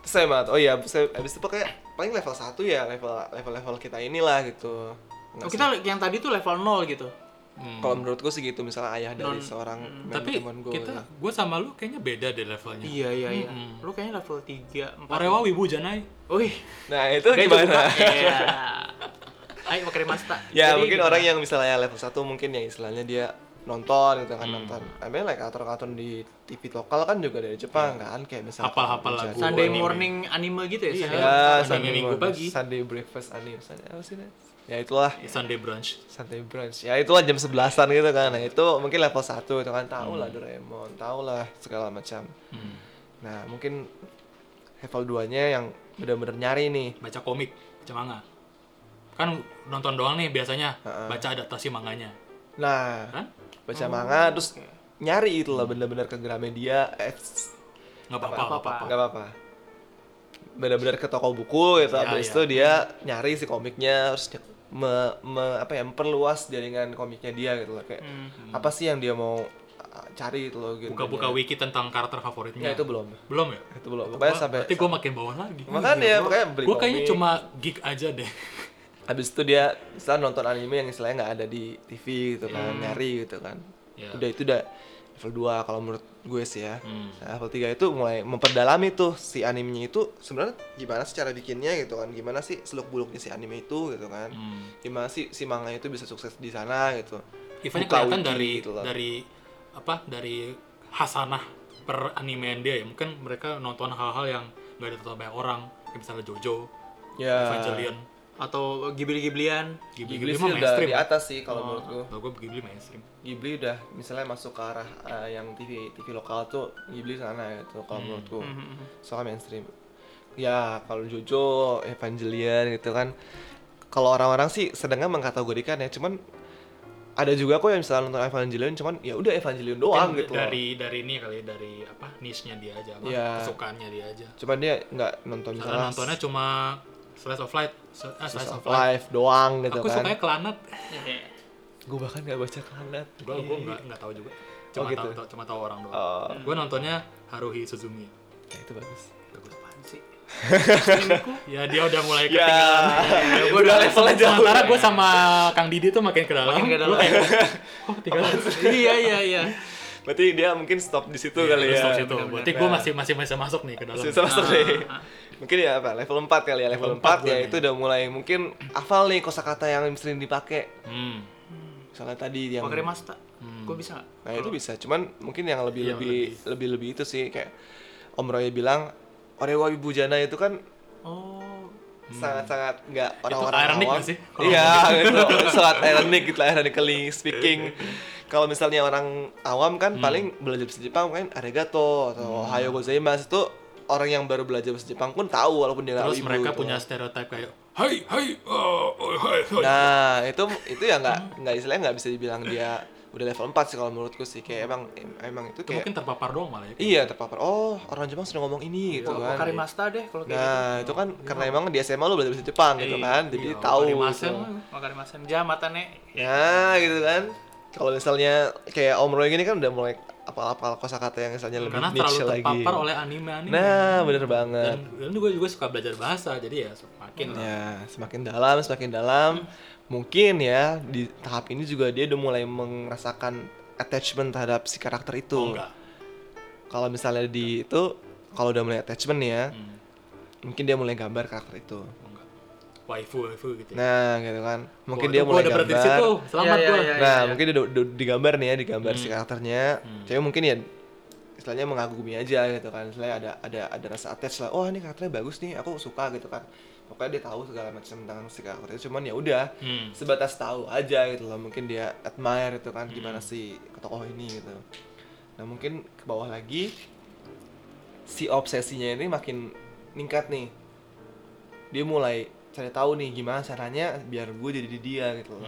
[SPEAKER 3] Terus saya banget, oh iya, saya abis itu pakai paling level 1 ya, level level level kita inilah gitu. Nggak
[SPEAKER 2] Oh, kita yang tadi tuh level 0 gitu.
[SPEAKER 1] Hmm.
[SPEAKER 3] Kalau menurut gue sih gitu, misalnya ayah dari
[SPEAKER 2] Non-
[SPEAKER 3] seorang member
[SPEAKER 1] Tapi
[SPEAKER 3] teman ya. gue.
[SPEAKER 1] kita, gue sama lu kayaknya beda deh levelnya.
[SPEAKER 2] Iya, iya, iya.
[SPEAKER 1] Mm-mm.
[SPEAKER 2] Lu kayaknya level 3, 4.
[SPEAKER 1] Orewa Wibu Janai.
[SPEAKER 2] Wih.
[SPEAKER 3] Nah itu gimana?
[SPEAKER 2] Iya. Ayo pakai masta.
[SPEAKER 3] ya
[SPEAKER 2] Jadi
[SPEAKER 3] mungkin
[SPEAKER 2] gimana?
[SPEAKER 3] orang yang misalnya level 1 mungkin yang istilahnya dia nonton gitu kan
[SPEAKER 1] Hmm.
[SPEAKER 3] nonton. Emang like kantor-kantor di TV lokal kan juga dari Jepang
[SPEAKER 1] Iya.
[SPEAKER 3] kan kayak misalnya
[SPEAKER 1] Hafal-hafal lagu.
[SPEAKER 2] Sunday
[SPEAKER 1] anime.
[SPEAKER 2] morning anime gitu ya?
[SPEAKER 1] Iya.
[SPEAKER 2] Sunday
[SPEAKER 3] Ya,
[SPEAKER 1] Anime
[SPEAKER 3] Sunday
[SPEAKER 1] minggu
[SPEAKER 3] morning,
[SPEAKER 1] pagi.
[SPEAKER 3] Sunday breakfast anime. Sunday apa sih? Nat? Ya itulah.
[SPEAKER 1] Sunday brunch.
[SPEAKER 3] Sunday brunch. Ya itulah jam 11-an gitu kan. Nah, itu mungkin level 1 itu kan tahu lah Doraemon, tahu lah segala macam.
[SPEAKER 1] Hmm.
[SPEAKER 3] Nah, mungkin level 2-nya yang benar-benar nyari nih.
[SPEAKER 1] baca komik, baca manga. Kan nonton doang nih biasanya, baca adaptasi manganya.
[SPEAKER 3] Nah,
[SPEAKER 1] Kan?
[SPEAKER 3] baca manga terus nyari itulah benar-benar ke Gramedia, eh,
[SPEAKER 1] Nggak apa-apa, nggak apa-apa.
[SPEAKER 3] nggak apa-apa. Benar-benar ke toko buku gitu.
[SPEAKER 1] Ya,
[SPEAKER 3] Habis
[SPEAKER 1] ya.
[SPEAKER 3] itu dia nyari si komiknya terus dia me, me- apa ya memperluas jaringan komiknya dia gitu loh kayak apa sih yang dia mau uh, cari itu loh gitu.
[SPEAKER 1] Hmm. Buka-buka wiki tentang karakter favoritnya.
[SPEAKER 3] Ya itu belum.
[SPEAKER 1] Belum ya?
[SPEAKER 3] Itu belum. Pokoknya
[SPEAKER 1] Wah,
[SPEAKER 3] sampai Iya,
[SPEAKER 1] Berarti gue makin bawah lagi.
[SPEAKER 3] makanya makanya beli
[SPEAKER 1] Gue kayaknya
[SPEAKER 3] komik.
[SPEAKER 1] cuma geek aja deh.
[SPEAKER 3] habis itu dia misalnya nonton anime yang istilahnya nggak ada di TV gitu kan nyari gitu kan
[SPEAKER 1] Hmm. Ya.
[SPEAKER 3] udah itu udah level 2 kalau menurut gue sih ya
[SPEAKER 1] Hmm.
[SPEAKER 3] Nah, level 3 itu mulai memperdalami tuh si animenya itu sebenarnya gimana sih cara bikinnya gitu kan gimana sih seluk beluknya si anime itu gitu kan
[SPEAKER 1] Hmm.
[SPEAKER 3] gimana sih si manga itu bisa sukses di sana gitu
[SPEAKER 1] Eventnya
[SPEAKER 3] Buka
[SPEAKER 1] kelihatan
[SPEAKER 3] wiki
[SPEAKER 1] dari
[SPEAKER 3] gitu loh.
[SPEAKER 1] dari apa? Dari hasanah per animean dia ya. Mungkin mereka nonton hal-hal yang nggak ditonton banyak orang. Kayak misalnya Jojo,
[SPEAKER 3] ya
[SPEAKER 1] Evangelion,
[SPEAKER 2] Atau ghibli-ghiblian.
[SPEAKER 3] Ghibli
[SPEAKER 1] Ghibli-Ghibli
[SPEAKER 3] sih
[SPEAKER 1] mah
[SPEAKER 3] udah
[SPEAKER 1] mainstream. Oh.
[SPEAKER 3] di atas sih kalau menurut gue
[SPEAKER 1] Kalau gue Ghibli mainstream.
[SPEAKER 3] Ghibli udah misalnya masuk ke arah eh, yang TV TV lokal tuh Ghibli sana gitu
[SPEAKER 1] Hmm,
[SPEAKER 3] kalau menurutku soalnya mainstream ya kalau Jojo Evangelion gitu kan kalau orang-orang sih sedangnya mengkategorikan ya cuman ada juga kok yang misalnya nonton Evangelion cuman ya udah Evangelion doang
[SPEAKER 1] Mungkin
[SPEAKER 3] gitu loh.
[SPEAKER 1] dari dari ini kali ya, dari apa niche-nya dia aja apa
[SPEAKER 3] Iya.
[SPEAKER 1] kesukaannya dia aja
[SPEAKER 3] cuman dia nggak nonton
[SPEAKER 1] karena
[SPEAKER 3] misalnya
[SPEAKER 1] nontonnya cuma slice of life slice, ah,
[SPEAKER 3] Slice
[SPEAKER 1] slice of
[SPEAKER 3] of
[SPEAKER 1] life
[SPEAKER 3] Life doang gitu
[SPEAKER 1] aku
[SPEAKER 3] kan
[SPEAKER 1] sukanya kelanat
[SPEAKER 3] Iya. gue bahkan nggak baca Iya, klanat
[SPEAKER 1] gue gue nggak nggak tahu juga cuma
[SPEAKER 3] gitu.
[SPEAKER 1] tahu tahu- cuma tahu orang doang
[SPEAKER 3] Oh.
[SPEAKER 1] gue nontonnya Haruhi Suzuki
[SPEAKER 3] ya, itu bagus
[SPEAKER 2] Apaan sih?
[SPEAKER 1] ya dia udah mulai
[SPEAKER 3] ya
[SPEAKER 1] ketinggalan Iya,
[SPEAKER 3] gue udah levelnya jauh
[SPEAKER 1] sementara gue sama Kang Didi tuh makin ke dalam Iya,
[SPEAKER 2] Makin ke dalam.
[SPEAKER 1] Lu kayak kok ketinggalan
[SPEAKER 2] Oh, Iya, iya, iya.
[SPEAKER 3] berti dia mungkin stop di situ kali
[SPEAKER 1] Terus
[SPEAKER 3] ya
[SPEAKER 1] Iya, stop situ. berarti gue masih masih bisa masuk nih ke dalam
[SPEAKER 3] Susah masuk deh. Mungkin ya apa level 4 kali
[SPEAKER 1] Ah,
[SPEAKER 3] ya level,
[SPEAKER 1] Level empat
[SPEAKER 3] 4, ya
[SPEAKER 1] gue
[SPEAKER 3] itu udah mulai mungkin hafal nih kosakata yang sering dipakai.
[SPEAKER 1] hmm.
[SPEAKER 3] Misalnya tadi yang
[SPEAKER 2] Pakai masta. Gue bisa nggak?
[SPEAKER 3] Nah, itu bisa. Cuman mungkin yang lebih
[SPEAKER 1] Iya,
[SPEAKER 3] lebih lebih lebih itu sih kayak Om Roy bilang Orewa Bujana itu kan
[SPEAKER 2] Oh.
[SPEAKER 3] sangat-sangat nggak orang-orang
[SPEAKER 1] Hmm. ironic
[SPEAKER 3] awam.
[SPEAKER 1] nggak sih? Kalau
[SPEAKER 3] Iya, itu sangat ironic gitu, ironically speaking. Kalau misalnya orang awam kan
[SPEAKER 1] Hmm.
[SPEAKER 3] paling belajar bahasa Jepang kan arigato atau ohayo gozaimasu itu orang yang baru belajar bahasa Jepang pun tahu walaupun dia nggak
[SPEAKER 1] terus
[SPEAKER 3] wibu
[SPEAKER 1] mereka
[SPEAKER 3] gitu.
[SPEAKER 1] punya stereotip kayak hai hai oh, oh, hai hai
[SPEAKER 3] Nah, itu itu ya nggak nggak istilahnya nggak bisa dibilang dia udah level 4 sih kalau menurutku sih kayak emang em- emang itu
[SPEAKER 1] itu
[SPEAKER 3] kayak
[SPEAKER 1] mungkin terpapar doang malah ya
[SPEAKER 3] iya terpapar oh orang Jepang sering ngomong
[SPEAKER 1] Iya,
[SPEAKER 3] ini gitu kan.
[SPEAKER 2] Pakai masta deh kalau kayak gitu.
[SPEAKER 3] Nah, itu kan karena emang di SMA lu belajar bahasa Jepang gitu kan. Jadi tahu
[SPEAKER 1] Karimasen
[SPEAKER 3] gitu.
[SPEAKER 1] Iya, lah.
[SPEAKER 2] Pakai masta. Ja matane.
[SPEAKER 3] Nah, gitu kan. Kalau misalnya kayak Om Roy gini kan udah mulai apa-apa kosakata yang misalnya lebih
[SPEAKER 1] karena terlalu
[SPEAKER 3] niche lagi.
[SPEAKER 1] terpapar oleh anime anime
[SPEAKER 3] Nah, bener banget.
[SPEAKER 1] dan, dan gue juga suka belajar bahasa jadi ya makin lah
[SPEAKER 3] Ya, semakin dalam, semakin dalam. Mungkin ya di tahap ini juga dia udah mulai merasakan attachment terhadap si karakter itu.
[SPEAKER 1] oh, enggak
[SPEAKER 3] kalau misalnya di itu kalau udah mulai attachment ya,
[SPEAKER 1] Hmm,
[SPEAKER 3] mungkin dia mulai gambar karakter itu.
[SPEAKER 1] oh, enggak waifu waifu gitu ya.
[SPEAKER 3] Nah, gitu kan. Mungkin
[SPEAKER 1] Wah,
[SPEAKER 3] dia
[SPEAKER 1] itu gua
[SPEAKER 3] mulai
[SPEAKER 1] udah
[SPEAKER 3] gambar.
[SPEAKER 1] berhenti di situ selamat
[SPEAKER 2] Iya,
[SPEAKER 1] gue
[SPEAKER 2] iya, iya.
[SPEAKER 3] Nah, mungkin dia udah, udah digambar nih ya, digambar
[SPEAKER 1] Hmm.
[SPEAKER 3] si karakternya. Tapi mungkin ya istilahnya mengagumi aja gitu kan. Istilahnya ada ada ada rasa attach lah. Oh, ini karakternya bagus nih, aku suka gitu kan. Pokoknya dia tahu segala macam tentang si karakternya. Cuman ya udah
[SPEAKER 1] Hmm.
[SPEAKER 3] sebatas tahu aja gitu loh. Mungkin dia admire gitu kan gimana si tokoh ini gitu. Nah, mungkin ke bawah lagi si obsesinya ini makin meningkat nih. Dia mulai cari tahu nih gimana caranya biar gue jadi dia gitu loh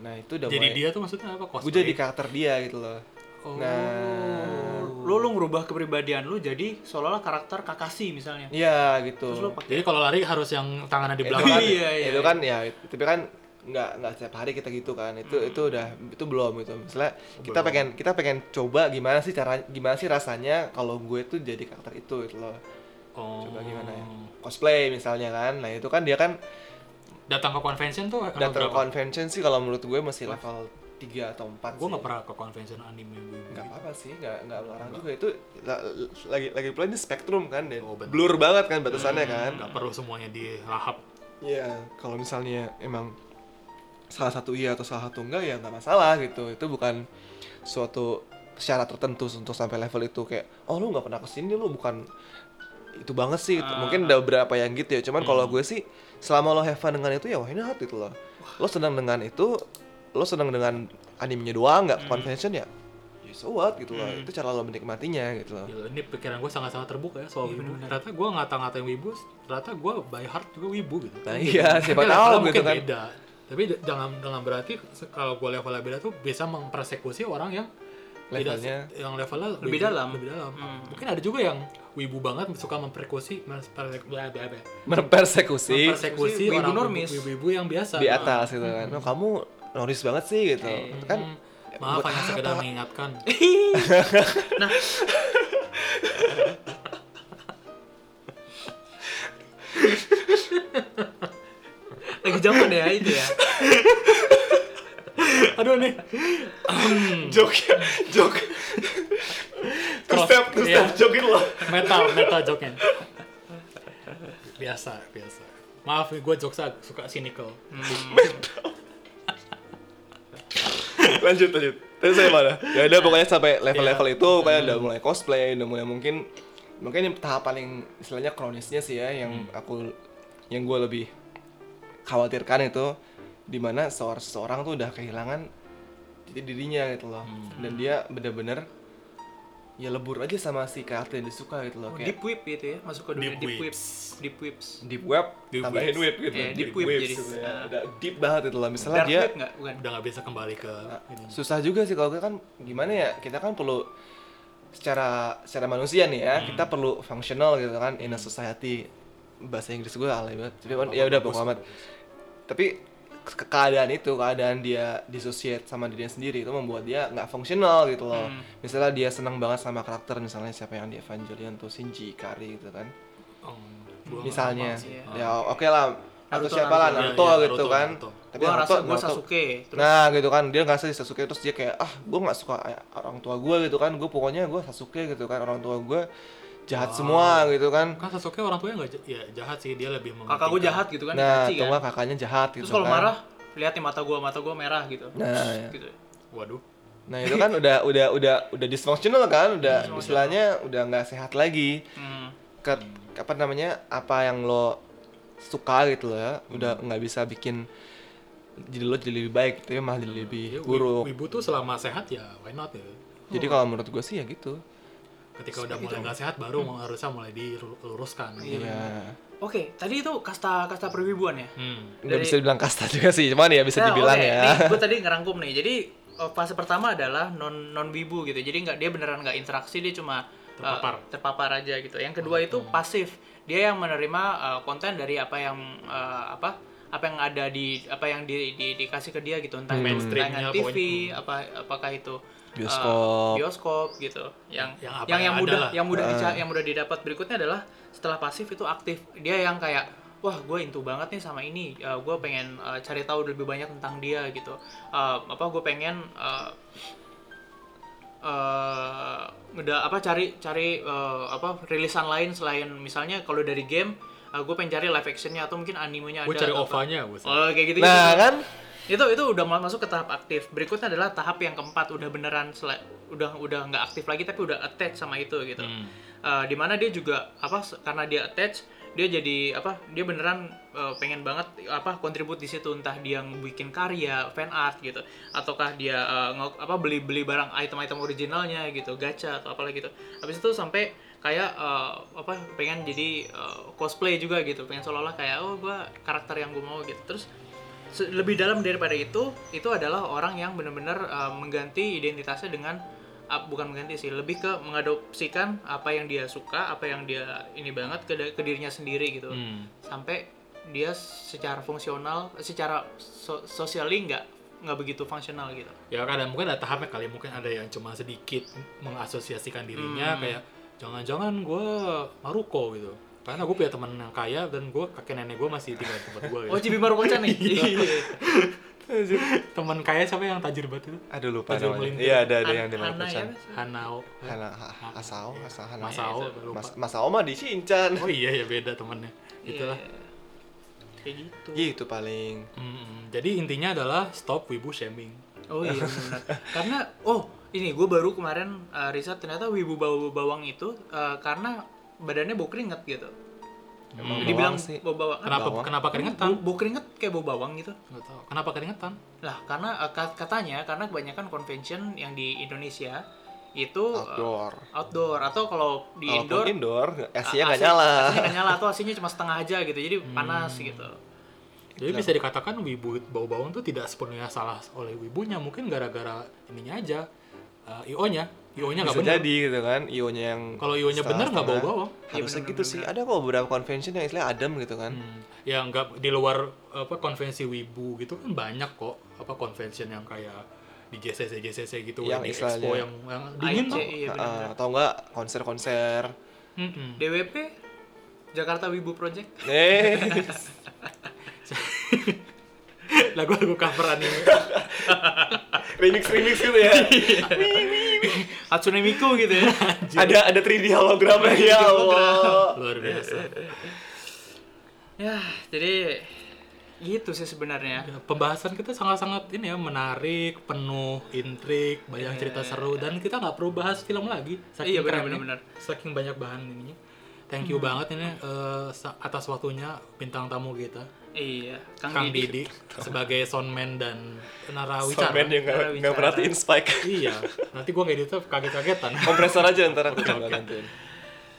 [SPEAKER 3] nah itu udah
[SPEAKER 1] Hmm. Jadi
[SPEAKER 3] mulai
[SPEAKER 1] dia tuh maksudnya apa?
[SPEAKER 3] gue
[SPEAKER 1] Cosplay?
[SPEAKER 3] jadi karakter dia gitu loh
[SPEAKER 1] Oh.
[SPEAKER 3] nah
[SPEAKER 2] Oh. Lu lu ngerubah kepribadian lu jadi seolah-olah karakter Kakashi misalnya.
[SPEAKER 3] iya gitu
[SPEAKER 2] Terus lu pakai
[SPEAKER 1] Jadi kalau lari harus yang tangannya di
[SPEAKER 3] itu
[SPEAKER 1] belakang.
[SPEAKER 3] kan,
[SPEAKER 2] Iya, iya,
[SPEAKER 3] itu kan ya tapi kan nggak nggak setiap hari kita gitu kan itu
[SPEAKER 1] Hmm.
[SPEAKER 3] itu udah itu belum itu misalnya
[SPEAKER 1] Oh,
[SPEAKER 3] kita pengen kita pengen coba gimana sih cara gimana sih rasanya kalau gue tuh jadi karakter itu gitu loh
[SPEAKER 1] Oh.
[SPEAKER 3] coba gimana ya cosplay misalnya kan nah itu kan dia kan
[SPEAKER 1] Datang ke convention tuh angka
[SPEAKER 3] datang
[SPEAKER 1] berapa?
[SPEAKER 3] convention sih kalau menurut gue masih level 3 atau 4
[SPEAKER 1] Gue nggak pernah gitu. ke convention anime gue.
[SPEAKER 3] nggak apa-apa sih nggak nggak melarang juga itu la- la- lagi lagi pula ini spektrum kan dan
[SPEAKER 1] Oh, benar.
[SPEAKER 3] blur banget kan batasannya kan
[SPEAKER 1] Nggak perlu semuanya dilahap.
[SPEAKER 3] Iya, kalau misalnya emang salah satu iya atau salah satu enggak ya nggak masalah gitu. Itu bukan suatu syarat tertentu untuk sampai level itu kayak oh lu nggak pernah kesini lu bukan itu banget sih gitu. mungkin ada beberapa yang gitu ya cuman kalau gue sih selama lo have fun dengan itu ya why not gitu loh lo senang dengan itu lo senang dengan animenya doang nggak convention ya ya so what gitu loh itu cara lo menikmatinya gitu loh
[SPEAKER 1] Gila, ini pikiran gue sangat-sangat terbuka ya
[SPEAKER 2] Iya,
[SPEAKER 1] soal wibu. Ternyata gue ngata-ngatain wibu, ternyata gue by heart juga wibu gitu.
[SPEAKER 3] Nah, iya, siapa
[SPEAKER 1] Tapi
[SPEAKER 3] tahu
[SPEAKER 1] levelnya
[SPEAKER 3] gitu
[SPEAKER 1] mungkin
[SPEAKER 3] kan.
[SPEAKER 1] Beda. Tapi d- dalam dalam berarti se- kalau gue levelnya beda tuh bisa mempersekusi orang yang tidak-
[SPEAKER 3] Levelnya-
[SPEAKER 1] yang levelnya
[SPEAKER 2] Lebih dalam.
[SPEAKER 1] Lebih dalam.
[SPEAKER 2] Hmm.
[SPEAKER 1] Mungkin ada juga yang wibu banget suka mempersekusi mempersek- bla, bla, bla.
[SPEAKER 3] mempersekusi
[SPEAKER 1] mempersekusi
[SPEAKER 2] Wibu
[SPEAKER 1] orang
[SPEAKER 2] normis.
[SPEAKER 1] wibu-wibu yang biasa.
[SPEAKER 3] di atas gitu kan oh, kamu noris banget sih gitu kan
[SPEAKER 1] Hmm. Maaf
[SPEAKER 3] buat
[SPEAKER 1] hanya
[SPEAKER 3] apa?
[SPEAKER 1] sekedar mengingatkan.
[SPEAKER 2] Nah. lagi zaman ya itu ya.
[SPEAKER 1] Aduh nih.
[SPEAKER 3] joke ya joke two step two
[SPEAKER 1] Iya.
[SPEAKER 3] step joke gitu loh
[SPEAKER 1] metal metal joke biasa biasa maaf nih gue jokes ag- suka cynical
[SPEAKER 2] Hmm.
[SPEAKER 3] lanjut lanjut terus saya mana ya udah pokoknya sampai level-level itu kayak udah mulai cosplay udah mulai mungkin mungkin yang tahap paling istilahnya kronisnya sih ya yang aku yang gue lebih khawatirkan itu dimana seorang seseorang tuh udah kehilangan jadi dirinya gitu loh dan dia bener-bener ya lebur aja sama si karakter yang disuka gitu loh
[SPEAKER 2] Oh,
[SPEAKER 3] kayak
[SPEAKER 2] Deep whip itu ya, masuk ke
[SPEAKER 1] Deep
[SPEAKER 2] dunia deep, whip.
[SPEAKER 1] whips.
[SPEAKER 2] Deep whips.
[SPEAKER 3] deep web
[SPEAKER 1] Deep
[SPEAKER 3] tambahin
[SPEAKER 1] webs.
[SPEAKER 3] web gitu
[SPEAKER 2] Iya, deep web jadi.
[SPEAKER 3] gitu ya. Udah deep banget itu lah misalnya
[SPEAKER 2] Dark
[SPEAKER 3] dia
[SPEAKER 2] web nggak? Bukan.
[SPEAKER 1] udah nggak bisa kembali ke ini.
[SPEAKER 3] susah juga sih kalau kita kan gimana ya kita kan perlu secara secara manusia nih ya kita perlu functional gitu kan in a society bahasa Inggris gue alay banget tapi ya udah bodo amat tapi ke- keadaan itu keadaan dia dissociate sama dirinya sendiri itu membuat dia nggak fungsional gitu loh misalnya dia senang banget sama karakter misalnya siapa yang di Evangelion tuh Shinji Ikari gitu kan
[SPEAKER 1] Oh, gua nggak
[SPEAKER 3] misalnya
[SPEAKER 1] paham sih.
[SPEAKER 3] ya oke lah atau
[SPEAKER 2] Naruto,
[SPEAKER 3] siapa lah
[SPEAKER 1] Naruto. Iya,
[SPEAKER 3] Naruto
[SPEAKER 1] iya,
[SPEAKER 3] gitu
[SPEAKER 1] Naruto,
[SPEAKER 3] kan
[SPEAKER 1] Naruto.
[SPEAKER 3] tapi
[SPEAKER 2] Gua
[SPEAKER 3] Naruto
[SPEAKER 2] rasa gua
[SPEAKER 3] Naruto-
[SPEAKER 2] Sasuke. Terus
[SPEAKER 3] nah gitu kan dia ngerasa di Sasuke terus dia kayak ah gue nggak suka orang tua gue gitu kan gue pokoknya gue Sasuke gitu kan orang tua gue jahat
[SPEAKER 2] Ah.
[SPEAKER 3] semua gitu kan
[SPEAKER 1] kan Sasuke orang tuanya nggak j- ya jahat sih dia lebih
[SPEAKER 2] kakak gua
[SPEAKER 1] mementingkan-
[SPEAKER 2] jahat gitu kan,
[SPEAKER 3] nah
[SPEAKER 2] dicaci
[SPEAKER 3] atau
[SPEAKER 2] kan.
[SPEAKER 3] nggak kakaknya jahat gitu
[SPEAKER 2] Terus kalau
[SPEAKER 3] kan
[SPEAKER 2] marah, lihat nih mata gua, mata gua merah gitu.
[SPEAKER 3] Nah,
[SPEAKER 2] Terus
[SPEAKER 3] iya.
[SPEAKER 2] gitu.
[SPEAKER 1] waduh
[SPEAKER 3] nah itu kan udah udah udah udah dysfunctional kan udah istilahnya udah nggak sehat lagi
[SPEAKER 2] Hmm.
[SPEAKER 3] ke apa namanya apa yang lo suka gitu loh ya
[SPEAKER 2] Hmm.
[SPEAKER 3] udah nggak bisa bikin jadi lo jadi lebih baik gitu ya malah
[SPEAKER 2] Hmm.
[SPEAKER 3] jadi lebih
[SPEAKER 1] Ya, wi-
[SPEAKER 3] buruk
[SPEAKER 1] wibu tuh selama sehat ya why not ya
[SPEAKER 3] jadi kalau menurut gue sih ya gitu
[SPEAKER 1] ketika udah mulai nggak sehat baru
[SPEAKER 2] Hmm.
[SPEAKER 1] mau- harusnya mulai diluruskan
[SPEAKER 3] iya
[SPEAKER 2] Oke, tadi itu kasta kasta perwibuan ya.
[SPEAKER 1] hmm.
[SPEAKER 3] nggak
[SPEAKER 2] Dari-
[SPEAKER 3] bisa dibilang kasta juga sih cuman ya
[SPEAKER 2] Eh,
[SPEAKER 3] bisa dibilang ya
[SPEAKER 2] Gue tadi ngerangkum Nah, nih. Jadi eh, fase pertama adalah non non wibu gitu. Jadi nggak dia beneran nggak interaksi, dia cuma eh,
[SPEAKER 1] Terpapar.
[SPEAKER 2] terpapar aja gitu. Yang
[SPEAKER 3] Oh,
[SPEAKER 2] kedua itu pasif. Dia yang menerima eh, konten dari apa yang eh, apa apa yang ada di apa yang di, di- dikasih ke dia gitu entah itu
[SPEAKER 1] Mainstreamnya Hmm.
[SPEAKER 2] tayangan TV apa apakah itu eh,
[SPEAKER 3] Bioskop.
[SPEAKER 2] bioskop gitu yang
[SPEAKER 1] Yang apa
[SPEAKER 2] yang
[SPEAKER 1] yang
[SPEAKER 2] yang
[SPEAKER 1] ada
[SPEAKER 2] mudah
[SPEAKER 1] lah.
[SPEAKER 2] yang mudah dica- yang mudah didapat berikutnya adalah setelah pasif itu aktif dia yang kayak wah gue intu banget nih sama ini Eh, gue pengen eh, cari tahu lebih banyak tentang dia gitu Eh, apa gue pengen eh, eh udah apa cari cari eh, apa rilisan lain selain misalnya kalau dari game gue pengen cari live actionnya atau mungkin animenya
[SPEAKER 1] gue
[SPEAKER 2] ada
[SPEAKER 1] cari
[SPEAKER 2] atau apa.
[SPEAKER 1] ovanya gue
[SPEAKER 2] oh kayak gitu
[SPEAKER 3] nah kan
[SPEAKER 2] itu itu udah mulai masuk ke tahap aktif berikutnya adalah tahap yang keempat udah beneran sela- udah udah nggak aktif lagi tapi udah attach sama itu gitu Eh, dimana dia juga apa se- karena dia attach dia jadi apa dia beneran eh, pengen banget apa kontribut di situ entah dia bikin karya fan art gitu ataukah dia eh, nge- apa beli beli barang item-item originalnya gitu gacha atau apalah gitu habis itu sampai kayak eh, apa pengen jadi eh, cosplay juga gitu pengen seolah-olah kayak oh gua karakter yang gue mau gitu terus se- lebih dalam daripada itu itu adalah orang yang benar-benar eh, mengganti identitasnya dengan ah, bukan mengganti sih lebih ke mengadopsikan apa yang dia suka apa yang dia ini banget ke, ke dirinya sendiri gitu
[SPEAKER 1] Hmm.
[SPEAKER 2] sampai dia secara fungsional secara so sosialnya nggak nggak begitu fungsional gitu
[SPEAKER 1] ya kadang mungkin ada tahapnya kali mungkin ada yang cuma sedikit mengasosiasikan dirinya kayak jangan-jangan gue Maruko gitu karena gue punya teman yang kaya dan gue kakek nenek gue masih tinggal di tempat gitu. gue
[SPEAKER 2] oh cibi baru kocan nih Iya.
[SPEAKER 1] gitu. teman kaya siapa yang tajir banget itu
[SPEAKER 3] Aduh lupa
[SPEAKER 1] Tajam
[SPEAKER 3] namanya.
[SPEAKER 1] melintir.
[SPEAKER 3] Iya ada ada yang di
[SPEAKER 2] Hana ya
[SPEAKER 3] Maruko-chan.
[SPEAKER 1] Hanao
[SPEAKER 3] Hana Ha- Asao, Asao, Hana. ya.
[SPEAKER 1] Masao
[SPEAKER 2] Iya,
[SPEAKER 1] lupa.
[SPEAKER 3] Mas Masao mah di Shinchan.
[SPEAKER 1] oh iya ya beda temennya itulah
[SPEAKER 2] Iya. kayak gitu
[SPEAKER 3] Gitu paling.
[SPEAKER 1] Mm-mm. jadi intinya adalah stop wibu shaming
[SPEAKER 2] oh iya benar karena oh ini gue baru kemarin uh, riset ternyata wibu bau bawang itu uh, karena badannya bau keringet gitu
[SPEAKER 3] Emang
[SPEAKER 2] jadi bilang
[SPEAKER 3] bawang sih.
[SPEAKER 2] bau bawang Apa?
[SPEAKER 1] kenapa
[SPEAKER 3] Bawang.
[SPEAKER 1] kenapa keringetan
[SPEAKER 2] bau keringet kayak bau bawang gitu
[SPEAKER 1] nggak tahu kenapa keringetan
[SPEAKER 2] lah karena uh, kat- katanya karena kebanyakan convention yang di Indonesia itu uh,
[SPEAKER 3] Outdoor.
[SPEAKER 2] outdoor atau kalau di
[SPEAKER 3] Walaupun
[SPEAKER 2] indoor
[SPEAKER 3] indoor, ya, AC-nya nggak
[SPEAKER 2] AC
[SPEAKER 3] nyala. Hmm.
[SPEAKER 2] AC-nya nggak nyala atau AC-nya cuma setengah aja gitu jadi panas gitu
[SPEAKER 1] jadi bisa dikatakan wibu bau bawang tuh tidak sepenuhnya salah oleh wibunya mungkin gara-gara ininya aja eh, io nya io nya nggak
[SPEAKER 3] Bisa
[SPEAKER 1] benar
[SPEAKER 3] jadi gitu kan, ionya yang
[SPEAKER 1] kalau io nya benar nggak bau bawang
[SPEAKER 3] Harusnya
[SPEAKER 2] bener,
[SPEAKER 3] gitu sih. Ada kok beberapa convention yang istilah adem gitu kan.
[SPEAKER 1] Hmm. ya nggak di luar apa konvensi wibu gitu kan banyak kok apa convention yang kayak di GCC GCC gitu
[SPEAKER 3] Yang
[SPEAKER 1] di
[SPEAKER 3] istilahnya-
[SPEAKER 1] expo yang, yang dingin
[SPEAKER 2] AIC,
[SPEAKER 1] tuh
[SPEAKER 2] iya
[SPEAKER 3] Heeh,
[SPEAKER 2] benar-benar.
[SPEAKER 3] atau enggak konser-konser.
[SPEAKER 1] Mm-mm.
[SPEAKER 2] DWP Jakarta Wibu Project
[SPEAKER 3] Eh,
[SPEAKER 1] lagu-lagu cover anime
[SPEAKER 3] remix remix gitu ya.
[SPEAKER 2] Hatsune Miku gitu ya
[SPEAKER 3] ada ada 3D hologramnya ya Allah.
[SPEAKER 1] luar
[SPEAKER 3] Iya,
[SPEAKER 1] biasa
[SPEAKER 2] ya jadi gitu sih sebenarnya
[SPEAKER 1] Ya, pembahasan kita sangat-sangat ini ya menarik, penuh intrik, banyak cerita seru dan kita nggak perlu bahas film lagi.
[SPEAKER 2] Iya,
[SPEAKER 1] kerennya,
[SPEAKER 2] benar, benar, Hmm. benar.
[SPEAKER 1] Saking banyak bahan ininya. Thank you banget ini eh, sa- atas waktunya bintang tamu kita
[SPEAKER 2] iya Kang,
[SPEAKER 1] Kang Didi
[SPEAKER 2] Didi.
[SPEAKER 1] sebagai soundman dan narawicara.
[SPEAKER 3] Soundman yang nggak- nggak
[SPEAKER 2] Bicara.
[SPEAKER 3] perhatiin spike.
[SPEAKER 1] Iya, nanti gua ngeditnya kaget-kagetan.
[SPEAKER 3] Kompresor aja ntar aku coba nantiin.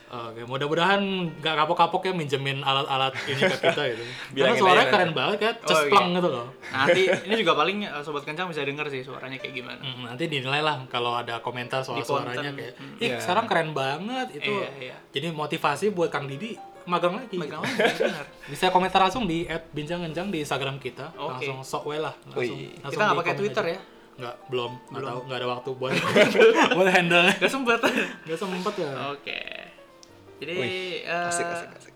[SPEAKER 1] Oke, mudah-mudahan nggak kapok-kapok ya minjemin alat-alat ini ke kita gitu. Karena
[SPEAKER 3] Bilangin aja
[SPEAKER 1] suaranya
[SPEAKER 3] nanti.
[SPEAKER 1] keren banget
[SPEAKER 2] Oh,
[SPEAKER 1] ya, cespleng
[SPEAKER 2] iya.
[SPEAKER 1] gitu loh.
[SPEAKER 2] nanti ini juga paling eh, sobat kencang bisa denger sih suaranya kayak gimana
[SPEAKER 1] Mm, nanti dinilai lah kalau ada komentar soal
[SPEAKER 2] Di konten.
[SPEAKER 1] suaranya kayak
[SPEAKER 2] Mm.
[SPEAKER 1] ih
[SPEAKER 3] Iya.
[SPEAKER 1] sekarang keren banget itu
[SPEAKER 2] Iya, iya.
[SPEAKER 1] jadi motivasi buat Kang Didi magang lagi
[SPEAKER 2] megang lagi benar
[SPEAKER 1] bisa komentar langsung di @bincang-kencang di Instagram kita
[SPEAKER 2] Oke.
[SPEAKER 1] langsung sok we lah langsung,
[SPEAKER 3] Wih.
[SPEAKER 1] langsung
[SPEAKER 2] kita nggak
[SPEAKER 1] di
[SPEAKER 2] pakai
[SPEAKER 1] komen
[SPEAKER 2] Twitter
[SPEAKER 1] aja.
[SPEAKER 2] ya
[SPEAKER 1] nggak belum nggak tahu nggak ada waktu buat buat handle
[SPEAKER 2] nggak sempet oke
[SPEAKER 1] nggak sempet
[SPEAKER 2] Oh,
[SPEAKER 1] ya
[SPEAKER 2] jadi
[SPEAKER 3] Wih,
[SPEAKER 2] eh,
[SPEAKER 3] asik asik asik.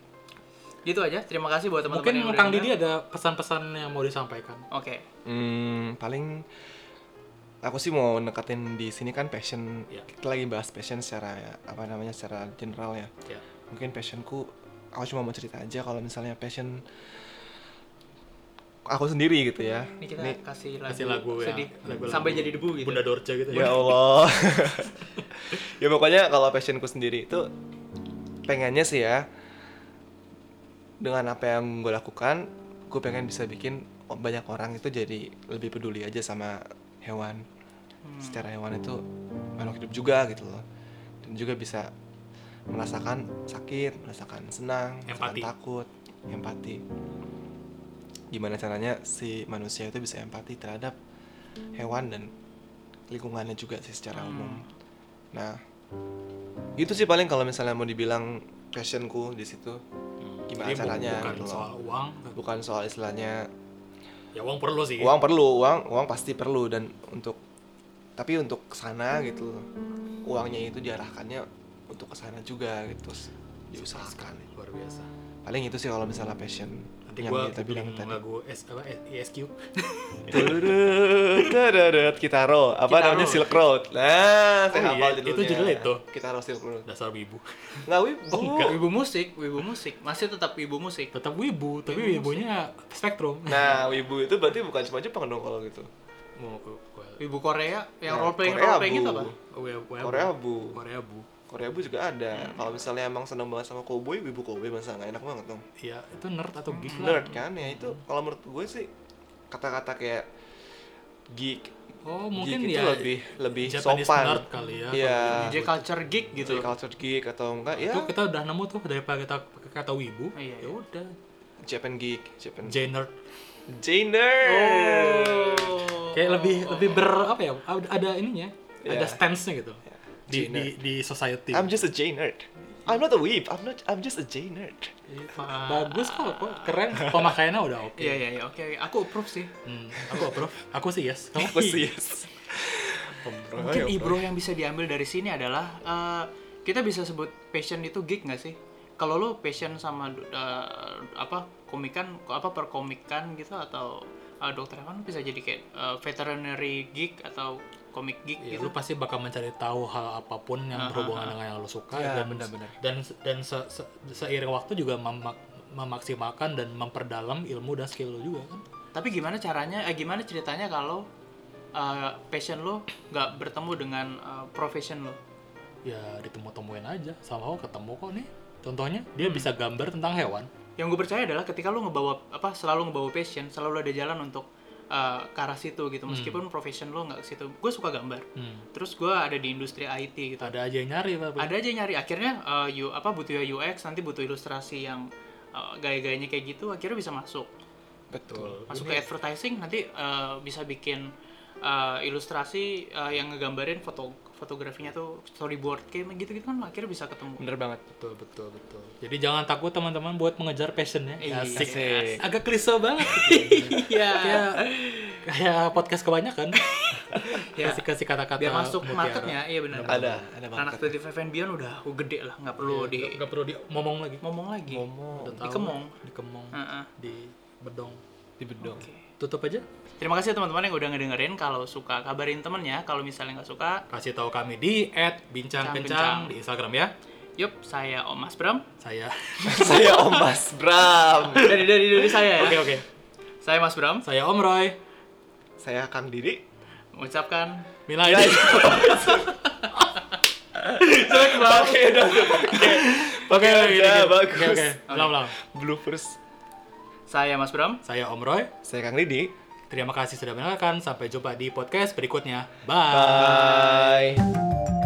[SPEAKER 2] gitu aja terima kasih buat teman-teman
[SPEAKER 1] mungkin
[SPEAKER 2] yang udah
[SPEAKER 1] Kang
[SPEAKER 2] dengar.
[SPEAKER 1] Didi ada pesan-pesan yang mau disampaikan
[SPEAKER 2] oke
[SPEAKER 3] Hmm, paling aku sih mau nekatin di sini kan passion.
[SPEAKER 1] Iya.
[SPEAKER 3] Kita lagi bahas passion secara apa namanya secara general ya.
[SPEAKER 1] ya
[SPEAKER 3] Mungkin passionku aku cuma mau cerita aja kalau misalnya passion aku sendiri gitu ya.
[SPEAKER 2] ini kita
[SPEAKER 3] Ini-
[SPEAKER 2] kasih lagu,
[SPEAKER 1] kasih lagu ya
[SPEAKER 2] sedih
[SPEAKER 1] lagu-lagu
[SPEAKER 2] sampai jadi debu gitu
[SPEAKER 1] Bunda Dorce gitu
[SPEAKER 3] Ya Allah. ya pokoknya kalau passionku sendiri itu pengennya sih ya dengan apa yang gue lakukan, gue pengen bisa bikin banyak orang itu jadi lebih peduli aja sama hewan. Secara hewan itu makhluk hidup juga gitu loh. Dan juga bisa merasakan sakit, merasakan senang, merasakan
[SPEAKER 1] Empati.
[SPEAKER 3] takut, empati. Gimana caranya si manusia itu bisa empati terhadap hewan dan lingkungannya juga sih secara umum. Nah, itu sih paling kalau misalnya mau dibilang passionku di situ
[SPEAKER 1] Hmm.
[SPEAKER 3] Gimana
[SPEAKER 1] Jadi bu-
[SPEAKER 3] caranya
[SPEAKER 1] bukan
[SPEAKER 3] gitu loh.
[SPEAKER 1] soal uang
[SPEAKER 3] bukan soal istilahnya
[SPEAKER 1] ya uang perlu sih
[SPEAKER 3] uang perlu, uang uang pasti perlu dan untuk tapi untuk kesana gitu uangnya itu diarahkannya untuk kesana juga gitu diusahakan.
[SPEAKER 1] luar biasa
[SPEAKER 3] Paling itu sih kalau misalnya passion
[SPEAKER 1] nanti gua
[SPEAKER 3] kita bilang
[SPEAKER 1] bikin
[SPEAKER 3] tadi.
[SPEAKER 1] lagu S apa S- ESQ
[SPEAKER 3] Turut, turut, Kitaro, apa
[SPEAKER 2] Kitaro.
[SPEAKER 3] namanya Silk Road. Nah,
[SPEAKER 1] Oh
[SPEAKER 3] saya
[SPEAKER 1] iya,
[SPEAKER 3] hafal judulnya.
[SPEAKER 1] itu judulnya itu.
[SPEAKER 3] Kitaro Silk Road.
[SPEAKER 1] dasar wibu
[SPEAKER 3] Nggak wibu.
[SPEAKER 2] wibu musik wibu musik masih tetap wibu musik
[SPEAKER 1] tetap wibu tapi wibunya spektrum
[SPEAKER 3] Nah, wibu itu berarti bukan cuma Jepang dong kalau gitu.
[SPEAKER 1] mau ke ke-
[SPEAKER 2] Wibu Korea
[SPEAKER 1] Ya,
[SPEAKER 2] yang
[SPEAKER 3] Nah,
[SPEAKER 2] role playing
[SPEAKER 3] Korea
[SPEAKER 2] role playing
[SPEAKER 3] bu.
[SPEAKER 2] itu apa?
[SPEAKER 1] we- we-
[SPEAKER 3] Korea bu.
[SPEAKER 1] ya, Korea bu
[SPEAKER 3] Korea bu juga ada. Kalau misalnya emang seneng banget sama cowboy, wibu cowboy masa nggak enak banget dong.
[SPEAKER 1] ya
[SPEAKER 3] Hmm.
[SPEAKER 1] itu nerd atau geek lah
[SPEAKER 3] Nerd kan ya itu kalau menurut gue sih kata-kata kayak geek
[SPEAKER 1] Oh, mungkin
[SPEAKER 3] geek itu
[SPEAKER 1] ya
[SPEAKER 3] lebih lebih
[SPEAKER 1] Japanese
[SPEAKER 3] sopan
[SPEAKER 1] nerd kali ya.
[SPEAKER 3] Iya.
[SPEAKER 2] DJ culture geek gitu.
[SPEAKER 3] culture geek atau enggak ya
[SPEAKER 1] Itu kita udah nemu tuh daripada kita pakai kata wibu. Ya
[SPEAKER 2] Iya, iya.
[SPEAKER 1] udah.
[SPEAKER 3] Hmm. Japan geek Japan
[SPEAKER 1] Jenner.
[SPEAKER 3] Jainer
[SPEAKER 2] Oh.
[SPEAKER 1] Kayak lebih lebih ber apa ya? Ada, ada ininya. Ada
[SPEAKER 3] Iya.
[SPEAKER 1] stance-nya gitu. Di, di
[SPEAKER 3] Jainer.
[SPEAKER 1] di society.
[SPEAKER 3] I'm just a Jainer I'm not a weeb I'm not I'm just a Jainer
[SPEAKER 1] Iya, Bagus kok, kok keren. Pemakaiannya udah oke.
[SPEAKER 2] Iya iya iya oke oke. aku approve sih.
[SPEAKER 1] Hmm, aku approve. Aku sih yes. Kamu
[SPEAKER 3] apa sih Pembro,
[SPEAKER 2] Mungkin
[SPEAKER 3] ayo,
[SPEAKER 2] ibro yang bisa diambil dari sini adalah eh, kita bisa sebut passion itu geek nggak sih? Kalau lo passion sama eh, apa komikan apa perkomikan gitu atau eh, dokter kan bisa jadi kayak eh, veterinary geek atau komik geek
[SPEAKER 1] Ya,
[SPEAKER 2] gitu.
[SPEAKER 1] lu pasti bakal mencari tahu hal apapun
[SPEAKER 2] Ah,
[SPEAKER 1] yang berhubungan dengan yang lu suka
[SPEAKER 3] Ya,
[SPEAKER 1] dan
[SPEAKER 3] benar-benar.
[SPEAKER 1] dan dan se- se- seiring waktu juga memak- memaksimalkan dan memperdalam ilmu dan skill lu juga kan.
[SPEAKER 2] Tapi gimana caranya? Eh, gimana ceritanya kalau eh, passion lo nggak bertemu dengan eh, profession lo?
[SPEAKER 1] Ya ditemu-temuin aja. Sama kok ketemu kok nih. Contohnya dia
[SPEAKER 2] Hmm.
[SPEAKER 1] bisa gambar tentang hewan.
[SPEAKER 2] yang gue percaya adalah ketika lu ngebawa apa selalu ngebawa passion selalu ada jalan untuk uh, ke arah situ gitu meskipun profession lu nggak ke situ gue suka gambar
[SPEAKER 1] Hmm.
[SPEAKER 2] terus gue ada di industri IT gitu
[SPEAKER 1] Ada aja yang nyari Pak.
[SPEAKER 2] ada aja yang nyari akhirnya uh, you- apa butuh UX nanti butuh ilustrasi yang uh, gaya-gayanya kayak gitu akhirnya bisa masuk
[SPEAKER 3] betul
[SPEAKER 2] masuk ke advertising nanti uh, bisa bikin uh, ilustrasi uh, yang ngegambarin foto fotografinya tuh storyboard kayak gitu gitu kan akhirnya bisa ketemu
[SPEAKER 3] bener banget
[SPEAKER 1] Betul, betul, betul. Jadi jangan takut teman-teman buat mengejar passionnya.
[SPEAKER 2] Iya.
[SPEAKER 1] Asik.
[SPEAKER 3] Asik.
[SPEAKER 1] Agak klise banget.
[SPEAKER 2] iya
[SPEAKER 1] kayak kayak podcast kebanyakan.
[SPEAKER 2] Ya.
[SPEAKER 1] Kasih-kasih kata-kata.
[SPEAKER 2] biar masuk
[SPEAKER 1] mutiara.
[SPEAKER 2] marketnya iya benar
[SPEAKER 3] ada ada
[SPEAKER 2] anak
[SPEAKER 3] banget
[SPEAKER 2] 35 and beyond udah gede lah nggak perlu di
[SPEAKER 1] Nggak- nggak perlu di ngomong lagi.
[SPEAKER 2] ngomong lagi
[SPEAKER 3] ngomong
[SPEAKER 1] Udah tahu.
[SPEAKER 2] Dikemong.
[SPEAKER 1] Dikemong.
[SPEAKER 2] Heeh.
[SPEAKER 1] Di bedong.
[SPEAKER 3] di bedong
[SPEAKER 2] Oke.
[SPEAKER 1] Tutup aja.
[SPEAKER 2] terima kasih ya teman-teman yang udah ngedengerin kalau suka kabarin temennya kalau misalnya nggak suka
[SPEAKER 1] Kasih tahu kami di @bincang-kencang
[SPEAKER 2] Kencang.
[SPEAKER 1] di Instagram ya.
[SPEAKER 2] yup saya Om Mas Bram
[SPEAKER 1] Saya.
[SPEAKER 3] saya Om Mas Bram
[SPEAKER 2] dari dari dari saya ya
[SPEAKER 1] Oke, oke.
[SPEAKER 2] saya Mas Bram
[SPEAKER 1] Saya Om Roy.
[SPEAKER 3] saya Kang Didi
[SPEAKER 2] mengucapkan
[SPEAKER 1] Mila ini.
[SPEAKER 3] oke udah
[SPEAKER 1] Oke, oke,
[SPEAKER 3] udah,
[SPEAKER 1] oke.
[SPEAKER 3] bagus.
[SPEAKER 1] Oke, oke. Ulang, ulang.
[SPEAKER 3] bloopers
[SPEAKER 2] saya Mas Bram
[SPEAKER 1] Saya Om Roy.
[SPEAKER 3] saya Kang Didi
[SPEAKER 1] Terima kasih sudah mendengarkan. Sampai jumpa di podcast berikutnya. Bye.
[SPEAKER 3] bye